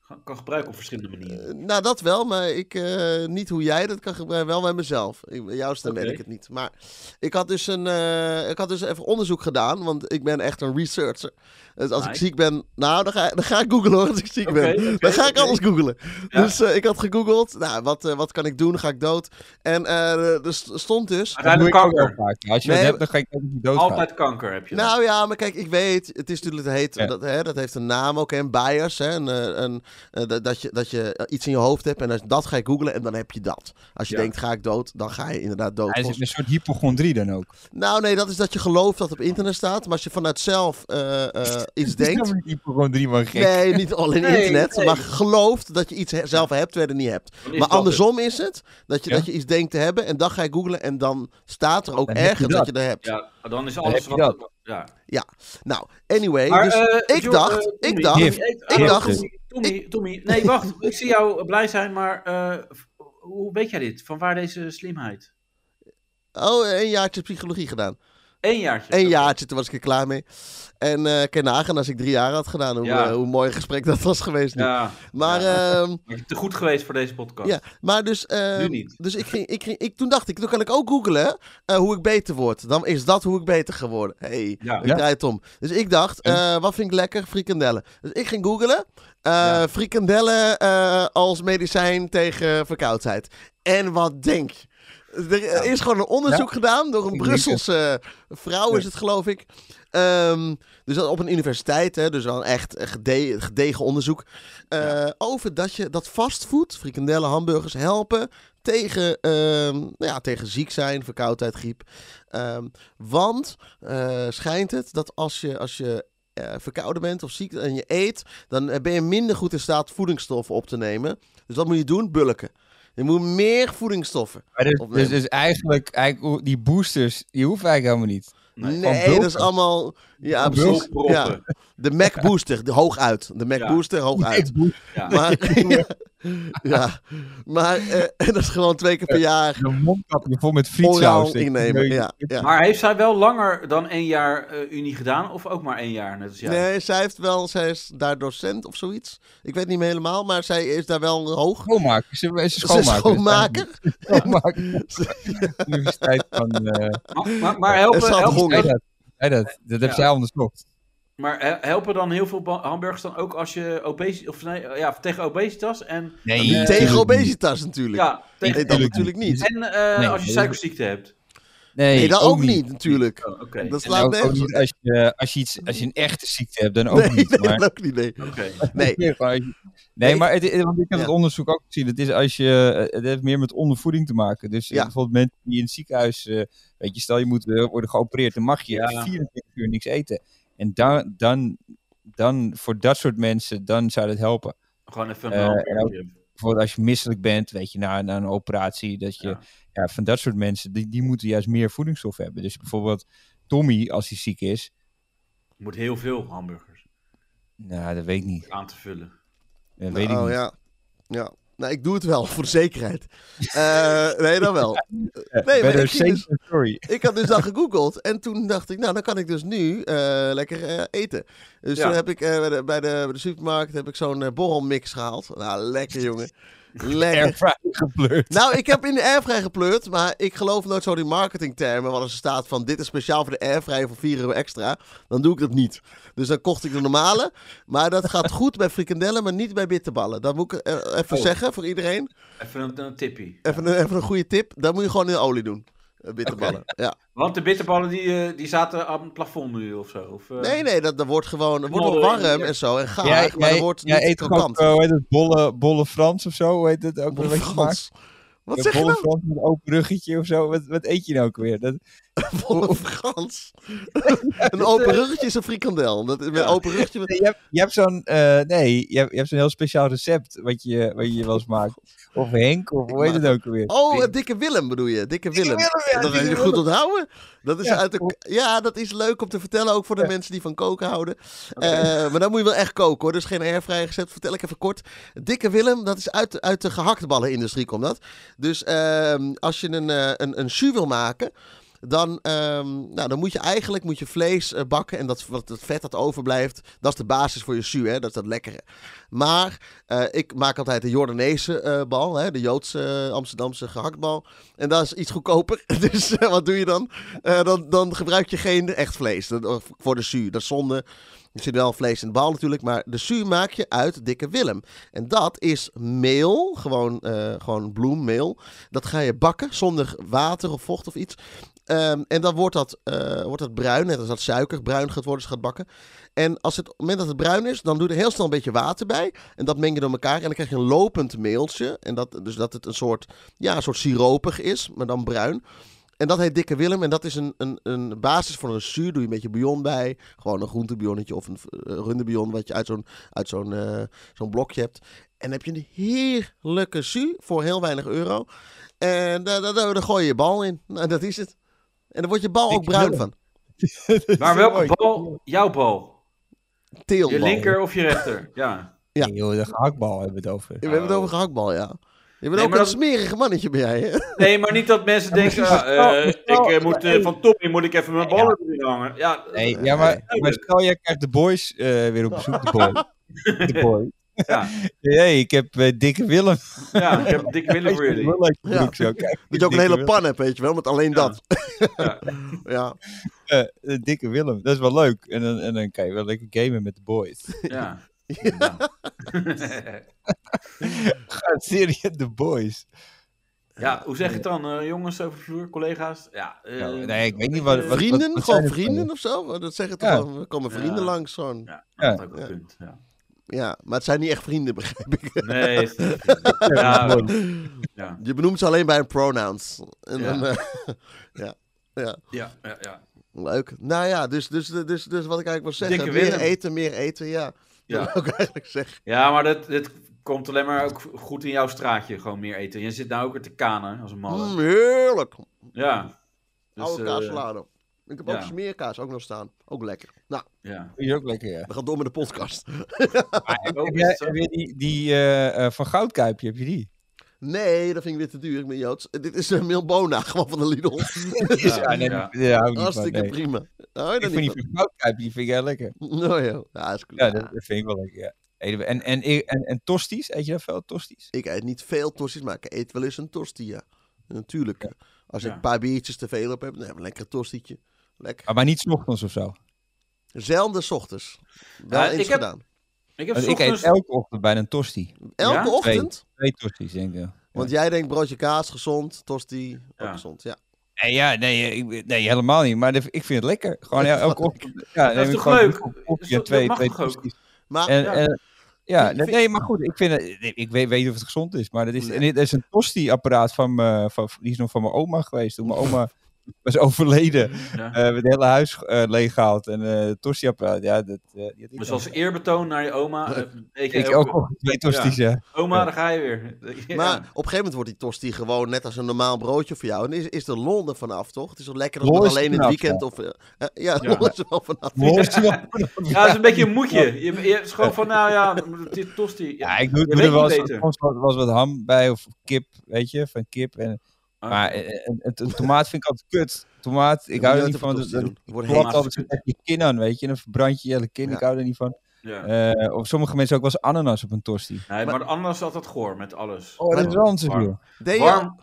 D: ga- kan gebruiken op verschillende manieren?
C: Eh, nou, dat wel, maar ik, eh, niet hoe jij dat kan gebruiken, wel bij mezelf. Ik, jouw stem weet
D: Oké.
C: ik het niet. Maar ik had, dus een, eh, ik had dus even onderzoek gedaan, want ik ben echt een researcher. Dus als ik
D: Nice.
C: ziek ben, nou, dan ga, dan ga ik googlen hoor, als ik ziek
D: Oké,
C: ben.
D: oké,
C: dan ga ik
D: oké.
C: alles googlen.
D: Ja.
C: Dus eh, ik had gegoogeld, nou, wat, eh, wat kan ik doen? Ga ik dood? En eh, er st- stond dus...
B: Dat doe
D: Uiteindelijk
B: ik ook wel
D: kanker.
B: vaak. Als je
C: Nee,
B: dat hebt, dan ga ik ook niet doodgaan.
D: Altijd kanker heb je. dan.
C: Nou ja, maar kijk, ik weet, het is natuurlijk, het heet,
B: Ja.
C: dat, hè, dat heeft een naam ook, hè, een bias, hè, een, eh, een, eh, dat- dat, je, dat je eh, iets in je hoofd hebt en als- dat ga je googlen en dan heb je dat. Als je
D: Ja.
C: denkt, ga ik dood, dan ga je inderdaad dood.
B: Hij is
C: volgens-
B: een soort hypochondrie dan ook.
C: Nou nee, dat is dat je gelooft dat het op internet staat, maar als je vanuit zelf eh, eh, iets
B: Het is
C: denkt...
B: namelijk hypochondrie, man, gek.
C: Nee, niet alleen
D: Nee,
C: internet,
D: nee.
C: maar gelooft dat je iets he- zelf hebt, terwijl je het niet hebt.
D: Dan is
C: Maar
D: dat
C: andersom is het, dat je,
B: Ja.
C: dat je iets denkt te hebben en dan ga je googlen en dan staat er ook
B: Dan heb je
C: ergens dat
B: dat.
C: je er hebt.
D: het. Ja, dan is
B: heb
D: alles
B: je
D: wat...
B: dat.
D: Ja.
C: Nou, anyway, dus
D: eh,
C: ik dacht- ik dacht-
B: ik dacht-
D: Tommy, Tommy, Tommy, nee, wacht. Ik zie jou blij zijn, maar eh, hoe weet jij dit? Van waar deze slimheid?
C: oh, een jaartje psychologie gedaan.
D: Eén jaartje.
C: Een jaartje, toen was ik er klaar mee. En eh ik kan nagaan als ik drie jaar had gedaan, hoe,
D: Ja.
C: eh, hoe mooi een gesprek dat was geweest. nu.
D: Ja,
C: Maar,
D: Ja.
C: ehm,
D: maar te goed geweest voor deze podcast.
C: ja, maar dus, ehm,
D: Nu niet.
C: dus ik ging, ik ging, ik, toen dacht ik, toen kan ik ook googlen eh, hoe ik beter word. Dan is dat hoe ik beter geworden. hey,
D: Ja.
C: ik
B: Ja.
C: draai het om. Dus ik dacht,
B: Ja.
C: eh, wat vind ik lekker? Frikandellen. Dus ik ging googlen, eh,
D: Ja.
C: frikandellen eh, als medicijn tegen verkoudheid. En wat denk je? Er eh, is gewoon een onderzoek gedaan door een
B: Ik denk het.
C: Brusselse vrouw, is het geloof ik. Ehm, dus dat op een universiteit, hè, dus wel een echt eh, gede- gedegen onderzoek. eh, Over dat je dat fastfood, frikandellen, hamburgers helpen tegen, ehm, nou ja, tegen ziek zijn, verkoudheid, griep. Ehm, want eh, schijnt het dat als je, als je eh, verkouden bent of ziek en je eet, dan eh, ben je minder goed in staat voedingsstoffen op te nemen. Dus wat moet je doen? Bulken. Je moet meer voedingsstoffen.
B: Maar dus,
C: Of nee.
B: dus, dus eigenlijk, eigenlijk, hoe- die boosters, die hoeven eigenlijk helemaal niet.
D: Nee.
C: Nee,
B: Van
C: dat is
B: bulken.
C: allemaal. Ja,
B: Van
C: precies.
D: bulken.
C: Ja. De Mac Booster, de, hooguit. De Mac
D: Ja.
C: Booster, hooguit.
D: Ja.
C: Maar, ja, ja. maar eh, en dat is gewoon twee keer per jaar
B: Een mondkapje vol met frietsaus.
C: oraal innemen. Ja, ja.
D: Maar heeft zij wel langer dan één jaar eh, Unie gedaan? Of ook maar één jaar, net als jij?
C: Nee, zij heeft wel, zij is daar docent of zoiets. Ik weet niet meer helemaal, maar zij is daar wel hoog.
B: Schoonmaker. Ze, ze
C: Ze is
B: schoonmaker.
C: schoonmaker.
B: Schoonmaker. Universiteit van... eh,
D: Maar, maar, maar helpen,
C: Het staat
D: helpen,
B: Zei
C: honger.
B: dat. Zei dat. Dat hebben zij onderzocht.
D: maar he- helpen dan heel veel ba- hamburgers dan ook als je obesitas, of nee, eh, ja, tegen obesitas en
B: Nee,
C: Niet tegen obesitas natuurlijk.
D: ja, tegen,
C: nee, dat natuurlijk niet.
D: en eh,
B: Nee,
D: als je
B: nee.
D: suikerziekte hebt.
B: Nee,
C: Nee, dat ook niet natuurlijk.
D: Oh, Oké.
C: Dat
B: En
C: slaat
B: ook, ook
C: nergens op.
B: niet als je, als, je iets, als je een echte ziekte hebt, dan ook
C: Nee,
B: niet.
C: nee,
B: Maar,
C: dat ook niet. Nee.
D: Oké.
C: nee.
B: nee.
C: Nee,
B: maar het, het- want ik heb
C: Ja.
B: het onderzoek ook gezien. Het, is als je, eh, het heeft meer met ondervoeding te maken. Dus eh,
C: Ja.
B: bijvoorbeeld mensen die in het ziekenhuis... eh, weet je, stel je moet eh, worden geopereerd, dan mag je
D: Ja.
B: 24 uur niks eten. En dan, dan, dan, voor dat soort mensen, dan zou dat helpen.
D: Gewoon even
B: Eh,
D: een
B: en ook-
D: hamburger.
B: bijvoorbeeld als je misselijk bent, weet je, na, na een operatie, dat je
D: Ja.
B: ja. van dat soort mensen, die, die moeten juist meer voedingsstof hebben. Dus bijvoorbeeld Tommy, als hij ziek is,
D: Je moet heel veel hamburgers
B: nou, dat weet ik niet.
D: aan te vullen.
B: Dat weet ik
C: oh
B: niet.
C: ja. Ja. Nou, ik doe het wel, voor de zekerheid. Eh, nee, dan wel. Nee, maar ik, ging dus,
B: sorry.
C: ik had dus dat gegoogeld. En toen dacht ik, nou, dan kan ik dus nu eh, lekker eh, eten. Dus
D: Ja.
C: toen heb ik eh, bij, de, bij, de, bij de supermarkt heb ik zo'n eh, borrelmix gehaald. Nou, lekker, jongen. Lekker.
B: Airfryer gepleurd.
C: Nou, ik heb in de airfryer gepleurd, maar ik geloof nooit zo die marketingtermen. Want als er staat van dit is speciaal voor de airfryer voor 4 euro extra, dan doe ik dat niet. Dus dan kocht ik de normale. Maar dat gaat goed bij frikandellen, maar niet bij bitterballen. Dat moet ik eh, even
D: Oh.
C: zeggen voor iedereen.
D: Even een, een tippie.
C: Even een, even een goede tip. Dat moet je gewoon in olie doen. eh, Bitterballen. Ja.
D: Want de bitterballen die, eh, die zaten aan het plafond nu of zo. Of, eh,
C: Nee, nee, dat, dat wordt gewoon dat wordt wel
D: Knollen,
C: warm
D: ja.
C: en zo. En gaar,
B: Jij-
C: maar
B: jij-
C: dat wordt
B: jij
C: niet
B: eet gewoon,
C: krokant.
B: eh, hoe heet het, bolle, bolle Frans of zo? Hoe heet het ook weer wat je maakt?
C: Frans. Wat
B: Ja,
C: zeg je
B: bolle
C: nou?
B: Frans met een open ruggetje of zo. Wat, wat eet je nou ook weer? Dat,
C: Bolle Frans. een open ruggetje is een frikandel. Dat, met
D: Ja.
C: open ruggetje...
B: je hebt, je hebt zo'n eh, nee, je hebt, je hebt zo'n heel speciaal recept wat je, wat je wel eens maakt. Of Henk, of hoe heet het ook weer?
C: Oh, eh, Dikke Willem bedoel je? Dikke Willem.
B: ja,
C: dat
B: Dikke
C: heb je goed
B: Willem.
C: onthouden. Dat is
B: Ja.
C: uit de, ja, dat is leuk om te vertellen, ook voor de mensen die van koken houden. Eh, maar dan moet je wel echt koken hoor, dus geen airfryer gezet. Vertel ik even kort. Dikke Willem, dat is uit, uit de gehaktballenindustrie komt dat. Dus ehm, als je een, eh, een, een jus wil maken... Dan, ehm, nou, dan moet je eigenlijk moet je vlees eh, bakken en dat, wat, dat vet dat overblijft, dat is de basis voor je jus, hè? dat is dat lekkere. Maar eh, ik maak altijd de Jordaanese eh, bal, hè? de Joodse eh, Amsterdamse gehaktbal. En dat is iets goedkoper. Dus eh, wat doe je dan? Eh, dan? Dan gebruik je geen echt vlees dat, voor de jus, dat is zonde. Er zit wel vlees in de bal natuurlijk, maar de jus maak je uit dikke Willem. En dat is meel, gewoon, eh gewoon bloemmeel. Dat ga je bakken zonder water of vocht of iets. Ehm, en dan wordt dat, eh, wordt dat bruin, net als dat suiker bruin gaat worden als je gaat bakken. En als het, op het moment dat het bruin is, dan doe je er heel snel een beetje water bij. En dat meng je door elkaar en dan krijg je een lopend meeltje. En dat, dus dat het een soort, ja, een soort siropig is, maar dan bruin. En dat heet Dikke Willem. En dat is een, een, een basis voor een zuur. Doe je een beetje bouillon bij. Gewoon een groentebionnetje of een eh, rundebion. Wat je uit zo'n uit zo'n eh, zo'n blokje hebt. En dan heb je een heerlijke zuur voor heel weinig euro. En daar, daar, daar- daar gooi je je bal in. Nou, dat is het. En dan wordt je bal ook
B: Dikke
C: bruin
B: Willem.
C: van.
D: Maar welke bal? Jouw bal.
C: Teelbal.
D: Je linker of je rechter. Ja.
C: Ja.
B: Nee, joh, de gehaktbal hebben we het over.
C: We hebben het over gehaktbal, ja. Je bent
D: Nee,
C: ook een
D: maar dat-
C: smerige mannetje ben jij, hè?
D: Nee, maar niet dat mensen denken, ah, eh, ik eh, moet eh, van Tommy moet ik even mijn ballen erin hangen. Ja,
C: Eh,
B: Nee, ja, maar, maar stel, jij krijgt de boys eh, weer op bezoek. De boy. De boy.
D: Ja.
B: Hey, ik heb eh, dikke Willem.
D: ja, ik heb een dikke willen voor jullie.
B: Wel uit je
C: Ja.
B: broek zo. Kijk,
C: Dat je ook een
B: dikke
C: hele
B: Willem.
C: pan hebt, weet je wel, met alleen dat.
D: Ja.
C: Ja.
B: Eh, eh, dikke Willem, dat is wel leuk. En dan, en dan kan je wel lekker gamen met de boys.
D: Ja.
B: Gaat serieus de boys.
D: ja, hoe zeg je het dan? eh, jongens over de vloer, collega's? Ja, eh,
B: Nou, nee, ik weet niet wat. wat- wat-
C: Vrienden,
B: wat zijn
C: gewoon
B: het voor-
C: vrienden of zo? Dat zeggen toch
B: Ja.
C: wel, er komen vrienden
D: Ja.
C: langs, zo'n...
D: Ja, dat is ook
C: Ja.
D: een punt. Ja.
C: Ja, maar het zijn niet echt vrienden, begrijp ik.
D: Nee, is niet een punt. ja, ja,
C: Je benoemt ze alleen bij hun pronouns. En
D: Ja.
C: dan, eh, ja. ja,
D: ja, ja, ja.
C: leuk. Nou ja, dus, dus, dus, dus wat ik eigenlijk wil zeggen,
D: Dikke
C: meer
D: Willem.
C: eten, meer eten, ja.
D: Ja.
C: Dat wil ik eigenlijk zeggen.
D: Ja, maar dat, dat komt alleen maar ook goed in jouw straatje, gewoon meer eten. Je zit nou ook weer te kanen als een
C: Mm,
D: malle.
C: heerlijk.
D: Ja.
B: Dus,
C: Oude
D: eh,
C: kaas salade. Ik heb ook
D: ja.
C: smeerkaas ook nog staan. Ook lekker. Nou,
D: ja.
B: Is ook lekker, ja.
C: we gaan door met de podcast.
D: Oh,
B: Heb
D: is
B: jij
D: het zo?
B: heb jij die, die eh, eh, van Goudkuipje, heb je die?
C: Nee, dat vind ik weer te duur. Ik ben Joods. Eh, Dit is een Milbona, gewoon van de Lidl.
B: Ja, nee,
D: ja.
B: die- daar hou ik niet van,
C: Hartstikke
B: nee.
C: prima. Hou je
B: Ik
C: daar
B: vind die
C: niet
B: van Goudkuipje, die vind ik heel lekker.
C: van? Nou ja, ja, is goed.
B: Ja, dat, dat vind ik wel lekker, ja. Eten we- En, en, en, en, tosties, eet je dat veel, tosties?
C: Ik eet niet veel tosti's, maar ik eet wel eens een tostia. Natuurlijk. Als ik
D: Ja.
C: een paar biertjes te veel op heb, dan heb ik een lekker tostietje. Lekker.
B: Ah, Maar, maar niet 's ochtends of zo.
C: Zelden 's ochtends. Wel
D: Ja, ik
C: eens
D: heb-
C: gedaan.
D: Ik heb
B: Want ik eet
D: ochtends...
B: elke ochtend bijna een tosti.
C: Elke
D: Ja?
C: ochtend.
B: Twee tosties, denk ik.
C: Want jij denkt broodje kaas, gezond. Tosti, ook
D: Ja.
C: gezond. Ja.
B: Nee, ja, nee, eh, ik, nee, helemaal niet. Maar de- ik vind het lekker. Gewoon el- elke ochtend. Ja,
D: Dat is
B: neem ik
D: toch
B: gewoon een
D: leuk?
B: kopje koffie
D: Dat
B: en
D: is-
B: twee,
D: dat mag
B: twee
D: toch ook? Ah,
B: toasties.
C: Maar
B: En,
D: Ja.
B: en- ja,
C: Vind- vind-
B: nee, maar goed, ik, vind het, ik weet, weet niet of het gezond is, maar dat is,
C: Nee.
B: en dit is een tosti-apparaat van, me- van, die is nog van mijn oma geweest. Toen mijn oma was overleden.
D: Ja.
B: Eh, met het hele huis eh, leeggehaald en eh tosti-apparaat. Ja, dat, eh, die had ik
D: Dus
B: dan.
D: als eerbetoon naar je oma. eh, weet je,
B: Ik ook al twee tosti's, ja.
D: Oma, daar ga je weer. Ja.
C: Maar op een gegeven moment wordt die tosti gewoon net als een normaal broodje voor jou. En is, is de lol er vanaf, toch? Het is toch lekker
B: Lol
C: dat
B: is
C: het
B: er
C: alleen in het
B: vanaf,
C: weekend of... eh, eh, ja,
D: Ja.
C: lol is er wel vanaf.
B: Mooi.
D: Ja, dat is een beetje een moedje. Je, je het is gewoon van, nou ja, dit tosti.
B: Ja, ik doe,
D: Je
B: doe
D: weet
B: er wel
D: niet
B: eens,
D: beter.
B: soms was, was wat ham bij of kip, weet je, van kip. En,
D: Ah.
B: Maar eh, eh, een, een tomaat vind ik altijd kut. Tomaat, ik hou er niet van. Dat, dat
C: Wordt
B: klopt
C: heet.
D: Tomaat.
B: altijd met je kin aan, weet je. En dan verbrand je je hele kin,
C: Ja.
B: ik hou er niet van.
D: Ja.
B: Eh, of sommige mensen ook wel eens ananas op een tosti.
D: Nee, maar, anders altijd goor met alles.
B: Oh, dat is ranzig,
D: Warm.
B: joh.
C: Deed je-
D: warm,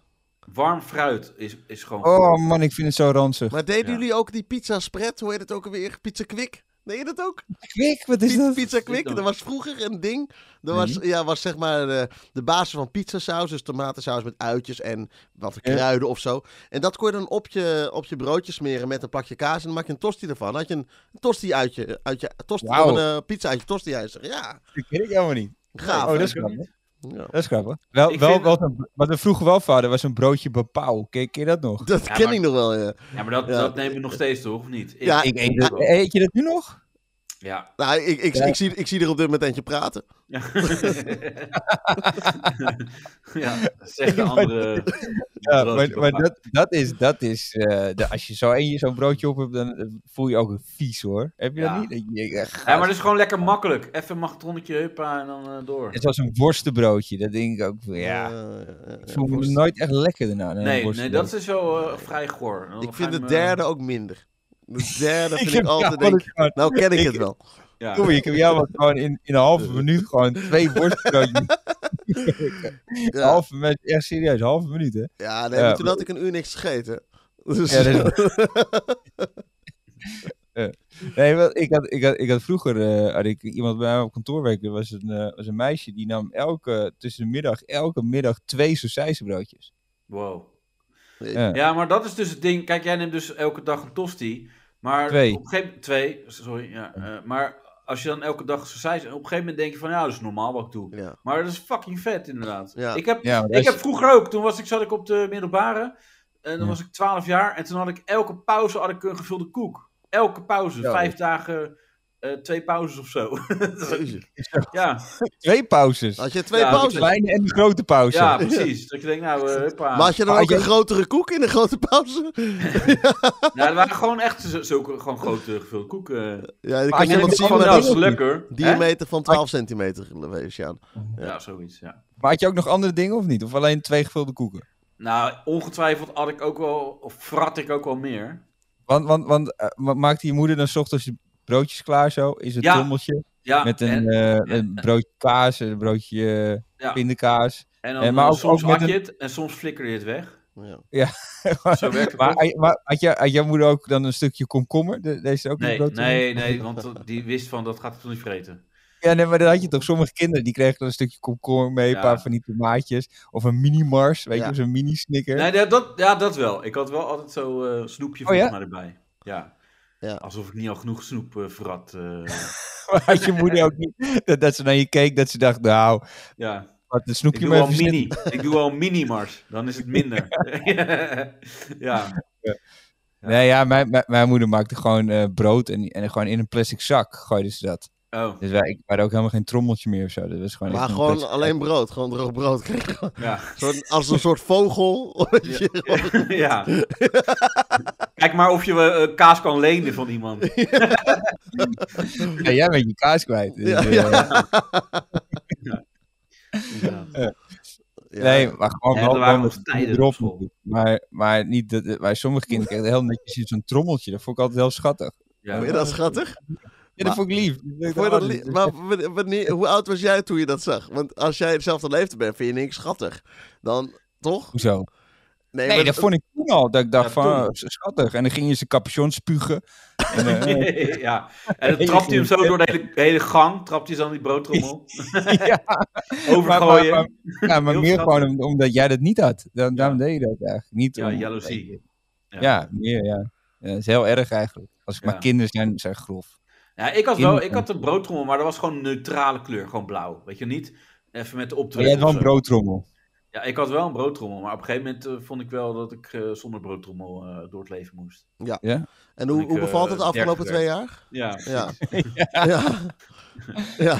D: warm fruit is, is gewoon goor.
B: Oh man, ik vind het zo ranzig.
C: maar deden
D: Ja.
C: jullie ook die pizza spread? Hoe heet het ook alweer? Pizza kwik? Nee, je dat ook?
B: Kwik, wat is
C: Pi-
B: dat?
C: Pizza Quick,
D: dan?
C: dat was vroeger een ding. Dat
B: Nee.
C: was, ja, was zeg maar de, de basis van pizzasaus. Dus tomatensaus met uitjes en wat
B: Ja.
C: kruiden of zo. En dat kon je dan op je, op je broodje smeren met een plakje kaas. En dan maak je een tosti ervan. Dan had je een tosti uit je, uit je tosti,
B: Wauw.
C: of een eh, pizza uit je tosti ijzer. Ja,
B: Dat ken ik helemaal niet.
C: gaaf.
B: Oh, dat is
D: ik ook
B: grappig.
C: Ja.
B: Dat is grappig. Wel,
D: Ik
B: wel,
D: vind-
B: wel, wat we vroeger wel vader was een broodje bepaal. Ken, ken je dat nog?
C: Dat
D: Ja,
C: ken
D: maar-
C: ik nog wel, ja.
D: Ja, maar dat,
C: Ja.
D: dat neem je nog steeds toch, of niet? Ik-
C: Ja.
B: Ik eet,
D: Ja.
B: dat- eet je dat nu nog?
D: Ja.
C: Nou, ik, ik,
B: Ja.
C: ik, zie, ik zie er op dit moment eentje praten.
D: Ja. ja, dat zegt de andere.
B: Ja,
D: broodje
B: maar, maar
D: bepaal.
B: dat, dat is, dat is eh, de- als je zo één zo'n broodje op hebt, dan eh, voel je ook een vies hoor. Heb je
D: Ja.
B: dat niet? Dat je, eh, gast.
D: Ja, maar dat is gewoon lekker makkelijk. Even een magnetonnetje, huppa, en dan eh, door.
B: Het is als een worstenbroodje, dat denk ik ook. Ja,
C: Eh, ja,
B: ik
C: ja,
B: voel me
C: worst.
B: nooit echt lekker daarna. na een
D: Nee, nee,
B: worstenbroodje.
D: dat is wel eh, vrij goor. Dan
C: Ik
D: ga je
C: vind de
D: hem,
C: derde ook minder. De derde vind ik
B: heb
C: altijd
B: jou
C: denk ik,
B: wat-
C: nou ken ik
B: Ik-
C: het wel.
D: eh, ja.
B: Doei, ik heb jou wat gewoon in, in een halve minuut gewoon twee worstenbroodjes.
C: Ja.
B: Halve minuut, echt serieus, halve minuut hè.
C: Ja, nee,
B: Ja.
C: maar toen had ik een uur niks gegeten. Dus,
B: Ja, dat Nee, wel, ik, had, ik, had, ik had vroeger eh, had ik iemand bij mij op kantoor werkte, was een, eh, was een meisje die nam elke, tussen de middag, elke middag twee sausijzenbroodjes.
D: Wow.
B: Ja.
D: Ja, maar dat is dus het ding. Kijk, jij neemt dus elke dag een tosti. Maar
B: Twee.
D: op een gegeven moment... Twee, sorry. Ja, eh, maar als je dan elke dag sausijs... Op een gegeven moment denk je van... Ja, dat is normaal wat ik doe.
C: ja.
D: Maar dat is fucking vet, inderdaad.
C: Ja.
D: Ik, heb,
B: Ja, maar dat
D: ik
B: is-
D: heb vroeger ook... Toen was ik, zat ik op de middelbare. En dan
B: Ja.
D: was ik 12 jaar. En toen had ik elke pauze had ik een gevulde koek. Elke pauze.
B: Ja.
D: Vijf dagen... eh, twee pauzes of zo. ja,
B: Oh, Twee pauzes.
C: Had je twee
D: Ja,
B: De
C: pauzes?
B: kleine en de grote pauze.
D: Ah, ja, precies. Dat je denkt, nou, eh, huppa.
C: Maar had je dan
B: Maar
C: ook
B: je-
C: een grotere koek in een grote pauze?
D: Nou, dat waren gewoon echt zo- zulke gewoon grote gevulde koeken. eh.
C: Ja,
B: Maar
C: dan kan
B: als
C: je
B: je
C: iemand
B: dat
C: zien
D: van,
C: met
D: nou, dat is
C: een
D: lekker. Hè?
C: diameter van 12 centimeter, wees je aan.
D: Ja, zoiets, ja.
B: Maar had je ook nog andere dingen of niet? Of alleen twee gevulde koeken?
D: Nou, ongetwijfeld had ik ook wel, of frat ik ook wel meer.
B: Want, want, want eh, ma- maakte je moeder dan 's ochtends de broodjes klaar zo? Is het
D: Ja.
B: trommeltje?
D: Ja,
B: met
D: en,
B: een, eh, een broodje kaas, een broodje eh,
D: ja.
B: pindakaas.
D: en dan
B: en maar
D: eh,
B: ook-
D: soms
B: ook met
D: had je het en soms flikkerde je het weg.
C: Ja.
D: Zo werkt het
B: maar
D: ook.
B: maar had, jij, had jouw moeder ook dan een stukje komkommer? De- deze ook in
D: Nee,
B: het broodje?
D: nee, nee, want die wist van, dat gaat het toch niet vreten.
B: Ja, nee, maar dan had je toch sommige kinderen die kregen dan een stukje komkommer mee,
D: Ja.
B: een paar van die tomaatjes. Of een mini-mars, weet
C: Ja.
B: je, of zo'n mini-snicker.
D: Nee, ja, dat, ja, dat wel. Ik had wel altijd zo eh, snoepje
B: Oh,
D: volgens
B: ja?
D: mij erbij. Ja.
C: Ja.
D: Alsof ik niet al genoeg snoep eh, vrat. eh,
B: Maar had je moeder ook niet dat, dat ze naar je keek, dat ze dacht, nou,
D: ja.
B: wat een
D: Ik
B: snoepje
D: doe
B: maar
D: al
B: even zitten.
D: mini. Ik doe al mini mars. Dan is het minder. ja. Ja.
B: Nee, ja, mijn, mijn, mijn moeder maakte gewoon eh, brood en, en gewoon in een plastic zak gooide ze dat.
D: Oh,
B: Dus wij, ik had ook helemaal geen trommeltje meer of zo. Dat was gewoon
C: Maar
B: echt een
C: gewoon
B: plastic zak.
C: alleen brood, gewoon droog brood. Kijk, gewoon
D: ja.
C: zo'n- Als een soort vogel. weet je, gewoon-
D: ja. Kijk maar of je eh, kaas kan lenen van iemand.
B: Ja, jij bent je kaas kwijt. Dus,
C: Ja,
B: eh,
D: Ja.
C: Ja.
B: Nee, maar gewoon
D: Ja,
B: wel
D: er waren
B: gewoon
D: nog
B: dat
D: tijden
B: je erop
D: op school.
B: moet. Maar, maar niet dat, eh, bij sommige kinderen kregen heel netjes in zo'n trommeltje. Dat vond ik altijd heel schattig.
D: Ja.
B: Oh,
C: Vond je dat schattig?
B: Ja,
C: Maar-
B: dat vond ik lief. Ik dacht,
C: Vond je dat
B: oh,
C: li-
B: dit is
C: maar w- wanneer, hoe oud was jij toen je dat zag? Want als jij hetzelfde leeftijd bent, vind je niks schattig. Dan, toch?
B: Hoezo?
C: Nee,
B: Nee,
C: maar-
B: dat vond ik toen al. Dat ik dacht
D: Ja,
B: van,
D: toen.
B: oh, schattig. En dan ging je zijn capuchon spugen. En, eh,
D: ja. En dan trapt hij hem zo door de hele, hele gang. Trapt hij zo aan die broodtrommel.
B: ja, maar, maar,
D: Overgooien.
B: maar- ja, maar
D: Heel
B: meer
D: schattig.
B: gewoon om- omdat jij dat niet had. Da- daarom deed je dat eigenlijk. Niet
D: ja,
B: om-
D: jaloezie.
B: Ja, meer, ja. Ja, dat is heel erg eigenlijk. Als,
D: Ja.
B: Maar kinderen zijn, zijn grof.
D: Ja, ik, had wel, ik had een broodtrommel, maar dat was gewoon een neutrale kleur. Gewoon blauw. Weet je niet? Even met de
B: Maar jij
D: opdruk.
B: had wel
D: of
B: een
D: zo.
B: broodtrommel.
D: Ja, ik had wel een broodtrommel, maar op een gegeven moment eh, vond ik wel dat ik eh, zonder broodtrommel eh, door het leven moest.
B: Ja?
C: En hoe,
D: Ik,
C: hoe bevalt het de
D: eh,
C: afgelopen
D: dertig
C: twee jaar?
D: Ja.
C: Ja. ja. ja.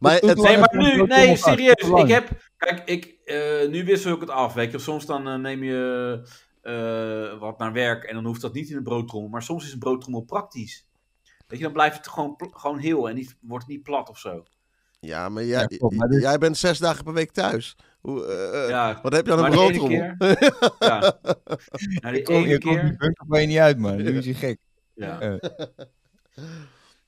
C: Maar
B: Hoe
C: het-
B: lang
D: Nee, maar
B: heb je een
D: nu,
B: broodtrommel
D: nee,
B: vast?
D: serieus.
B: Hoe lang?
D: Ik heb, kijk, ik, eh, nu wissel ik het af, weet je. wel. Soms dan eh, neem je eh, wat naar werk en dan hoeft dat niet in een broodtrommel. Maar soms is een broodtrommel praktisch. Weet je, dan blijft het gewoon, pl- gewoon heel en niet, wordt het niet plat of zo.
C: Ja, maar jij,
B: Ja, klopt, maar dit-
C: jij bent zes dagen per week thuis. Hoe, eh, eh,
D: dus- Ja,
C: Wat heb je aan een
D: maar de ene
C: broodrommel?
D: keer- ja. Nou, de
B: Ik kom-
D: ene
B: je komt die
D: keer.
B: bunker van je niet uit, man. Nu is je gek.
D: Ja.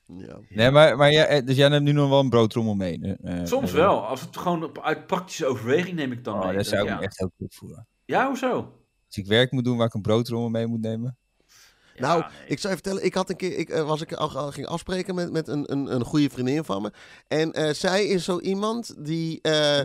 C: Ja.
B: Nee, maar, maar ja, eh, dus jij neemt nu nog wel een broodtrommel mee? eh, eh,
D: Soms
B: eh,
D: wel. Als het gewoon op, uit praktische overweging neem ik dan
B: Oh,
D: mee.
B: daar
D: Dat-
B: zou ik
D: ja.
B: me echt heel goed voelen.
D: ja, hoezo?
B: Als ik werk moet doen waar ik een broodtrommel mee moet nemen.
C: Nou,
D: Ja, nee.
C: ik zou je vertellen, ik had een keer, ik eh, was ik al, al ging afspreken met, met een, een, een goede vriendin van me. En eh, zij is zo iemand die eh,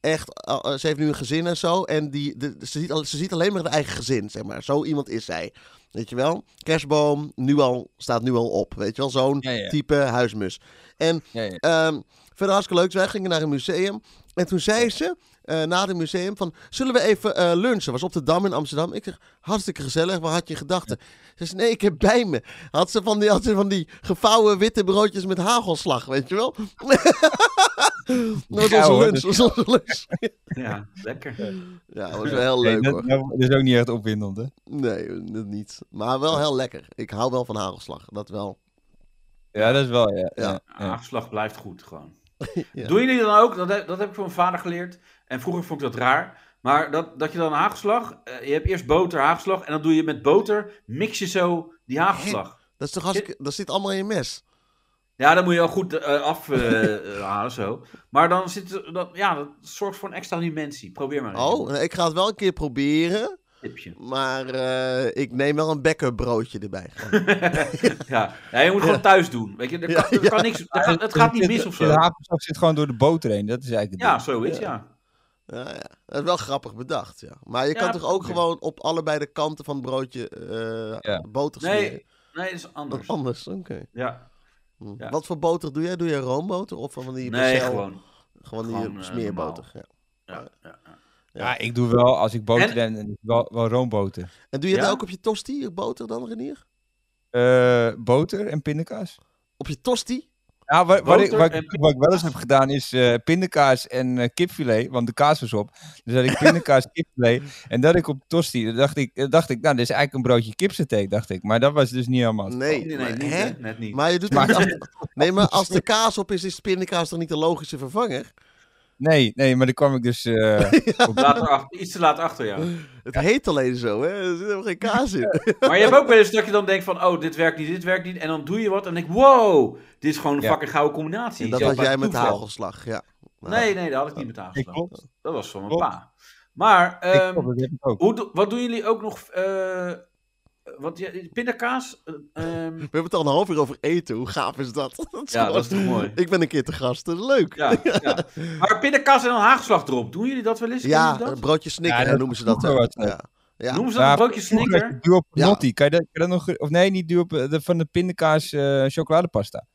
C: echt, al- eh, ze heeft nu een gezin en zo. En die, de, ze, ziet al, ze ziet alleen maar het eigen gezin, zeg maar. Zo iemand is zij. Weet je wel? Kerstboom, nu al, staat nu al op. Weet je wel? Zo'n
B: Ja, ja.
C: type huismus. En
B: Ja, ja.
C: Ehm, verder hartstikke leuk. Wij gingen naar een museum. En toen zei ze, eh, na het museum, van... Zullen we even eh, lunchen? Was op de Dam in Amsterdam. Ik zeg, hartstikke gezellig. Wat had je in gedachten? Ze zei, nee, ik heb bij me. Had ze van die, had ze van die gevouwen witte broodjes met hagelslag, weet je wel? dat was
B: Ja,
C: onze
B: hoor,
C: lunch. Dat was onze lunch.
D: Ja, lekker.
C: Ja, dat was wel heel
B: Nee,
C: leuk,
B: dat,
C: hoor.
B: dat- dat is ook niet echt opwindend, hè?
C: Nee, dat niet. Maar wel heel lekker. Ik hou wel van hagelslag. Dat wel.
B: Ja, dat is wel, ja.
C: Ja.
B: ja, ja.
D: Aangeslag blijft goed gewoon.
C: Ja.
D: Doen jullie dan ook, dat heb, dat heb ik van mijn vader geleerd. En vroeger vond ik dat raar. Maar dat, dat je dan haagslag, eh, je hebt eerst boter, haagslag. En dan doe je met boter, mix je zo die haagslag.
C: Dat is toch hartstikke... Dat zit allemaal in je mes.
D: Ja, dan moet je wel goed eh, af afhalen zo. Maar dan zit, er- dat, ja, dat zorgt voor een extra dimensie. Probeer maar eens.
C: Oh, nee, ik ga het wel een keer proberen.
D: Tipje.
C: Maar eh, ik neem wel een backup broodje erbij. gewoon.
D: Ja. ja, je moet gewoon thuis doen. Weet je, er kan, er kan niks, er gaat- het gaat niet mis of
B: De
D: zo.
B: hapensap zit gewoon door de boter heen. Dat is eigenlijk het
D: Ja, zoiets, ja.
C: ja, ja. Dat is wel grappig bedacht, ja. Maar je
D: Ja,
C: kan toch ook
D: ja.
C: gewoon op allebei de kanten van het broodje eh
B: Ja.
C: boter smeren?
D: Nee, nee, dat is anders.
C: Wat anders, oké.
D: Ja.
C: Hm.
D: Ja.
C: Wat voor boter doe jij? Doe jij roomboter of van
D: Nee,
C: die Brazil-
D: gewoon.
C: gewoon die
D: gewoon, eh,
C: smeerboter? Ja.
D: Ja, ja, ja.
B: ding. Ja, ik doe wel, als ik boter
D: En-
B: neem, dan is het wel, wel roomboter.
C: En doe je het
D: Ja?
C: nou ook op je tosti, je boter dan, Renier?
B: Eh, boter en pindakaas?
C: Op je tosti?
B: Ja, wat, Nou, wat, ik,
D: Boter
B: wat,
D: en
B: ik- wat ik wel eens heb gedaan is eh, pindakaas en eh, kipfilet, want de kaas was op. Dus had ik pindakaas, kipfilet en dat ik op tosti. Dan dacht ik, dan dacht ik, nou, dit is eigenlijk een broodje kipsaté, dacht ik. Maar dat was dus niet helemaal. het
C: Nee,
D: Nee, nee,
C: maar,
D: niet,
C: hè?
D: hè? net niet.
C: Maar je doet het niet als- Nee, maar als de kaas op is, is de pindakaas toch niet de logische vervanger?
B: geval. Nee, nee, maar dan kwam ik dus... eh,
D: Later achter, iets te laat achter, ja.
C: Het heet alleen zo, hè? Er zit helemaal geen kaas in.
D: Maar je hebt ook wel eens dat je dan denkt van, oh, dit werkt niet, dit werkt niet. En dan doe je wat en denk ik, wow, dit is gewoon een
B: Ja.
D: fucking gouden combinatie.
C: En dat
D: Zo
C: had
D: bij
C: jij met
D: toeval.
C: hagelslag, ja. Nou.
D: Nee, nee, dat had ik niet met
B: ik
D: hagelslag.
B: klopt,
D: Dat was van mijn
B: Klopt.
D: pa. Maar,
B: ik
D: ehm,
B: klopt, dat heb ik ook.
D: hoe, do- wat doen jullie ook nog... eh want je- pindakaas... eh, ehm,
C: We hebben het al een half uur over eten. Hoe gaaf is dat? Dat is
D: ja,
C: gewoon-
D: dat is toch mooi.
C: Ik ben een keer te gast. Dat is leuk. Ja,
D: Ja, ja. Maar pindakaas en dan haagslag erop. Doen jullie dat wel eens? Kennen jullie
C: een
D: dat?
C: broodje snicker
B: Ja, dat
C: noemen ze dat.
B: vroeger
C: ook.
B: was
C: Ja. Ja.
D: Noemen ze dat
B: Ja,
D: een broodje
B: Nou, vroeger had je
D: snicker?
B: Duo
C: Ja.
B: Panotti, kan je dat, kan je dat nog... Of nee, niet duo, de, van de pindakaas eh, chocoladepasta.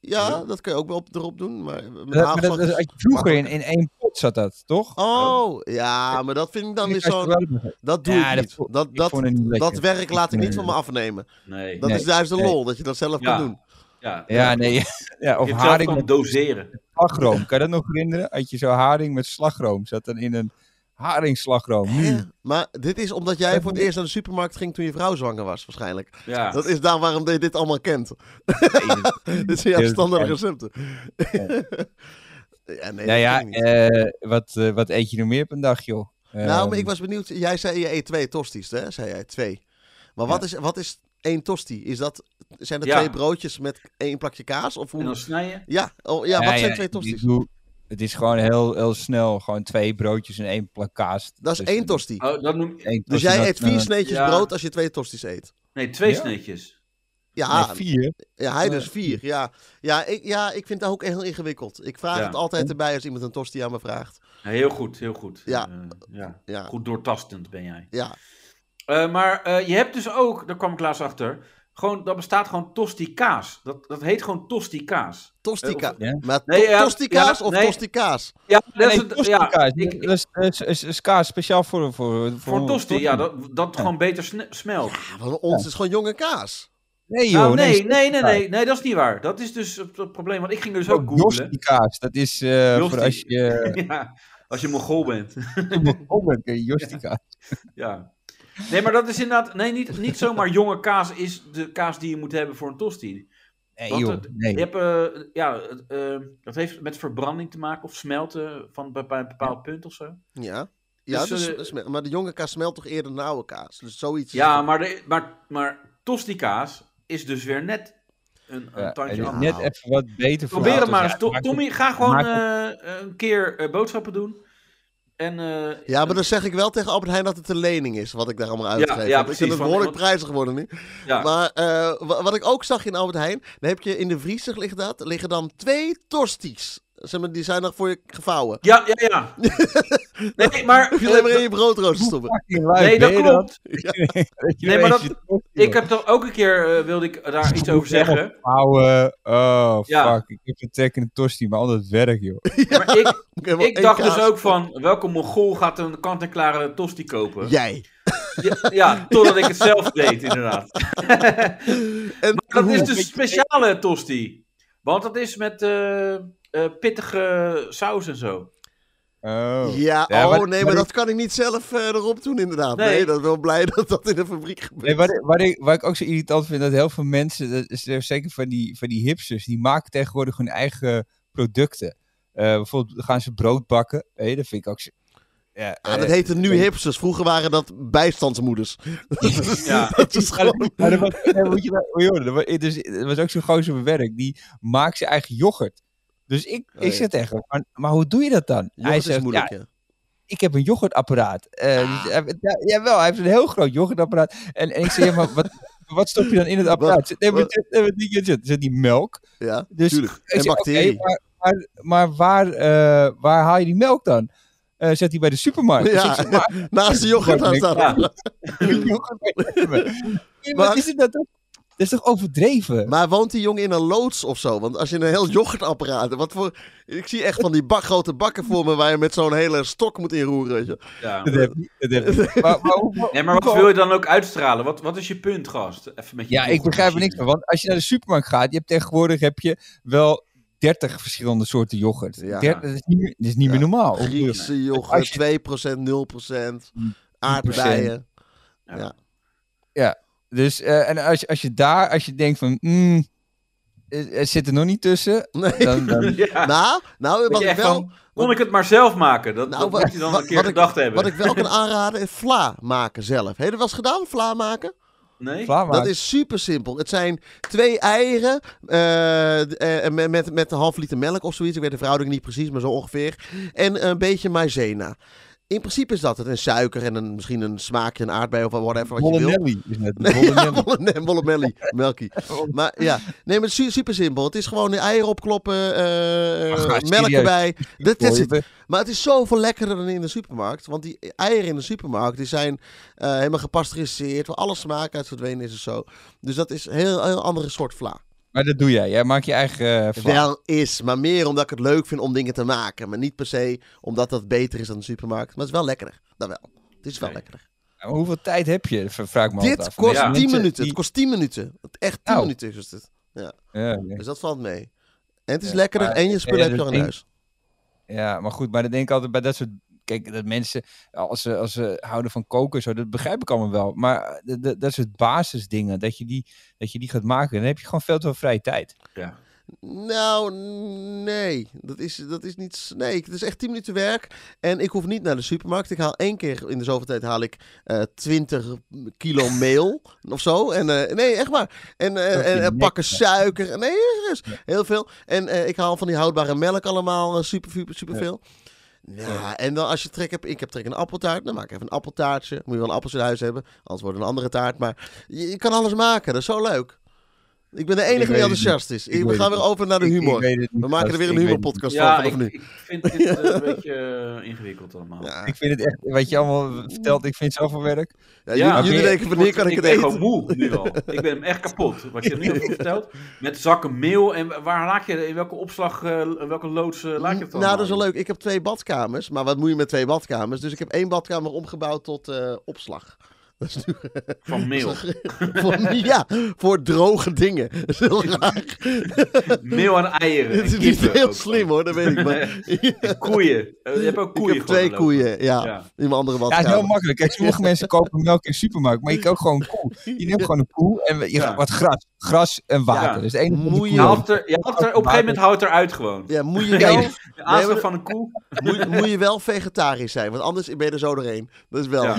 C: ja, dat kun je ook wel op, erop doen. Maar met
B: Dat, maar dat,
C: hagelslag-
B: dat had je vroeger in, in één pot zat dat, toch?
C: Oh, ja, maar dat vind ik dan weer
B: Pindakaas
C: zo...
B: chocoladepasta.
C: Dat doe
B: Ja,
C: ik
B: dat
C: niet.
B: vond-
C: Dat,
B: ik
C: dat,
B: vond het niet lekker.
C: dat werk laat ik niet
B: Nee.
C: van me afnemen.
D: Nee.
C: Dat
B: Nee,
C: is juist de
B: nee.
C: lol, dat je dat zelf
D: Ja.
C: kan doen.
D: Ja,
B: Ja, nee. Ja, of
D: je hebt zelf
B: haring
D: kan
B: met
D: doseren.
B: slagroom. Kan je dat nog herinneren? Had je zo haring met slagroom. Zat dan in een Hmm. haringslagroom. Nu.
C: Hè? Maar dit is omdat jij voor het eerst naar de supermarkt ging toen je vrouw zwanger was, waarschijnlijk.
D: Ja.
C: Dat is daar waarom je dit allemaal kent. dit zijn
B: Ja,
C: jouw standaard
B: ja.
C: recepten. ja,
B: nou
C: nee, dat
B: ja,
C: ken ik niet.
B: eh, wat, eh, wat eet je nog meer op een dag, joh?
C: nou,
B: Ehm,
C: maar ik was benieuwd. Jij zei je eet twee tosties, hè? Zei jij twee. Maar wat, is, wat is één tosti? Is dat, zijn er
D: Ja.
C: twee broodjes met één plakje kaas? Of hoe?
D: En dan snij je.
C: Ja, oh, ja,
B: nou
C: wat zijn
B: ja,
C: twee
B: ik
C: tosties?
B: bedoel, het is gewoon heel, heel snel. Gewoon twee broodjes en één plak kaas.
C: Dat is
B: Dus-
C: één tosti.
D: Oh, dat noem je...
B: één
C: Dus
B: tosti,
C: jij
B: dat-
C: eet vier
B: eh,
C: sneetjes
D: ja.
C: brood als je twee tosties eet.
D: Nee, twee
B: Ja.
D: sneetjes.
C: Ja,
B: nee, vier.
C: ja hij dus
B: Eh.
C: vier. Ja. Ja, ik, ja, ik vind dat ook heel ingewikkeld. Ik vraag
D: Ja.
C: het altijd erbij als iemand een tosti aan me vraagt.
D: Ja, heel goed, heel goed.
C: Ja.
D: Eh, ja.
C: Ja,
D: Goed doortastend ben jij.
C: ja.
D: Eh, maar eh, je hebt dus ook, daar kwam ik laatst achter, gewoon, dat bestaat gewoon tosti kaas. Dat, dat heet gewoon tosti kaas.
C: Tostica.
D: Eh,
B: ja.
C: Maar
D: Nee,
C: to-
D: ja,
C: tostica's
D: ja,
C: of
D: nee.
C: tostica's?
D: Ja, dat
B: Nee,
D: is het, ja,
B: tosti-kaas.
D: ik-
B: Dat is, is, is, is kaas speciaal voor... Voor, voor,
D: voor tosti, ja, dat, dat gewoon beter sne- smelt.
C: Ja, Ah, want ons is gewoon jonge kaas.
B: Nee joh,
D: Nou, nee, nee, nee,
B: tosti-kaas.
D: nee, nee, dat is niet waar. Dat is dus het, het probleem, want ik ging dus ook
B: Oh,
D: googlen.
B: Jostikaas, dat is eh,
D: Josti.
B: voor als je
D: Ja, als je mongool bent.
B: begonnen Jostikaas.
D: Ja. Nee, maar dat is inderdaad. Nee, niet, niet zomaar jonge kaas is de kaas die je moet hebben voor een tosti.
B: Nee
D: Want
B: joh,
D: het-
B: nee.
D: Je hebt, eh, ja, het, eh, dat heeft met verbranding te maken of smelten van bij, bij een bepaald punt of zo.
C: Ja. Ja,
D: Dus,
C: dus-
D: eh,
C: dus- maar de jonge kaas smelt toch eerder dan de oude kaas? Dus zoiets. is
D: Ja,
C: het.
D: maar, de, maar, maar tosti kaas is dus weer net een, een
B: Ja,
D: tandje
B: het is
D: anders.
B: net even wat beter voor
D: Probeer het
B: auto's.
D: maar
B: Ja,
D: eens. To-
B: maakt het-
D: Tommy, ga gewoon
B: maakt
D: eh, een keer eh, boodschappen doen. En, eh,
C: Ja, maar dan zeg ik wel tegen Albert Heijn dat het een lening is, wat ik daar allemaal uitgeef.
D: ja,
C: Want ik
D: precies,
C: vind het
D: want-
C: behoorlijk
D: want-
C: prijzig worden nu.
D: ja.
C: Maar eh, wa- wat ik ook zag in Albert Heijn, dan heb je in de vriezer ligt dat, liggen dan twee tosti's. Zeg maar, die zijn nog voor je gevouwen.
D: ja, ja, ja. nee, maar.
C: Hoef je alleen maar
D: eh,
C: in je broodrooster te stoppen.
B: Fucking lui,
D: nee, dat
B: ben je
D: klopt.
B: Dat
D: Nee,
B: je
D: maar
B: ineens
D: dat-
B: je tosti
D: Ik heb toch ook een keer eh, wilde ik daar iets over zeggen.
B: Ouwe, oh
D: Ja.
B: fuck, ik heb een trek in een tosti, maar al dat werk joh.
D: Maar ik,
C: Ik heb wel
D: ik
C: één
D: dacht
C: kaas.
D: dus ook van, welke mongool gaat een kant-en-klare tosti kopen? Ja.
C: Jij.
D: Ja, totdat ik het zelf deed, inderdaad.
C: En
D: Maar dat
C: hoe-
D: is dus een speciale tosti. Want dat is met eh, eh, pittige saus en zo.
B: Oh.
C: Ja,
B: Ja,
C: oh
B: maar-
C: nee, maar
B: maar
C: dat kan ik niet zelf eh, erop doen inderdaad. Nee,
D: Nee.
C: dat ben wel blij dat dat in de fabriek gebeurt.
B: Nee, wat, ik- wat ik, wat ik ook zo irritant vind, dat heel veel mensen, dat is er zeker van die, van die hipsters, die maken tegenwoordig hun eigen producten. Eh, bijvoorbeeld gaan ze brood bakken. Hé, dat vind ik ook zo... Ja,
C: Ah, dat
B: eh,
C: heten nu hipsters. Vroeger waren dat bijstandsmoeders.
D: Ja.
C: dat is
B: Maar
C: gewoon...
B: dat- maar dat was- nee, moet je wel- hoor, joh, dat was- dus, er was ook zo'n gozer op mijn werk, die maakt zijn eigen yoghurt. Dus ik,
C: Oh,
B: ik
C: ja.
B: zeg tegen hem, maar, maar hoe doe je dat dan?
C: Yoghurt is
B: zegt,
C: moeilijk, Ah.
B: ja,
C: ja.
B: ik heb een yoghurtapparaat. Eh, dus hij- ja, jawel, hij heeft een heel groot yoghurtapparaat. En, en ik zeg, ja, maar wat, wat stop je dan in het apparaat? Zegt, Nee, maar
C: wat-
B: dit- nee, maar dit- dit- dit- zit die melk.
C: Ja,
B: Dus
C: tuurlijk.
B: ik
C: En
B: zeg, oké,
C: bacteriën.
B: maar, maar, maar waar, eh, waar haal je die melk dan? Eh, zet die bij de supermarkt. Dus
C: Ja.
B: ik zeg, maar
C: Naast de yoghurt aan staan.
D: Ja.
B: Nee,
C: Maar-
B: maar is het dat, dat is toch overdreven?
C: Maar woont die jongen in een loods of zo? Want als je een heel yoghurtapparaat... Wat voor... Ik zie echt van die bak, grote bakken voor me... waar je met zo'n hele stok moet inroeren. weet je.
B: Oh,
D: Ja.
B: dat heb ik, dat heb ik. Maar, maar hoe-
D: Nee, maar wat
B: hoe-
D: wil je dan ook uitstralen? Wat, wat is je punt, gast? Even met je
B: Ja, ik begrijp er niks van. Want als je naar de supermarkt gaat, je hebt tegenwoordig heb je wel 30 verschillende soorten yoghurt.
C: Ja.
B: Der- dat is niet, meer- dat is niet meer
C: Ja.
B: normaal.
C: Griekse
B: Als
C: yoghurt, 2%, 0%.
B: Mm,
C: Aardbeien.
B: Dus eh, en als, je- als je daar, als je denkt van, mm, er er zit er nog niet tussen,
C: Nee.
B: dan, dan
D: Ja.
C: Nou, nou
D: Dat
C: wat
D: je
C: ik
D: echt
C: wel...
D: van, kon ik het maar zelf maken? Dat,
C: Nou,
D: dat
C: wat-
D: moet je dan
C: wat-
D: een keer
C: wat ik-
D: gedacht hebben.
C: Wat ik wel kan aanraden is vla maken zelf. Heb je dat wel eens gedaan, vla maken?
D: Nee?
B: klaar maar.
C: Dat is super simpel. Het zijn twee eieren eh, d- eh, met, met, met een half liter melk of zoiets. Ik weet de verhouding niet precies, maar zo ongeveer. En een beetje maizena. In principe is dat het. En suiker en een, misschien een smaakje, een aardbei of whatever wat je wil.
B: Bolonelli is net.
C: Ja,
B: Bolonelli.
C: bolle- nee, bolle melly, melky. Maar ja, nee, maar super simpel. Het is gewoon de eieren opkloppen, eh, eh,
B: Ach,
C: melk
B: serieus.
C: erbij. Dat dat is het.
B: Hoor je het?
C: Maar het is zoveel lekkerder dan in de supermarkt. Want die eieren in de supermarkt die zijn eh, helemaal gepasteuriseerd. Waar alle smaak uit verdwenen is en zo. Dus dat is een heel, heel andere soort vla.
B: Maar dat doe jij. Jij maakt je eigen eh vla.
C: Wel is, maar meer omdat ik het leuk vind om dingen te maken. Maar niet per se omdat dat beter is dan de supermarkt. Maar het is wel lekkerder. Dat wel. Het is wel
D: Nee.
C: lekkerder.
B: Maar hoeveel tijd heb je? V- Vraag me altijd
C: Dit
B: af.
C: kost
D: Ja.
C: 10
B: Mensen
C: minuten.
B: die-
C: Het kost 10 minuten. Echt 10
B: Nou.
C: minuten is het.
B: Ja, ja.
C: Dus dat valt mee. En het is
B: Ja,
C: lekkerder
B: maar-
C: en je spullen
B: ja,
C: heb je
B: dat
C: al in
B: ding-
C: huis.
B: Ja, maar goed, maar dan denk ik altijd bij dat soort. Kijk, dat mensen, als ze, als ze houden van koken, zo, dat begrijp ik allemaal wel. Maar eh, dat- dat- dat soort basisdingen, dat je, die, dat je die gaat maken, dan heb je gewoon veel te veel vrije tijd.
D: Ja.
C: Nou, nee. Dat is, dat is niet... s- Nee, het is echt 10 minuten werk. En ik hoef niet naar de supermarkt. Ik haal één keer in de zoveel tijd haal ik eh 20 kilo meel of zo. En, eh, nee, echt waar. En, eh,
B: Dat
C: en,
B: je
C: en
B: niks
C: pakken suiker. Nee, serieus. Heel veel. En eh, ik haal van die houdbare melk allemaal eh, super, super, super veel. Ja, en dan als je trek hebt, ik heb trek in een appeltaart, dan maak ik even een appeltaartje. Moet je wel appels in huis hebben, anders wordt het een andere taart. Maar je, je kan alles maken, dat is zo leuk. Ik ben de enige
B: weet
C: die
B: het
C: enthousiast is.
B: Ik
C: Ik, we
B: weet
C: gaan
B: het
C: weer over naar de
B: Ik,
C: humor.
B: ik weet het niet,
C: we maken er
B: gast.
C: weer
B: Ik
C: een
B: weet
C: humorpodcast van
D: Ja,
C: vanaf
D: ik,
C: nu.
D: ik vind dit eh, een beetje eh, ingewikkeld allemaal.
C: Ja,
B: het niet. Ik vind het echt, wat je allemaal vertelt, ik vind zoveel werk.
C: Ja,
D: Ja,
C: jullie
B: oké.
C: denken, wanneer
D: word-
C: kan ik het
D: ben
C: eten?
D: gewoon moe nu al. Ik ben hem echt kapot. Wat je nu hebt verteld. Met zakken meel. En waar laat je, in welke opslag, eh, in welke loods eh, laat je het dan?
C: Nou, dat is wel leuk. Ik heb twee badkamers. Maar wat moet je met twee badkamers? Dus ik heb één badkamer omgebouwd tot eh, opslag. Dat is nu
D: Van meel.
C: voor, ja, voor droge dingen. Dat is heel raar.
D: Meel en eieren.
C: Het is
D: en
C: niet
D: kippen
C: heel
D: ook.
C: slim hoor, dat weet ik maar.
D: En koeien. Eh, je hebt ook
C: Ik
D: koeien.
C: heb twee
D: gewoon lopen.
C: koeien, ja,
D: Ja.
C: In mijn andere
B: Ja, het
C: badkamer.
B: is heel makkelijk. hè. Sommige mensen kopen melk in de supermarkt, maar je koopt gewoon een koe. Je neemt gewoon een koe en je
D: Ja.
B: gaat wat gras. Gras en water.
D: Ja.
B: Dat is het enige wat die
C: Moet
B: koe
C: je
D: Je
B: heeft.
D: haalt er, je haalt er, op een gegeven moment houdt het eruit gewoon.
C: Ja, moet
B: Ja,
C: je, wel,
B: je-
D: De aanslag
C: maar-
D: van een koe.
C: moet, moet je wel vegetarisch zijn, want anders ben je er zo doorheen. Dat is wel.
D: Ja.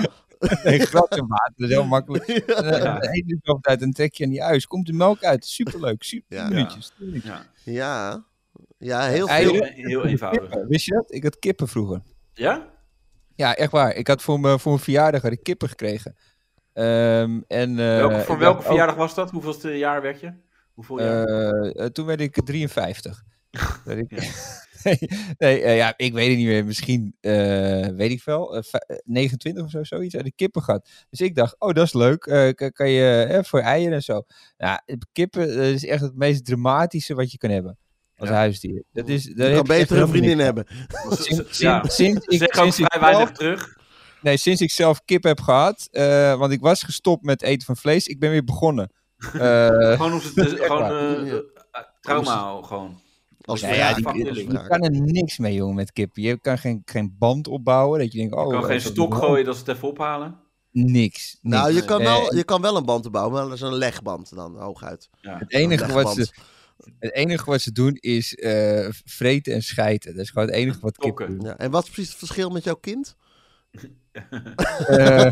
B: Nee, gras en water, dat is heel makkelijk. En, eh,
D: Ja.
B: dan eet je het altijd en trek je aan die huis. Komt de melk uit, superleuk, super
C: Ja.
B: minuutjes.
D: Ja.
C: Ja, ja heel
B: Eieren.
C: veel.
D: Heel, heel eenvoudig.
B: Kippen, wist je dat? Ik had kippen vroeger.
D: Ja?
B: Ja, echt waar. Ik had voor mijn, voor mijn verjaardag had ik kippen gekregen. Ehm, en, eh,
D: Welke,
B: ik
D: voor
B: dacht
D: welke
B: ook,
D: verjaardag was dat? Hoeveelste jaar werd je? Hoeveel jaar?
B: eh, eh, toen werd ik 53. Dat ik-
D: Ja.
B: nee, eh, ja, ik weet het niet meer. Misschien, eh, weet ik veel, eh, vij- eh, 29 of zo, zoiets uit de kippen gehad. Dus ik dacht, oh, dat is leuk. Eh, kan, kan je hè, voor eieren en zo. Nou, kippen eh, is echt het meest dramatische wat je kan hebben. Als
D: Ja.
B: huisdier. Dat is, daar
C: Je
B: heb
C: kan
B: je echt
C: beter
B: helemaal
C: een vriendin
B: niks aan.
C: hebben.
D: Z-
B: Eh, Sinds,
D: z- ja.
B: sinds- sinds
D: Ze
B: ik,
D: zeggen ook
B: sinds ik
D: vrij
B: zelf-
D: weinig terug.
B: Nee, sinds ik zelf kip heb gehad, eh, want ik was gestopt met eten van vlees, ik ben weer begonnen. Eh,
D: Gewoon, om ze te,
B: Echt
D: gewoon
B: waar.
D: eh,
C: Ja.
D: eh, trauma gewoon.
B: Oh,
C: Als
B: Ja,
C: vraag.
B: ja,
D: die-
C: Als
B: je
C: vraag.
B: kan er niks mee, jongen, met kippen. Je kan geen, geen band opbouwen, dat je denkt, oh...
D: Je kan
B: eh,
D: geen
B: dat-
D: stok gooien dat ze het even ophalen.
B: Niks, niks.
C: Nou, je kan, wel,
B: Eh,
C: je kan wel een band bouwen, maar dat is een legband dan, hooguit.
B: het, enige
C: Een
B: wat
C: legband.
B: ze, het enige wat ze doen is eh, vreten en schijten. Dat is gewoon het enige wat kippen
D: Tokken.
B: doen.
C: Ja, en wat is precies het verschil met jouw kind?
B: Eh,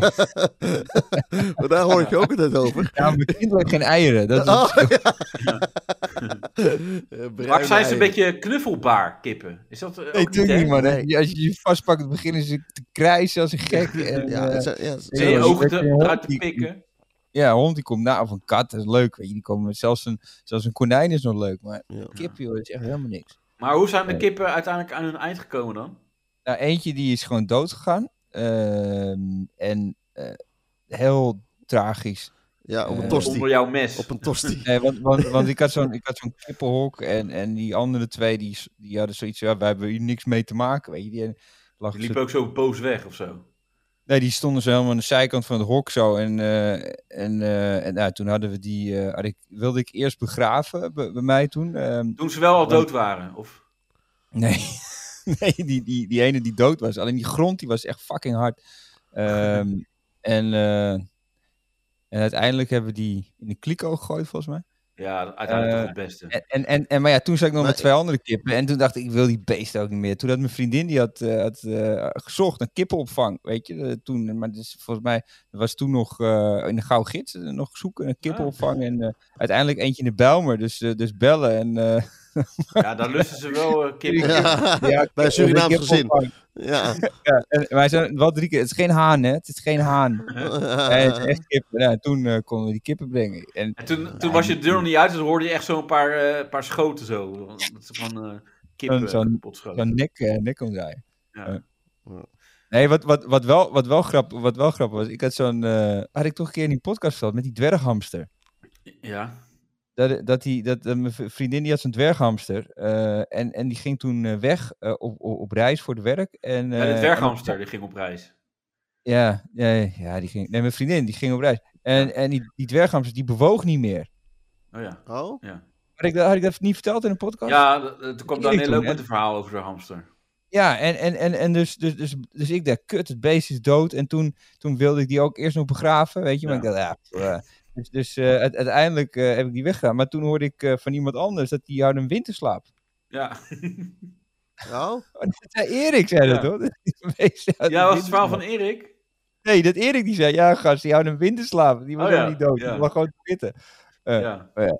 C: Want daar hoor ik je ook altijd over.
B: nou, mijn kind legt geen eieren. Dat is
C: Oh, ja. Eh, bruine
D: Maar zijn ze
C: eieren.
D: een beetje knuffelbaar, kippen? Is dat eh, ook
B: Nee,
D: niet,
B: natuurlijk
D: hè?
B: niet, man.
C: Nee.
B: Ja, Als je je vastpakt, beginnen ze te krijsen als een gek. En,
C: Ja,
B: eh,
C: het zijn-
B: nee,
C: ja, het
D: Zijn
C: zijn-
D: je
B: Ja,
D: ogen
B: je
D: te-
B: bent een
D: eruit te
B: hond die-
D: pikken?
B: Ja, een hond die komt na, of een kat, dat is leuk. Weet je, die komen, zelfs, een, zelfs een konijn is nog leuk, maar
C: Ja.
B: een kip, joh, dat is echt helemaal niks.
D: Maar hoe zijn de
B: Nee.
D: kippen uiteindelijk aan hun eind gekomen dan?
B: Nou, eentje die is gewoon dood gegaan. ehm, en eh, heel tragisch.
C: ja, op een
B: Eh,
C: tosti.
D: Onder jouw mes.
C: Op een tosti.
B: Nee, want, want, want ik had zo'n ik had zo'n kippenhok en, en die andere twee, die, s- die hadden zoiets van, ja, wij hebben hier niks mee te maken, weet je. Die lag
D: Die liepen ook zo boos weg of zo.
B: Nee, die stonden zo helemaal aan de zijkant van het hok zo. En, eh, en, eh, en nou, toen hadden we die, eh, had ik, wilde ik eerst begraven bij, bij mij toen. ehm,
D: Toen ze wel al dood waren. Of...
B: Nee, nee die, die, die ene die dood was. Alleen die grond die was echt fucking hard. Ehm, en, eh, en uiteindelijk hebben we die in de kliko gegooid, volgens mij.
D: Ja, uiteindelijk
B: Eh,
D: toch het beste.
B: En, en, en, en, maar ja, toen zat ik nog
C: Maar
B: met twee andere kippen. En toen dacht ik, ik wil die beesten ook niet meer. Toen had mijn vriendin, die had, eh, had eh, gezocht naar kippenopvang, weet je. eh, toen, maar dus, volgens mij was toen nog eh, in de Gauw Gids eh, nog zoeken naar kippenopvang.
C: Ah.
B: En eh, uiteindelijk eentje in de Bijlmer, dus, eh, dus bellen. En, eh,
D: Ja, daar lusten ze wel eh, kippen.
C: Ja,
B: ja,
C: bij een Surinaams gezin.
B: kippenopvang.
C: Ja.
B: Ja, en wij zijn wel drie keer. Het is geen haan, hè? Het is geen haan. Nee, het
D: Ah.
B: is echt kippen. Nou, toen eh, konden we die kippen brengen. En
D: En toen, toen was je de deur nog niet uit, dus dan hoorde je echt zo'n paar, eh, paar schoten zo. Dat ze van eh, kippen
B: Zo'n-
D: kapot schoten.
B: dan nek, eh, nek omdraaien.
D: Ja.
B: eh, Nee, wat, wat, wat, wel, wat, wel grap, wat wel grappig was. Ik had zo'n. eh, had ik toch een keer in die podcast gehad met die dwerghamster.
D: ja.
B: Dat, dat, die, dat eh, mijn v- vriendin die had zo'n dwerghamster. eh, en, en die ging toen eh, weg eh, op, op, op reis voor het werk. En,
D: Ja, de
B: eh,
D: dwerghamster, die ging op reis.
B: Ja, ja, ja, die ging. Nee, mijn vriendin die ging op reis. En, en die, die dwerghamster die bewoog niet meer.
D: Oh ja.
C: Oh?
B: Had ik, dat- had ik dat niet verteld in een podcast?
D: Ja, d- d- toen kwam
B: Erik
D: Daniel
B: toen,
D: ook
B: hè?
D: met een verhaal over de hamster.
B: Ja, en, en, en, en dus, dus, dus, dus ik dacht, kut, het beest is dood. En toen, toen wilde ik die ook eerst nog begraven, weet je. Maar
D: Ja.
B: ik dacht, ja, pff, eh. Dus, dus eh, uite- uiteindelijk eh, heb ik die weggedaan. Maar toen hoorde ik eh, van iemand anders dat die had een winterslaap.
D: Ja,
C: Oh?
B: Oh, dat zei Erik, zei dat,
D: Ja.
B: hoor. Dat die beest had
D: ja
B: een
D: was het verhaal van
B: winterslaap.
D: Erik?
B: Nee, dat Erik die zei, ja gast, die had een winterslaap. Die was
D: Oh,
B: helemaal
D: ja,
B: niet dood,
D: ja.
B: die was gewoon te pitten. Ja.
D: Ja.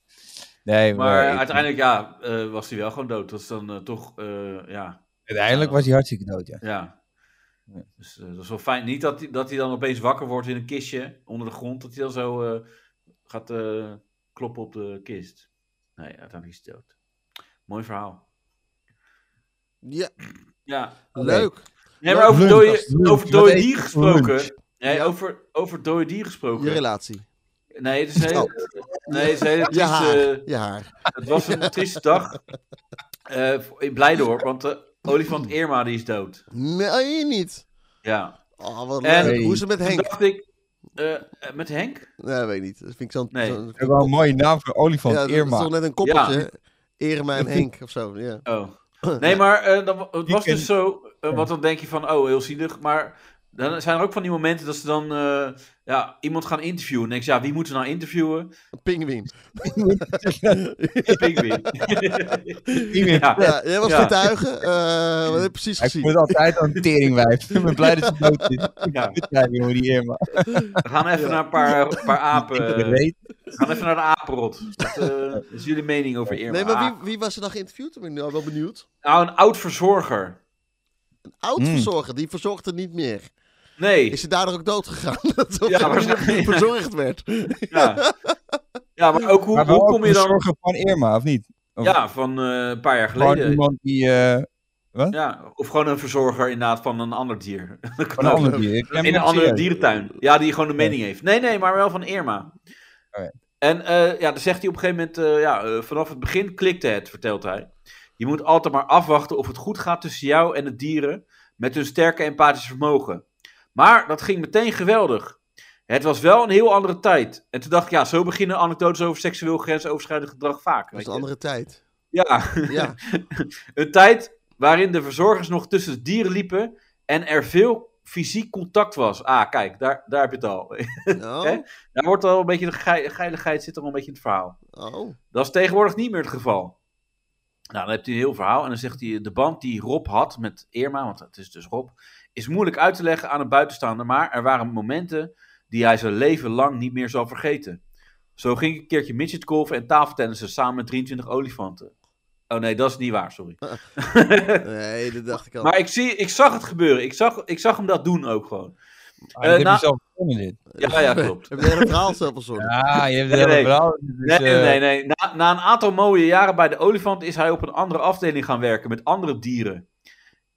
B: Nee, maar,
D: Maar
B: ik-
D: uiteindelijk, ja, eh, was hij wel gewoon dood. Dat is dan eh, toch, eh, ja,
B: uiteindelijk was hij hartstikke dood, ja.
D: ja. Dus eh, dat is wel fijn. Niet dat hij, dat hij dan opeens wakker wordt in een kistje onder de grond. Dat hij dan zo eh, gaat eh, kloppen op de kist. Nee, uiteindelijk is hij dood. Mooi verhaal.
C: Ja,
D: Ja.
C: leuk.
D: Nee, maar over
E: Lunch,
D: dode,
E: lunch.
D: over
E: Wat
D: dode
E: eet
D: dier
E: je voor lunch?
D: gesproken. Nee,
C: Ja.
D: over, over dode dier
C: Je
D: gesproken.
C: relatie.
D: Nee, het is een
C: Oh.
D: hele, nee, het is een hele
C: Je haar.
D: trieste-
C: Je haar.
D: Het was een trieste dag eh, in Blijdorp, want de olifant Irma die is dood.
C: Nee, niet.
D: Ja.
C: Oh, wat
D: En-
C: leuk. Hoe is het met
D: Toen
C: Henk?
D: dacht ik, eh, eh, met Henk?
C: Nee, weet ik niet. Dat vind ik zo'n...
D: Nee.
C: zo'n-
B: Ik heb wel een mooie naam voor olifant,
C: ja, dat is
B: Irma.
C: toch net een koppeltje. hè? Irma en Henk of zo. Ja.
D: Oh. Nee, maar eh, dat, wa- het
B: Die
D: was
B: ken-
D: dus zo, eh, want dan denk je van, oh, heel zielig, maar dan zijn er ook van die momenten dat ze dan eh, ja, iemand gaan interviewen. En denk je, ja, wie moeten we nou interviewen?
C: Een pinguïn.
D: Pinguïn. ja.
C: Ja, jij was
D: Ja.
C: getuige. Eh, wat heb je precies
B: Ik
C: gezien?
B: word altijd aan een teringwijf. Ik ben blij dat ze dood is.
D: Ja.
B: Goed zijn, jongen, die Irma.
D: We gaan even naar een paar, een paar apen.
B: Ik weet
D: We gaan even naar de apenrot. Dat eh, is jullie mening over Irma.
C: Nee, maar wie, wie was er dan geïnterviewd? Ik ben nou wel benieuwd.
B: Hmm.
D: Nou, een oud verzorger.
C: Een oud verzorger, die verzorgde niet meer.
D: Nee.
C: Is ze daardoor ook dood gegaan? dat
D: Ja,
C: ja,
D: waarschijnlijk.
C: verzorgd werd.
D: Ja. ja, maar ook hoe,
B: maar wel
D: hoe
B: ook
D: kom je dan...
B: verzorger van Irma, of niet? Of
D: Ja, van eh, een paar jaar
B: Gewoon
D: geleden.
B: iemand die... eh
D: Ja, of gewoon een verzorger inderdaad van een ander dier. Dat
B: van
D: kan
B: een
D: ook.
B: ander dier. Ik ken
D: In een
B: hem
D: andere
B: serieus.
D: dierentuin. Ja, die gewoon een mening heeft. Nee, nee, maar wel van Irma.
C: Oh
B: Oké.
D: En eh, ja, dan zegt hij op een gegeven moment... eh, ja, eh, vanaf het begin klikte het, vertelt hij. Je moet altijd maar afwachten of het goed gaat tussen jou en de dieren... met hun sterke empathische vermogen. Maar dat ging meteen geweldig. Het was wel een heel andere tijd. En toen dacht ik, ja, zo beginnen anekdotes over seksueel grensoverschrijdend gedrag vaak.
C: Dat
D: weet
C: is
D: je.
C: een andere tijd.
D: Ja,
C: Ja,
D: een tijd waarin de verzorgers nog tussen de dieren liepen en er veel fysiek contact was. Ah, kijk, daar, daar heb je het al. Hè?
C: oh,
D: Daar wordt al een beetje de gei- geiligheid zit er al een beetje in het verhaal.
C: oh.
D: Dat is tegenwoordig niet meer het geval. Nou, dan hebt hij een heel verhaal en dan zegt hij, de band die Rob had met Irma, want het is dus Rob, is moeilijk uit te leggen aan een buitenstaander, maar er waren momenten die hij zijn leven lang niet meer zal vergeten. Zo ging ik een keertje midgetgolfen en tafeltennissen samen met 23 olifanten. Oh nee, dat is niet waar, sorry.
C: nee, dat dacht ik al.
D: Maar ik, zie, ik zag het gebeuren. Ik zag, ik zag hem dat doen ook gewoon.
B: Ah, dat heb
D: nou-
B: je zelf verzonnen, dit.
D: Ja, ja, klopt.
C: Heb jij het verhaal zelf verzorgd?
B: Ja, je hebt
D: Nee,
B: het
D: nee.
B: hele verhaal. Dus,
D: Nee,
B: eh,
D: nee, nee. Na, na een aantal mooie jaren bij de olifant is hij op een andere afdeling gaan werken met andere dieren.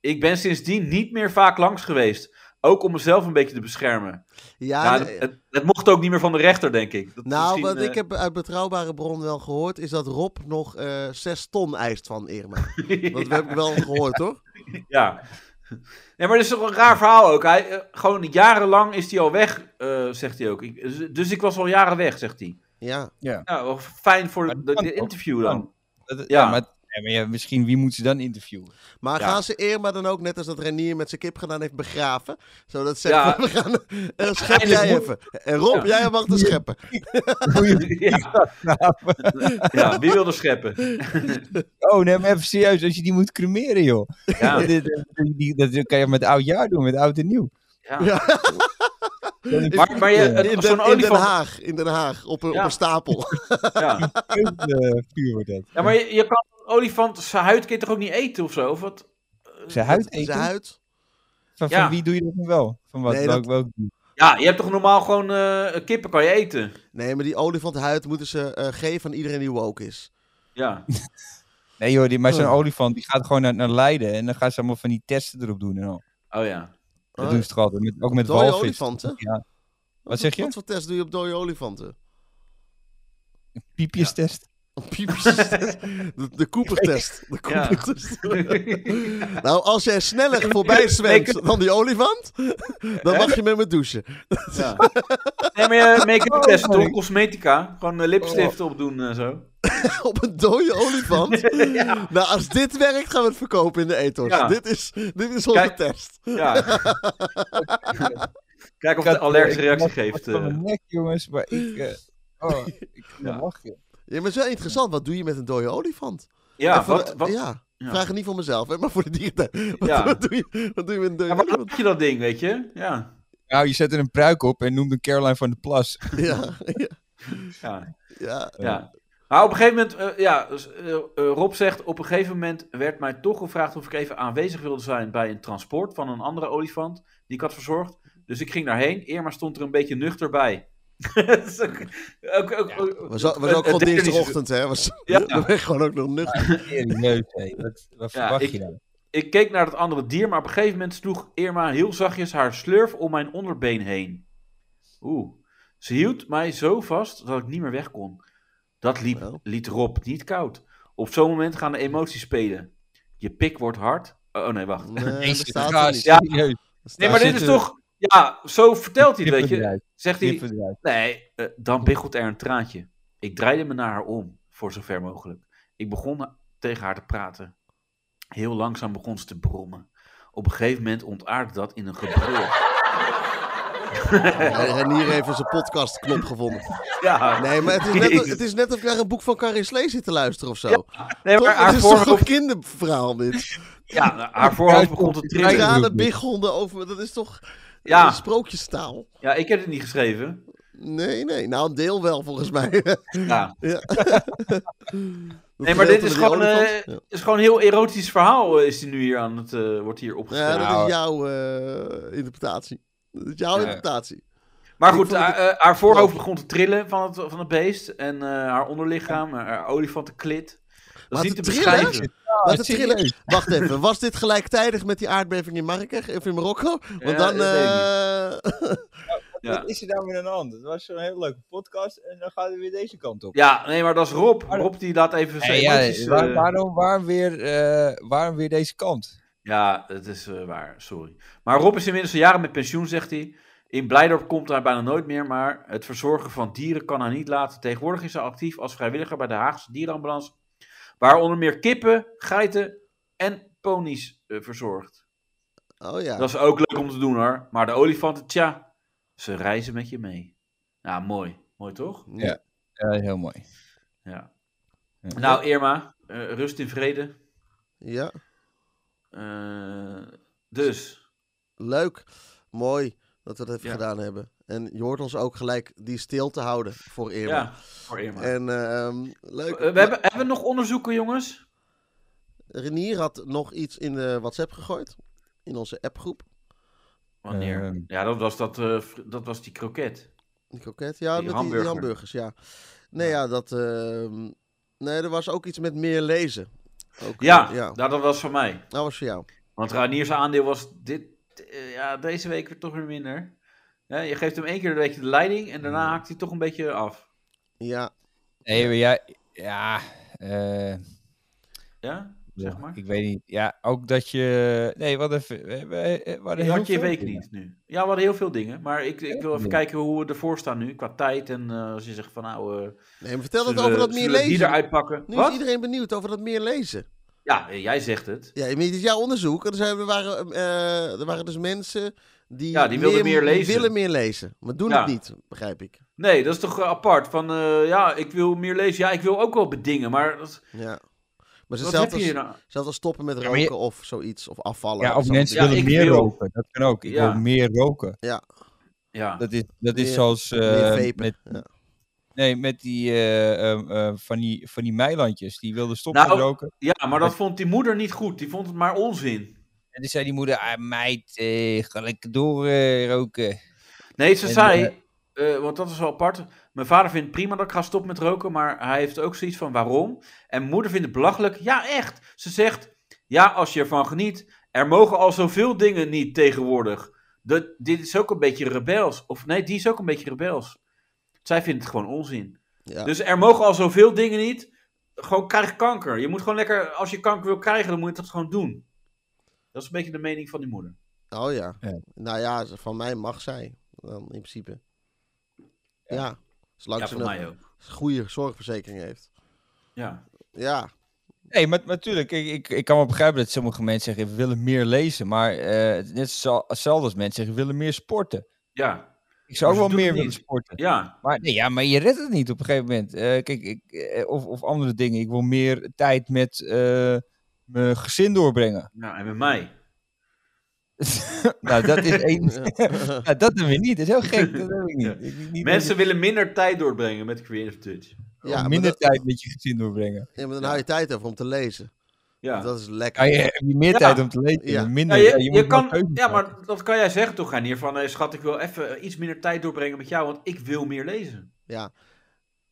D: Ik ben sindsdien niet meer vaak langs geweest. Ook om mezelf een beetje te beschermen.
C: Ja,
D: Ja,
C: nee.
D: het, het mocht ook niet meer van de rechter, denk ik. Dat
C: nou,
D: misschien,
C: wat
D: eh,
C: ik heb uit betrouwbare bron wel gehoord, is dat Rob nog eh zes ton eist van Irma. Dat heb ik wel gehoord, hoor.
D: Ja. Nee, maar dat is toch een raar verhaal ook. Hij, eh, gewoon jarenlang is hij al weg, eh, zegt hij ook. Ik- dus- dus ik was al jaren weg, zegt hij.
C: Ja,
D: Nou, wel fijn voor
B: Maar
D: de,
B: dat kan
D: de
B: toch?
D: interview
B: Dat
D: dan.
B: kan. dat-
D: Ja.
B: ja, maar, ja, maar ja, misschien wie moet ze dan interviewen?
C: maar
D: Ja.
C: gaan ze Irma dan ook, net als dat Renier met zijn kip gedaan heeft, begraven? Zodat ze
D: Ja.
C: zeggen, we gaan... eh, schep
D: Eindelijk
C: jij
D: moet-
C: even. En Rob,
D: Ja.
C: jij mag het scheppen.
D: ja. ja, wie wilde scheppen?
B: Oh, nee, maar even serieus, als je die moet cremeren, joh.
D: Ja,
B: Dit- dit- die- dat kan je met oud jaar doen, met oud en nieuw.
D: ja.
C: Ja.
D: Maar, maar je,
C: In,
D: het-
C: Den-
D: zo'n
C: in Den
D: olifant,
C: Haag, in Den Haag, op een,
D: Ja.
C: op een stapel.
D: ja.
B: Keukenvuur eh, wordt dat.
D: ja, maar je, je kan een olifant zijn huid kun je toch ook niet eten of zo? Of wat?
B: Zijn huid eten?
C: Zijn huid.
B: Van,
D: Ja.
B: van wie doe je dat nu wel? Van wat?
C: Nee,
B: welk,
C: dat-
B: welk dier?
D: Ja, je hebt toch normaal gewoon eh, kippen kan je eten?
C: Nee, maar die olifanthuid moeten ze eh, geven aan iedereen die woke is.
D: Ja,
B: Nee joh, die, maar zo'n
C: Huh.
B: olifant die gaat gewoon naar, naar Leiden en dan gaan ze allemaal van die testen erop doen en al.
D: oh ja.
B: Dat
C: Oh,
B: doen ze toch altijd, met, ook met
C: dode
B: walvis.
C: olifanten?
B: Ja. Wat zeg je?
C: Wat voor test doe je op dode olifanten?
B: Piepjestest.
C: Een piepstest. De, de Cooper-test. De
D: Ja.
C: Cooper-test. Nou, als jij sneller voorbij zwemt dan die olifant, dan mag je met me douchen.
D: ja. Nee, maar je
C: Oh,
D: make-up testen
B: sorry.
D: toch? Cosmetica. Gewoon eh, lipstift opdoen en zo.
C: Op een dode olifant. Nou, als dit werkt, gaan we het verkopen in de ethos.
D: Ja.
C: Dit, is, dit is onze
D: Kijk.
C: test.
D: Ja. Kijk of het een allergische reactie geeft.
B: eh, Ik had
D: eh.
B: mijn nek jongens, maar ik... eh, oh, ik kan
D: Ja.
B: lachen.
C: Ja, maar het is wel interessant. Wat doe je met een dode olifant? En
D: Ja,
C: voor
D: wat,
C: de-
D: wat,
C: ja.
D: ja.
C: Vraag het niet voor mezelf, hè, maar voor de dieren. Wat,
D: Ja.
C: wat, doe je, wat doe je met een dode
D: ja, waar
C: olifant?
D: laat je dat ding, weet je? Ja.
B: Nou, je zet er een pruik op en noemt een Caroline van de Plas.
C: Ja, ja,
D: ja.
C: ja.
D: Ja. Maar op een gegeven moment, eh, ja, dus, eh, eh, Rob zegt, op een gegeven moment werd mij toch gevraagd of ik even aanwezig wilde zijn bij een transport van een andere olifant die ik had verzorgd. Dus ik ging daarheen. Irma stond er een beetje nuchter bij. Dat is ook, ook, ook, ook-
C: Was, ook- was ook
D: een-
C: gewoon
D: een derde
C: dinsdagochtend, hè? Was,
D: Ja.
C: Dan ben je gewoon ook nog nuchter.
B: Serieus, hé. Wat, wat
D: Ja,
B: verwacht
D: ik-
B: je dan?
D: Ik keek naar dat andere dier, maar op een gegeven moment sloeg Irma heel zachtjes haar slurf om mijn onderbeen heen. Oeh. Ze hield mij zo vast dat ik niet meer weg kon. Dat liep,
C: Wel.
D: liet Rob niet koud. Op zo'n moment gaan de emoties spelen. Je pik wordt hard. Oh oh nee, wacht.
C: Nee, dat
B: Jezus,
C: staat er
B: gast,
C: niet.
D: Ja.
B: serieus.
C: Dat
D: Nee,
C: staat
D: maar
C: er
D: dit
C: niet.
D: is
B: zitten we.
D: toch... Ja, zo vertelt hij het, weet je.
B: Knipperdruid,
D: Zegt hij,
B: knipperdruid.
D: Nee, eh, dan biggelt er een traantje. Ik draaide me naar haar om, voor zover mogelijk. Ik begon ha- tegen haar te praten. Heel langzaam begon ze te brommen. Op een gegeven moment ontaarde dat in een gebrul.
C: Hij- Renier heeft zijn podcastknop gevonden.
D: Ja,
C: Nee, maar het is net,
D: Jezus.
C: het is net of ik naar een boek van Karin Slee zit te luisteren of zo.
D: nee, maar
C: Toch? Het
D: haar
C: is toch een
D: voorhoofd,
C: kinderverhaal, dit?
D: ja, haar voorhoofd begon te
B: Ja,
D: trillen.
C: Tranen,
B: niet.
C: bighonden over... Dat is toch
D: Ja.
C: eh, sprookjestaal?
D: Ja, ik heb het niet geschreven.
C: Nee, nee. Nou, een deel wel, volgens mij.
D: Ja.
C: Ja.
D: Nee, maar dit
C: gedeelte
D: is
C: met die
D: gewoon, eh,
C: olifant.
D: het is gewoon een heel erotisch verhaal. eh, Is die nu hier aan het, eh, wordt hier
C: Ja,
D: opgeschreven.
C: dat
B: Nou.
C: is jouw eh, interpretatie. Dat is jouw
B: Ja.
C: interpretatie.
D: Maar
C: Ik
D: goed,
C: vond
D: haar, eh, haar voorhoofd begon te trillen van het, van het beest. En eh, haar onderlichaam, haar- haar olifantenklit. Dat
C: Maar
D: is niet te
C: te trillen?
D: beschrijven.
C: Laat
B: Ah,
C: het
B: serieus?
C: trillen. Wacht even, was dit gelijktijdig met die aardbeving in Marrakech of in Marokko? Want
D: Ja,
C: dan.
D: dat weet ik
C: eh,
D: Ja.
B: Wat is er nou weer aan de hand? Het was zo'n hele leuke podcast en dan gaan we weer deze kant op.
D: Ja, nee, maar dat is Rob. Rob die laat even zijn
B: ja,
D: emoties... eh,
B: waar- waarom, waarom, weer, eh, waarom weer deze kant?
D: ja, dat is eh, waar, sorry. Maar Rob is inmiddels al jaren met pensioen, zegt hij. In Blijdorp komt hij bijna nooit meer, maar het verzorgen van dieren kan hij niet laten. Tegenwoordig is hij actief als vrijwilliger bij de Haagse dierenambulance, waar onder meer kippen, geiten en ponies eh, verzorgt.
C: oh ja.
D: Dat is ook leuk om te doen hoor. Maar de olifanten, tja, ze reizen met je mee. Ja, mooi. Mooi toch?
B: Ja. Ja, heel mooi.
D: Ja.
B: Ja.
D: Nou, Irma, eh, rust in vrede.
C: Ja,
D: Eh, dus.
C: leuk. Mooi dat we dat even
D: Ja.
C: gedaan hebben. En je hoort ons ook gelijk die stil te houden voor Irma.
D: Ja, voor Irma.
C: En ehm, leuk.
D: Eh, we hebben, hebben we nog onderzoeken, jongens?
C: Renier had nog iets in de WhatsApp gegooid. In onze appgroep.
D: Wanneer?
B: Ehm.
D: ja, dat was, dat, eh, fr- dat was die kroket.
C: Die kroket, ja,
D: Die
C: met die,
D: hamburger.
C: die hamburgers, ja. Nee, ja, dat... ehm, nee, er was ook iets met meer lezen. Ook,
D: Ja,
C: eh, ja,
D: nou, dat was van mij.
C: dat was voor jou.
D: Want Raniers aandeel was dit, eh, ja, deze week weer toch weer minder. Ja, je geeft hem één keer een beetje de leiding en daarna haakt hij toch een beetje af.
C: Ja,
B: Nee, maar ja, ja, eh,
D: Ja, zeg maar.
B: ik weet niet. Ja, ook dat je... Nee, wat even... We, eh, we, we hadden
D: Die
B: heel
D: had je
B: veel
D: week
B: dingen.
D: niet nu. Ja, we hadden heel veel dingen. Maar ik, ik wil even
B: Ja.
D: kijken hoe we ervoor staan nu. Qua tijd en eh, als je zegt van nou... eh
C: nee, maar vertel het
D: zullen
C: over
D: we-
C: dat meer
D: zullen we Die
C: lezen.
D: eruit pakken.
C: Nu
D: Wat?
C: is iedereen benieuwd over dat meer lezen.
D: Ja, eh, jij zegt het.
C: Ja, dit is jouw onderzoek. Er, zijn, er, waren, eh, er waren dus mensen die,
D: Ja, die wilden meer lezen.
C: die willen meer lezen, maar doen
D: Ja.
C: het niet, begrijp ik.
D: Nee, dat is toch eh, apart. Van eh, ja, ik wil meer lezen. Ja, ik wil ook wel bedingen. Maar dat,
C: Ja. Maar ze
D: wat
C: zelf
D: heb
C: als,
D: je hier nou?
C: zelfs als stoppen met
B: maar
C: roken
B: je-
C: of zoiets, of afvallen.
B: Ja, of
C: zo'n
B: mensen
D: Ja,
C: ding.
B: willen
D: ik
B: meer
D: wil-
B: roken. Dat kan ook. Ik
D: Ja.
B: wil meer roken.
D: Ja.
B: Dat is, dat is
C: Meer-
B: zoals eh,
C: meer vapen.
B: met,
C: Ja.
B: nee, met die, eh, ehm, eh, van die, van die meilandjes. Die wilden stoppen
D: Nou,
B: met roken.
D: ja, maar dat vond die moeder niet goed. Die vond het maar onzin.
B: En toen zei die moeder, ah, meid, eh, ga lekker door eh, roken.
D: Nee, ze
B: En,
D: zei, eh, want dat is wel apart. Mijn vader vindt prima dat ik ga stoppen met roken, maar hij heeft ook zoiets van waarom. En mijn moeder vindt het belachelijk. Ja, echt. Ze zegt, ja, als je ervan geniet, er mogen al zoveel dingen niet tegenwoordig. Dat, dit is ook een beetje rebels. Of nee, die is ook een beetje rebels. Zij vindt het gewoon onzin.
C: Ja.
D: Dus er mogen al zoveel dingen niet. Gewoon krijg kanker. Je moet gewoon lekker, als je kanker wil krijgen, dan moet je dat gewoon doen. Dat is een beetje de mening van die moeder.
C: Oh ja.
B: Ja.
C: Nou ja, ze- van mij mag zij. Dan in principe. Ja. Zolang
D: Ja,
C: ze
D: voor mij
C: een
D: ook.
C: goede zorgverzekering heeft.
D: Ja.
C: Ja.
B: Nee, maar natuurlijk, ik, ik, ik kan wel begrijpen dat sommige mensen zeggen, we willen meer lezen. Maar eh, het is net zo- hetzelfde als mensen zeggen, we willen meer sporten.
D: Ja.
B: Ik zou ook
D: Maar ze doen
B: wel meer
D: het
B: willen
D: niet.
B: sporten.
D: Ja.
B: Maar, nee, ja, maar je redt het niet op een gegeven moment. Eh, kijk, ik, eh, of, of andere dingen. Ik wil meer tijd met eh, mijn gezin doorbrengen.
D: Nou, en met mij.
B: nou, dat is één.
C: Ja.
B: Ja, dat doen we niet. Dat is heel gek. Dat doen we niet. Ik- ik- niet-
D: Mensen willen minder tijd doorbrengen met Creative Touch.
B: om
C: Ja, maar
B: minder
C: dat-
B: tijd met je gezin doorbrengen.
C: Ja, maar dan hou je tijd over om te lezen.
D: Ja.
C: Dat is lekker.
B: Kan je, heb je meer
D: Ja.
B: tijd om te lezen?
C: Ja.
D: Ja,
B: Minder,
D: je,
B: ja, je
D: je
B: moet wel
D: kan,
B: keuzes
D: ja,
B: maken.
D: maar dat kan jij zeggen toch, Reinier, van eh, schat, ik wil even iets minder tijd doorbrengen met jou, want ik wil meer lezen.
C: Ja.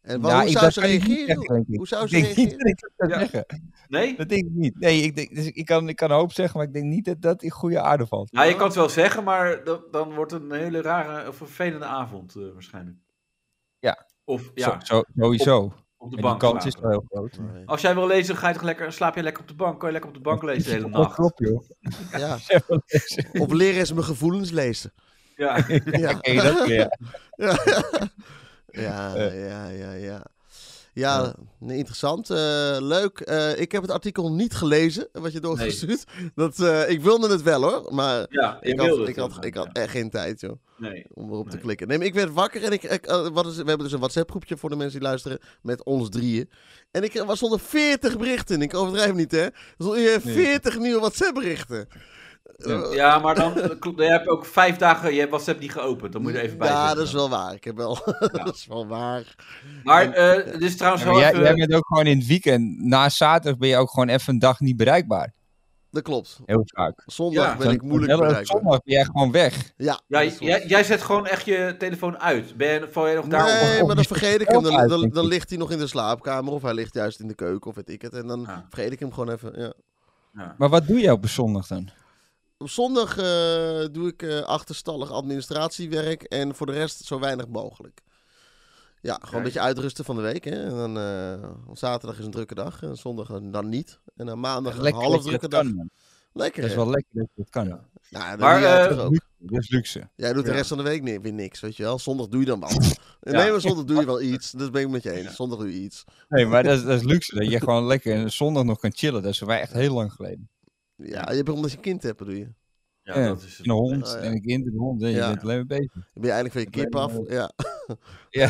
C: En wa-
B: Ja,
C: hoe
B: Nou, ik-
C: zou
B: dat
C: ze
B: kan ik niet
C: reageren?
B: zeggen, denk ik.
C: Hoe zou
B: Ik
C: ze
B: denk niet
C: reageren?
B: dat ik dat zou
D: Ja.
B: zeggen.
D: Nee?
B: Dat denk ik niet. Nee, ik, denk, dus ik, kan, ik kan een hoop zeggen, maar ik denk niet dat dat in goede aarde valt.
D: Nou, je kan het wel zeggen, maar dat, dan wordt het een hele rare of vervelende avond eh, waarschijnlijk.
B: Ja.
D: Of ja,
B: Zo, zo, sowieso.
D: op de
B: En die
D: bank.
B: kans is eh,
D: slapen.
B: wel heel groot.
C: Nee.
D: Als jij wil lezen, ga je toch lekker, slaap je lekker op de bank. Kan je lekker op de bank lezen de hele
B: Dat
D: nacht.
B: klopt, joh.
C: Ja. Of leren eens mijn gevoelens lezen.
D: Ja.
C: Ja.
B: Oké, dat weer.
C: Ja, ja,
D: Eh.
C: ja, ja. Ja, ja nee, interessant. eh, leuk. Eh, ik heb het artikel niet gelezen, wat je doorgestuurd. Dat, eh, ik wilde het wel hoor, maar
D: Ja,
C: ik
D: ik
C: had,
D: wilde het
C: ik had,
D: wel,
C: ik
D: ja.
C: had echt geen tijd joh,
D: Nee.
C: om erop te
D: Nee.
C: klikken. Nee, maar ik werd wakker en ik, ik, eh, wat is, we hebben dus een WhatsApp groepje voor de mensen die luisteren met ons drieën. En ik, er was stonden 40 berichten in. Ik overdrijf niet hè. Er stonden hier 40 nieuwe WhatsApp berichten.
B: Ja.
D: Ja, maar dan eh, klopt. Je hebt ook vijf dagen, je hebt WhatsApp niet geopend. Dan moet je er even bij
C: Ja,
D: zeggen.
C: dat is wel waar. Ik heb wel, dat is wel waar.
D: Maar eh, het is trouwens
B: Ja, maar
D: wel
B: jij,
D: even...
B: jij bent ook gewoon in het weekend. Na zaterdag ben je ook gewoon even een dag niet bereikbaar.
C: Dat klopt.
B: Heel vaak.
C: Zondag
D: Ja.
C: ben ik
B: Dan-
C: moeilijk
B: dan- dan-
C: bereikbaar.
B: Zondag ben jij gewoon weg.
C: Ja,
D: Ja,
C: dat is waar.
D: jij, jij zet gewoon echt je telefoon uit. Ben je, val jij nog daarop?
C: Nee, maar dan
B: Of-
C: vergeet ik hem. Dan,
B: denk
C: dan, dan
B: ik.
C: ligt hij nog in de slaapkamer of hij ligt juist in de keuken of weet ik het. En dan
D: Ja.
C: vergeet ik hem gewoon even. Ja.
D: Ja.
B: Maar wat doe jij op een zondag dan?
C: Op zondag eh, doe ik eh, achterstallig administratiewerk en voor de rest zo weinig mogelijk. Ja, gewoon
D: Kijk.
C: een beetje uitrusten van de week. Hè. En dan, eh, op zaterdag is een drukke dag en zondag dan niet. En dan maandag een half
B: dat je
C: drukke
B: dat
C: dag.
B: kan, man.
C: Lekker.
B: Dat is
C: hè?
B: wel lekker dat je dat kan.
C: Ja, dat
D: Maar,
C: doe jij
D: eh,
C: toch ook.
B: Dat is luxe.
C: Jij doet de
D: Ja.
C: rest van de week ni- weer niks, weet je wel. Zondag doe je dan wel.
D: Ja.
C: Nee, maar zondag doe je wel iets. Dat ben ik met je eens. Zondag doe je iets.
B: Nee, maar dat is, dat is luxe. Dat je gewoon lekker een zondag nog kan chillen. Dat is voor mij echt heel lang geleden.
C: Ja, je bent omdat je kind hebt, bedoel je.
D: Ja, dat is
B: Eh, Een hond
C: Ja, ja.
B: en een kind en een hond. hè. Je
C: Ja.
B: bent alleen maar bezig.
C: Dan ben je eigenlijk van je
B: Dat
C: kip
B: lijkt
C: af.
B: me
C: Ja.
B: Ja.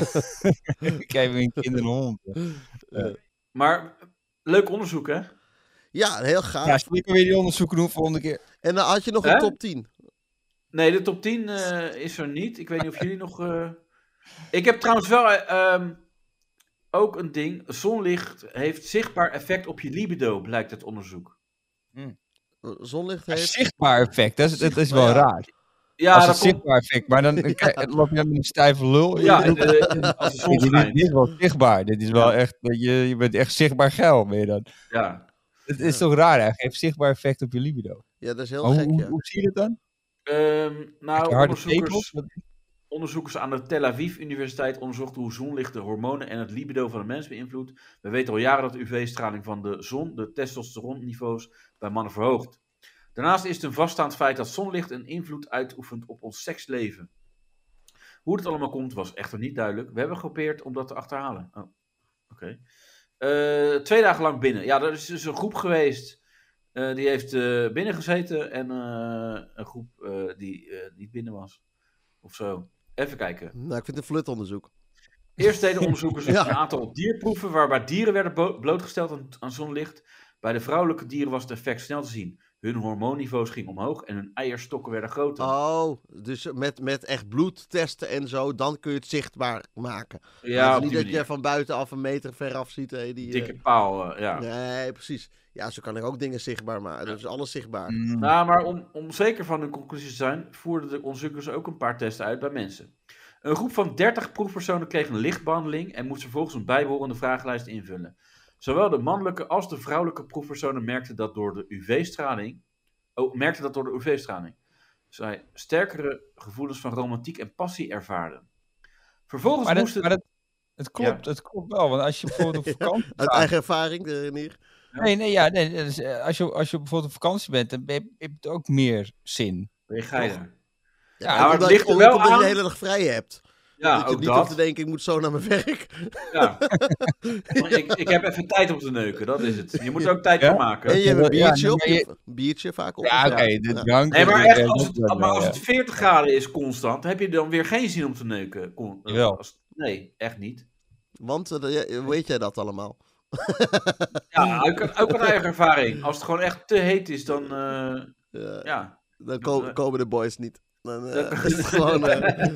B: Ik heb een kind en een hond.
D: Maar leuk onderzoek, hè?
C: ja, heel gaaf.
B: Ja, zullen we weer die onderzoeken doen volgende keer?
C: En dan had je nog
D: Hè?
C: een top 10.
D: Nee, de top 10 eh, is er niet. Ik weet niet of jullie nog. eh, Ik heb trouwens wel eh, ehm, ook een ding. Zonlicht heeft zichtbaar effect op je libido, blijkt uit onderzoek.
C: Zonlicht
B: Een
C: heeft...
B: zichtbaar effect, dat is, dat is wel
C: Zichtbaar, ja.
B: raar.
D: Ja,
B: Als een
D: dat komt.
B: zichtbaar effect, maar dan, dan krijg- dan loop je dan met een stijve lul.
D: Ja,
B: Je-
D: eh, als de zon
B: dit, dit- dit
D: schijnt.
B: is wel zichtbaar. Dit is wel echt, dat je, je bent echt zichtbaar geil meer dan.
D: Ja.
B: Het is toch raar, hè? Geeft zichtbaar effect op je libido.
C: Ja, dat is heel
B: Maar
D: Oh.
B: hoe,
C: gek,
B: hoe,
C: ja.
B: hoe zie je dat dan?
D: Ehm,
B: Heb
D: nou,
B: je harde tepels?
D: onderzoekers, onderzoekers aan de Tel Aviv Universiteit onderzochten hoe zonlicht de hormonen en het libido van de mens beïnvloedt. We weten al jaren dat UV-straling van de zon de testosteronniveaus bij mannen verhoogt. Daarnaast is het een vaststaand feit dat zonlicht een invloed uitoefent op ons seksleven. Hoe dit allemaal komt was echter niet duidelijk. We hebben geprobeerd om dat te achterhalen. Oh, oké. Eh, twee dagen lang binnen. Ja, er is dus een groep geweest eh, die heeft eh binnen gezeten en eh, een groep eh, die eh, niet binnen was. Of zo. Even kijken.
C: Nou, ik vind het een flutonderzoek.
D: Eerst deden onderzoekers
C: Ja.
D: een aantal dierproeven waarbij dieren werden bo- blootgesteld aan, aan zonlicht. Bij de vrouwelijke dieren was het effect snel te zien. Hun hormoonniveaus gingen omhoog en hun eierstokken werden groter.
C: Oh, dus met, met echt bloed testen en zo, dan kun je het zichtbaar maken.
D: ja,
C: Maar
D: op die
C: dus niet dat
D: manier.
C: je van buitenaf een meter ver af ziet. Hé, die, eh,
D: Dikke paal, eh, ja.
C: Nee, precies. Ja, zo kan ik ook dingen zichtbaar maken. Dat is alles zichtbaar.
B: Mm.
D: Nou, maar om, om zeker van hun conclusies te zijn, voerden de onderzoekers ook een paar testen uit bij mensen. Een groep van 30 proefpersonen kreeg een lichtbehandeling en moest vervolgens een bijbehorende vragenlijst invullen. Zowel de mannelijke als de vrouwelijke proefpersonen merkten dat door de UV-straling. Oh, merkten dat door de UV-straling. Zij sterkere gevoelens van romantiek en passie ervaarden. Vervolgens
B: Maar, dat,
D: moesten.
B: maar dat, het, klopt, het klopt wel, want als je bijvoorbeeld op vakantie
C: Uit
B: gaat-
C: eigen ervaring, eh, Renier.
B: Nee, nee, ja, nee, dat is, eh, als, je, als je bijvoorbeeld op vakantie bent, dan heb heb je ook meer zin.
D: Ben je geiler?
C: Ja,
D: maar het
C: omdat,
D: ligt er
C: omdat-
D: wel
C: omdat je
D: aan-
C: de hele dag vrij hebt.
D: Ja,
C: dat je
D: ook
C: niet hoeft te
D: dat.
C: denken, ik moet zo naar mijn werk.
D: Ja. Want Ik, ik heb even tijd om te neuken, dat is het. Je moet er ook tijd
B: Ja?
D: voor maken.
C: En je hebt een
B: Ja,
C: biertje
B: nee,
C: op.
B: maar
C: Je... een Biertje vaak op.
B: Ja,
C: of
B: oké,
C: zo.
B: de
C: Ja.
B: drank.
D: Nee, maar
B: eh,
D: echt,
B: dat
D: als
B: is wel,
D: het, maar als
B: eh,
D: het 40 graden is constant, heb je dan weer geen zin om te neuken. Con- eh,
B: Jawel.
D: als- nee, echt niet.
C: Want eh, ja, hoe weet jij dat allemaal?
D: Ja, ook, ook uit eigen ervaring. Als het gewoon echt te heet is, dan eh,
C: Eh,
D: ja.
C: dan ko- komen de boys niet. Dan eh,
D: Dan komen-
C: is het gewoon... eh,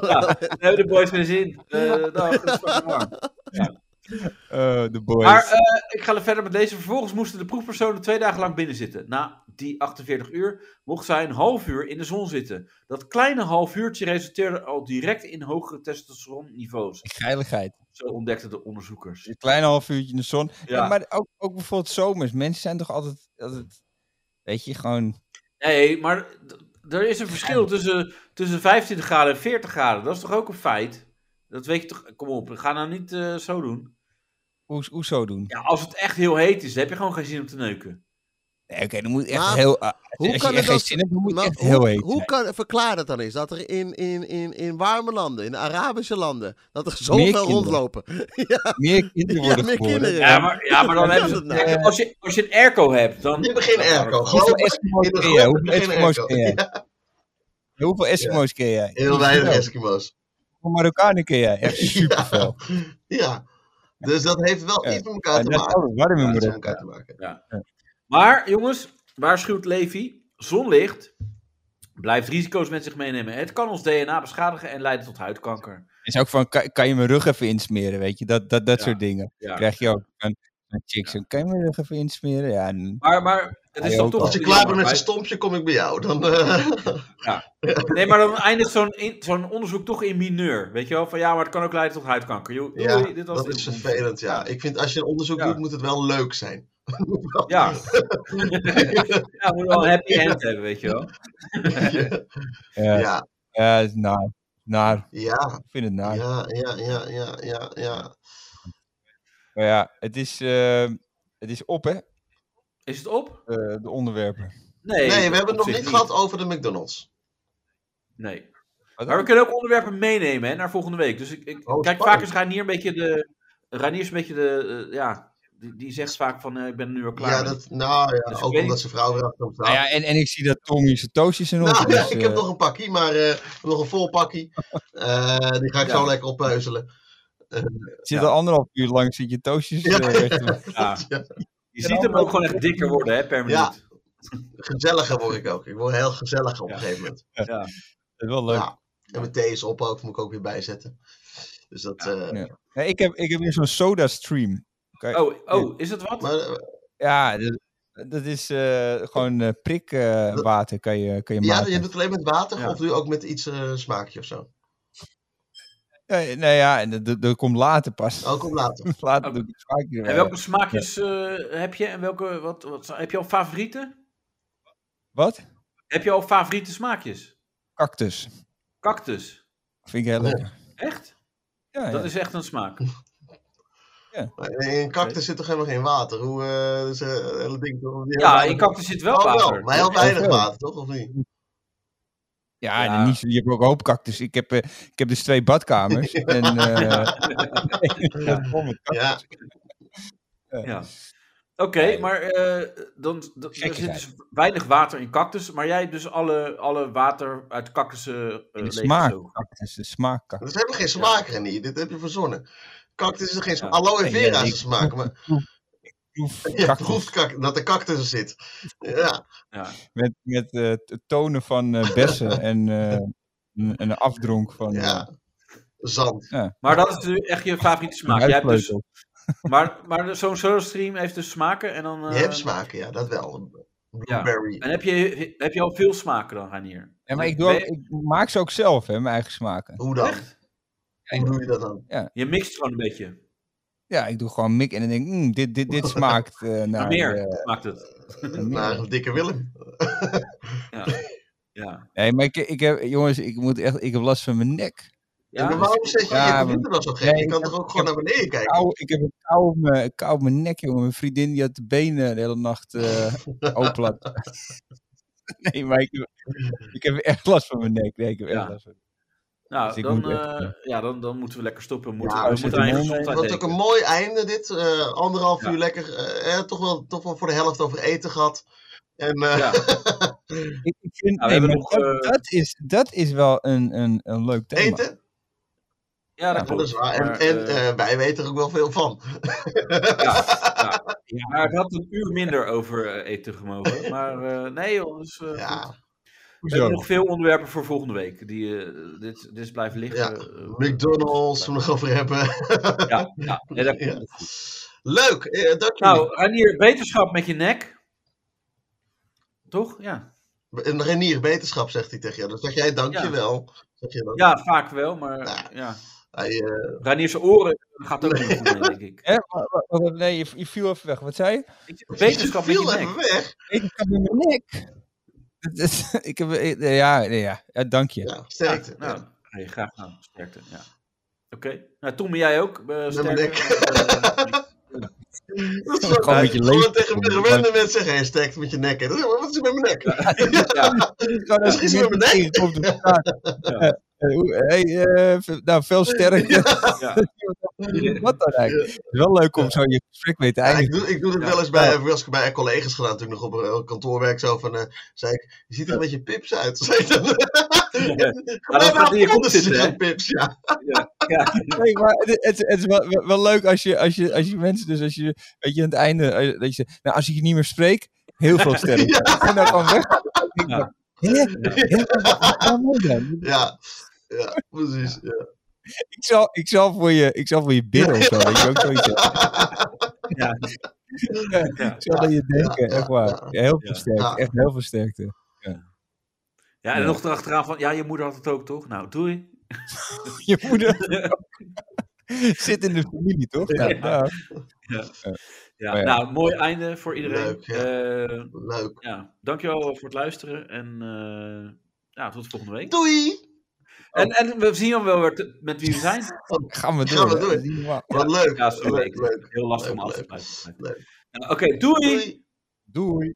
D: nou, ja. Nee, de boys weer zin. Eh dag, het is fucking warm.
B: Eh, de boys.
D: Maar eh, ik ga er verder met lezen. Vervolgens moesten de proefpersonen twee dagen lang binnen zitten. Na die 48 uur mocht zij een half uur in de zon zitten. Dat kleine half uurtje resulteerde al direct in hogere testosteronniveaus.
B: Geiligheid.
D: Zo ontdekten de onderzoekers.
B: Een klein half uurtje in de zon. Ja.
D: Ja.
B: maar ook, ook bijvoorbeeld zomers. Mensen zijn toch altijd, altijd weet je, gewoon...
D: Nee, maar d- er is een verschil tussen, tussen 25 graden en 40 graden. Dat is toch ook een feit? Dat weet je toch? Kom op, ga nou niet eh, zo doen.
B: Hoe, hoe zo doen?
D: Ja, als het echt heel heet is, heb je gewoon geen zin om te neuken.
B: Nee, Oké, dan moet echt
C: Maar
B: heel... ah,
C: hoe
B: als
C: kan
B: je
C: het
B: echt geen
C: dat-
B: zin hebt, dan moet je
C: Maar
B: echt
C: hoe,
B: heel heet
C: hoe kan, verklaar het dan eens dat er in, in, in, in warme landen, in Arabische landen, dat er
B: Meer
C: zoveel
B: kinderen.
C: rondlopen?
B: zijn. Meer kinderen
C: Ja,
B: worden
C: meer
B: geboren.
C: kinderen.
D: Ja, maar, ja, maar dan
C: Hoe
D: hebben
C: kan
D: ze...
C: dat nou?
D: Kijk, als, je, als je een airco hebt, dan...
E: Je begint airco. Geloof
B: Hoeveel
E: me,
B: Eskimo's
E: in de
B: ken
E: grond
B: jij?
E: heb
B: Hoeveel
E: je geen
B: Eskimo's
E: airco.
B: ken jij? Hoeveel Eskimo's ken jij?
E: Heel weinig Eskimo's.
B: Hoeveel Marokkanen ken jij? Echt superveel.
E: Ja. Dus dat heeft wel
B: Ja.
E: iets met elkaar
B: Ja,
E: te
B: dat is
E: maken.
B: ook warm
E: Ja,
B: in
E: dat is
B: moeder.
E: met elkaar te maken.
D: Maar jongens, waarschuwt Levi, zonlicht blijft risico's met zich meenemen. Het kan ons DNA beschadigen en leiden tot huidkanker.
B: Het is ook van, kan, kan je mijn rug even insmeren, weet je? Dat, dat, dat
D: Ja.
B: soort dingen.
D: Ja.
B: Krijg je ook van van chicks. Kan je mijn rug even insmeren? Ja, en-
D: Maar, maar het is
B: Ja,
D: toch
B: ook
D: toch...
B: al.
E: Als je klaar bent met
D: Ja,
E: je stompje, kom ik bij jou. Dan, eh,
D: Nee, maar dan eindigt zo'n in- zo'n onderzoek toch in mineur. Weet je wel? Van ja, maar het kan ook leiden tot huidkanker. Joh, doei,
E: ja,
D: dit was
E: dat
D: het.
E: is vervelend. Ja. Ik vind als je een onderzoek
D: Ja.
E: doet, moet het wel leuk zijn.
D: Ja. ja, we moeten wel een happy end hebben, weet je wel.
B: ja, ja.
E: Ja,
B: het is naar. Naar.
E: ja,
B: Ik vind het naar.
E: ja, ja, ja, ja, ja, ja.
B: Maar ja, het is, eh, het is op, hè?
D: Is het op?
B: eh, de onderwerpen.
D: Nee,
E: Nee, we
D: op
E: hebben het nog
D: zich
E: niet gehad over de McDonald's.
D: Nee.
B: Wat
D: Maar we kunnen ook onderwerpen meenemen hè, naar volgende week. Dus ik, ik
E: Oh,
D: kijk
E: spannend.
D: vaak eens Reinier een beetje de... Reinier is een beetje de... eh, ja, die, die zegt vaak van eh, ik ben er nu al klaar.
E: Ja,
D: mee.
E: dat, nou ja,
D: Dus ik
E: ook
D: weet
E: omdat
D: niet.
E: zijn vrouw erachter hem staat.
B: Nou ja, en, en ik zie dat Tommy zijn toosjes in ons.
E: Nou, ja,
B: dus,
E: ik
B: eh,
E: heb nog een pakkie, maar eh, nog een vol pakkie. Eh, die ga ik
D: Ja.
E: zo lekker oppuizelen.
D: ja.
B: zit al anderhalf uur lang, zit je toosjes
E: Ja.
B: eh, weg te maken.
D: Ja. Je
E: Ja.
D: ziet hem ook gewoon echt dikker worden, hè, per
E: Ja.
D: minuut.
E: Gezelliger word ik ook. Ik word heel gezellig op
D: Ja.
E: een gegeven moment.
B: Dat is wel leuk.
E: Ja. En mijn thee is op ook, moet ik ook weer bijzetten. Dus dat... eh,
B: Ja. Nee, ik, heb, ik heb nu zo'n soda stream.
D: Oh, oh, is het wat?
E: Maar eh,
B: Ja, dat, dat is eh, gewoon eh, prik prikwater water kan je, kan je
E: ja,
B: maken.
E: je doet het alleen met water
D: Ja.
E: of doe je ook met iets eh, smaakje of zo?
B: Nee, nou ja, en dat- dat, dat komt later pas.
E: Ook om Oh, later.
B: later
D: Oké.
B: doe ik het vaak weer
D: En
B: wel.
D: welke smaakjes eh, heb je? En welke, wat, wat, heb je al favorieten?
B: Wat?
D: Heb je al favoriete smaakjes?
B: Cactus.
D: Cactus.
B: Vind ik heel
E: Ja.
B: lekker.
D: Echt?
B: Ja,
D: Dat
B: ja.
D: is echt een smaak.
E: Maar In een cactus zit toch helemaal geen water? Hoe, eh dus, eh, hele ding, toch? Die
D: Ja,
E: water-
D: in cactus zit wel
E: Oh, wel,
D: water.
E: maar heel weinig
B: Ja.
E: water, toch? Of niet?
B: Ja, en
D: Ja.
B: niet zo- je hebt ook een hoop cactus. Ik heb, eh, ik heb dus twee badkamers. En, eh, dat is vol met cactus.
E: Ja,
D: Ja. Oké, maar eh, dan, dan- er zit
B: Gekkigheid.
D: dus weinig water in cactus, maar jij hebt dus alle, alle water uit cactussen
B: De
D: uh,
B: smaak cactus, de smaak cactus.
E: Dat is helemaal geen smaak, René. Dit heb je verzonnen. Cactus is geen smaak.
D: Ja.
E: Aloe
B: Nee,
E: vera
B: ja,
E: is
B: ik-
E: een smaak, maar
B: Proef
E: je
B: cactus.
E: proeft kak- dat er cactus er zit. Ja,
D: Ja.
B: Met, met eh, t- tonen van eh, bessen en eh, een, een afdronk van... eh,
E: ja. Zand.
D: Maar dat is nu echt je favoriete smaak. Jij hebt dus,
B: huidvleugel.
D: maar maar zo'n SodaStream heeft dus smaken en dan...
E: Je
D: eh,
E: hebt smaken, ja, dat wel. Blueberry.
D: En heb je, heb je al veel smaken dan, Ranier?
B: Ja, maar ik, doe
D: Ben
B: ook-
D: je-
B: ik maak ze ook zelf, hè, mijn eigen smaken.
E: Hoe dan?
D: Echt?
E: Hoe doe je dat dan?
D: Je mixt gewoon een beetje.
B: Ja, ik doe gewoon mik en dan denk ik, mm, dit, dit, dit smaakt eh, naar...
D: Naar meer
B: eh,
D: maakt het.
E: Naar een dikke Willem.
D: Ja. Ja.
B: nee, maar ik, ik heb, jongens, ik, moet echt, ik heb last van mijn nek.
E: Ja, maar
D: Ja.
E: waarom zet je
B: Ja,
E: je vrienden dan zo gek?
B: nee,
E: je kan
B: ik-
E: toch ook gewoon naar beneden kijken?
B: Kou, ik heb een kou op, mijn, kou op mijn nek, jongen. Mijn vriendin die had de benen de hele nacht eh open laten. nee, maar ik heb, ik heb echt last van mijn nek. Nee, ik heb echt
D: Ja.
B: last van Dus
D: Nou,
B: ik
D: dan,
B: moet echt-
D: eh, ja, dan, dan moeten we lekker stoppen. Moeten
E: Ja,
D: we,
B: we
D: we moeten
B: zitten
D: aan je
B: mooi-
D: gezondheid
E: Het was ook
D: denken.
E: een mooi einde dit. Eh, anderhalf
D: Ja.
E: uur lekker. eh, eh, toch, wel, toch wel voor de helft over eten gehad. En eh,
D: Ja.
B: Ik, ik vind,
D: Ja, we
B: nee, maar
D: hebben nog,
B: dat,
D: eh,
B: dat is, dat is wel een, een, een leuk thema.
E: eten,
D: Ja, dat
E: dat is
D: klopt.
E: waar. En,
D: Maar,
E: en
D: eh,
E: eh, wij weten er ook wel veel van.
D: Ja, ja. Maar het had een uur minder over eh, eten gemogen. Maar eh, nee, joh. Dus, eh,
E: Ja.
D: goed. We hebben nog veel onderwerpen voor volgende week. Die, eh, dit, dit is blijven liggen.
E: Ja,
D: Eh,
E: McDonald's, we nog over hebben.
D: Ja, ja. Nee, dat komt
E: Ja.
D: goed.
E: Leuk, eh, dank jullie.
D: Nou, Ranier, wetenschap met je nek. Toch? Ja.
E: Een Renier beterschap, zegt hij tegen jou. Dan zeg jij dankjewel. Zeg je dan.
D: Ja, vaak wel, maar
E: Ja.
D: ja.
E: Hij, eh,
D: Ranier's oren gaat ook niet goed, mee, denk ik.
B: Hè? Wa- wa- wa- Nee, je, je viel even weg. Wat zei je?
D: Ik zeg, Wetenschap met
E: viel
D: je
E: even
D: nek.
E: weg.
B: Ik heb mijn nek. Dat is- ik heb, ik- ja, nee, ja. ja, dank je.
E: Ja,
D: Ja,
E: sterkte.
D: nou, hey, graag gedaan. Sterkte, ja. Oké. Nou, Tom, ben jij ook? eh, sterker?
E: nek.
D: Eh,
E: Dat is
B: Gewoon
E: gewoon,
B: met je
E: gewoon
B: leven.
E: tegen tegen random mensen zeggen, hij sterkt met je nek. En dan zeg je, "Oh, wat is er met mijn nek?
D: ja.
B: Gewoon als
E: Misschien
B: je
E: zijn we
B: net
E: beneden.
B: tegenkomt op elkaar. Ja. Eh, hoe- hey, eh, v- nou, veel sterker.
D: ja.
B: Wat dan eigenlijk? Het is wel leuk om zo je gesprek mee te
E: Ja, ik,
B: eindigen.
E: doe, ik doe het
D: Ja.
E: wel eens bij, heb ik wel eens bij collega's gedaan toen ik nog op eh, kantoor werk. Zo van, eh, zei ik, je ziet er een beetje pips uit. Zei ik dan.
D: Maar dat gaat in je kop zitten, hè?
E: Pips, ja.
D: Ja.
B: Nee, maar het, het, het is wel, wel leuk als je, als, je, als je mensen, dus als je, weet je, aan het einde, eh, dat je zegt, nou, als ik je niet meer spreek, heel veel sterren. En dan nou gewoon weg.
D: Ja.
B: Hè? Hè? Wat- wat moet dan?
E: Ja, ja precies. Ja.
B: Ik zal, ik zal voor je, ik zal voor je bidden of zo, weet je ook zoiets.
D: Ja. Ja.
B: Ik zal aan je denken,
E: ja,
B: echt waar.
E: ja.
B: heel
D: Ja.
B: veel sterkte,
E: Ja.
B: echt heel veel sterkte.
D: Ja, en
B: Ja.
D: nog erachteraan van, ja, je moeder had het ook, toch? Nou, doei.
B: Je moeder zit in de familie, toch? Nou, Ja, ja.
D: Ja,
B: Maar ja.
D: Nou, mooi einde voor iedereen.
E: Leuk, ja.
D: Eh,
E: Leuk.
D: ja. Dankjewel eh, voor het luisteren en eh, ja, tot volgende week.
E: Doei!
D: En, en we zien dan wel weer te- met wie we zijn.
B: Gaan we
E: Gaan
B: door.
E: we
B: hè?
E: door.
B: Dat is niet normaal.
E: Wat leuk.
D: Ja, sorry.
E: leuk, leuk.
D: Heel lastig om
E: Leuk,
D: af te
E: leuk.
D: sluiten.
E: Leuk.
D: Nou, Oké, doei.
E: Doei!
B: Doei.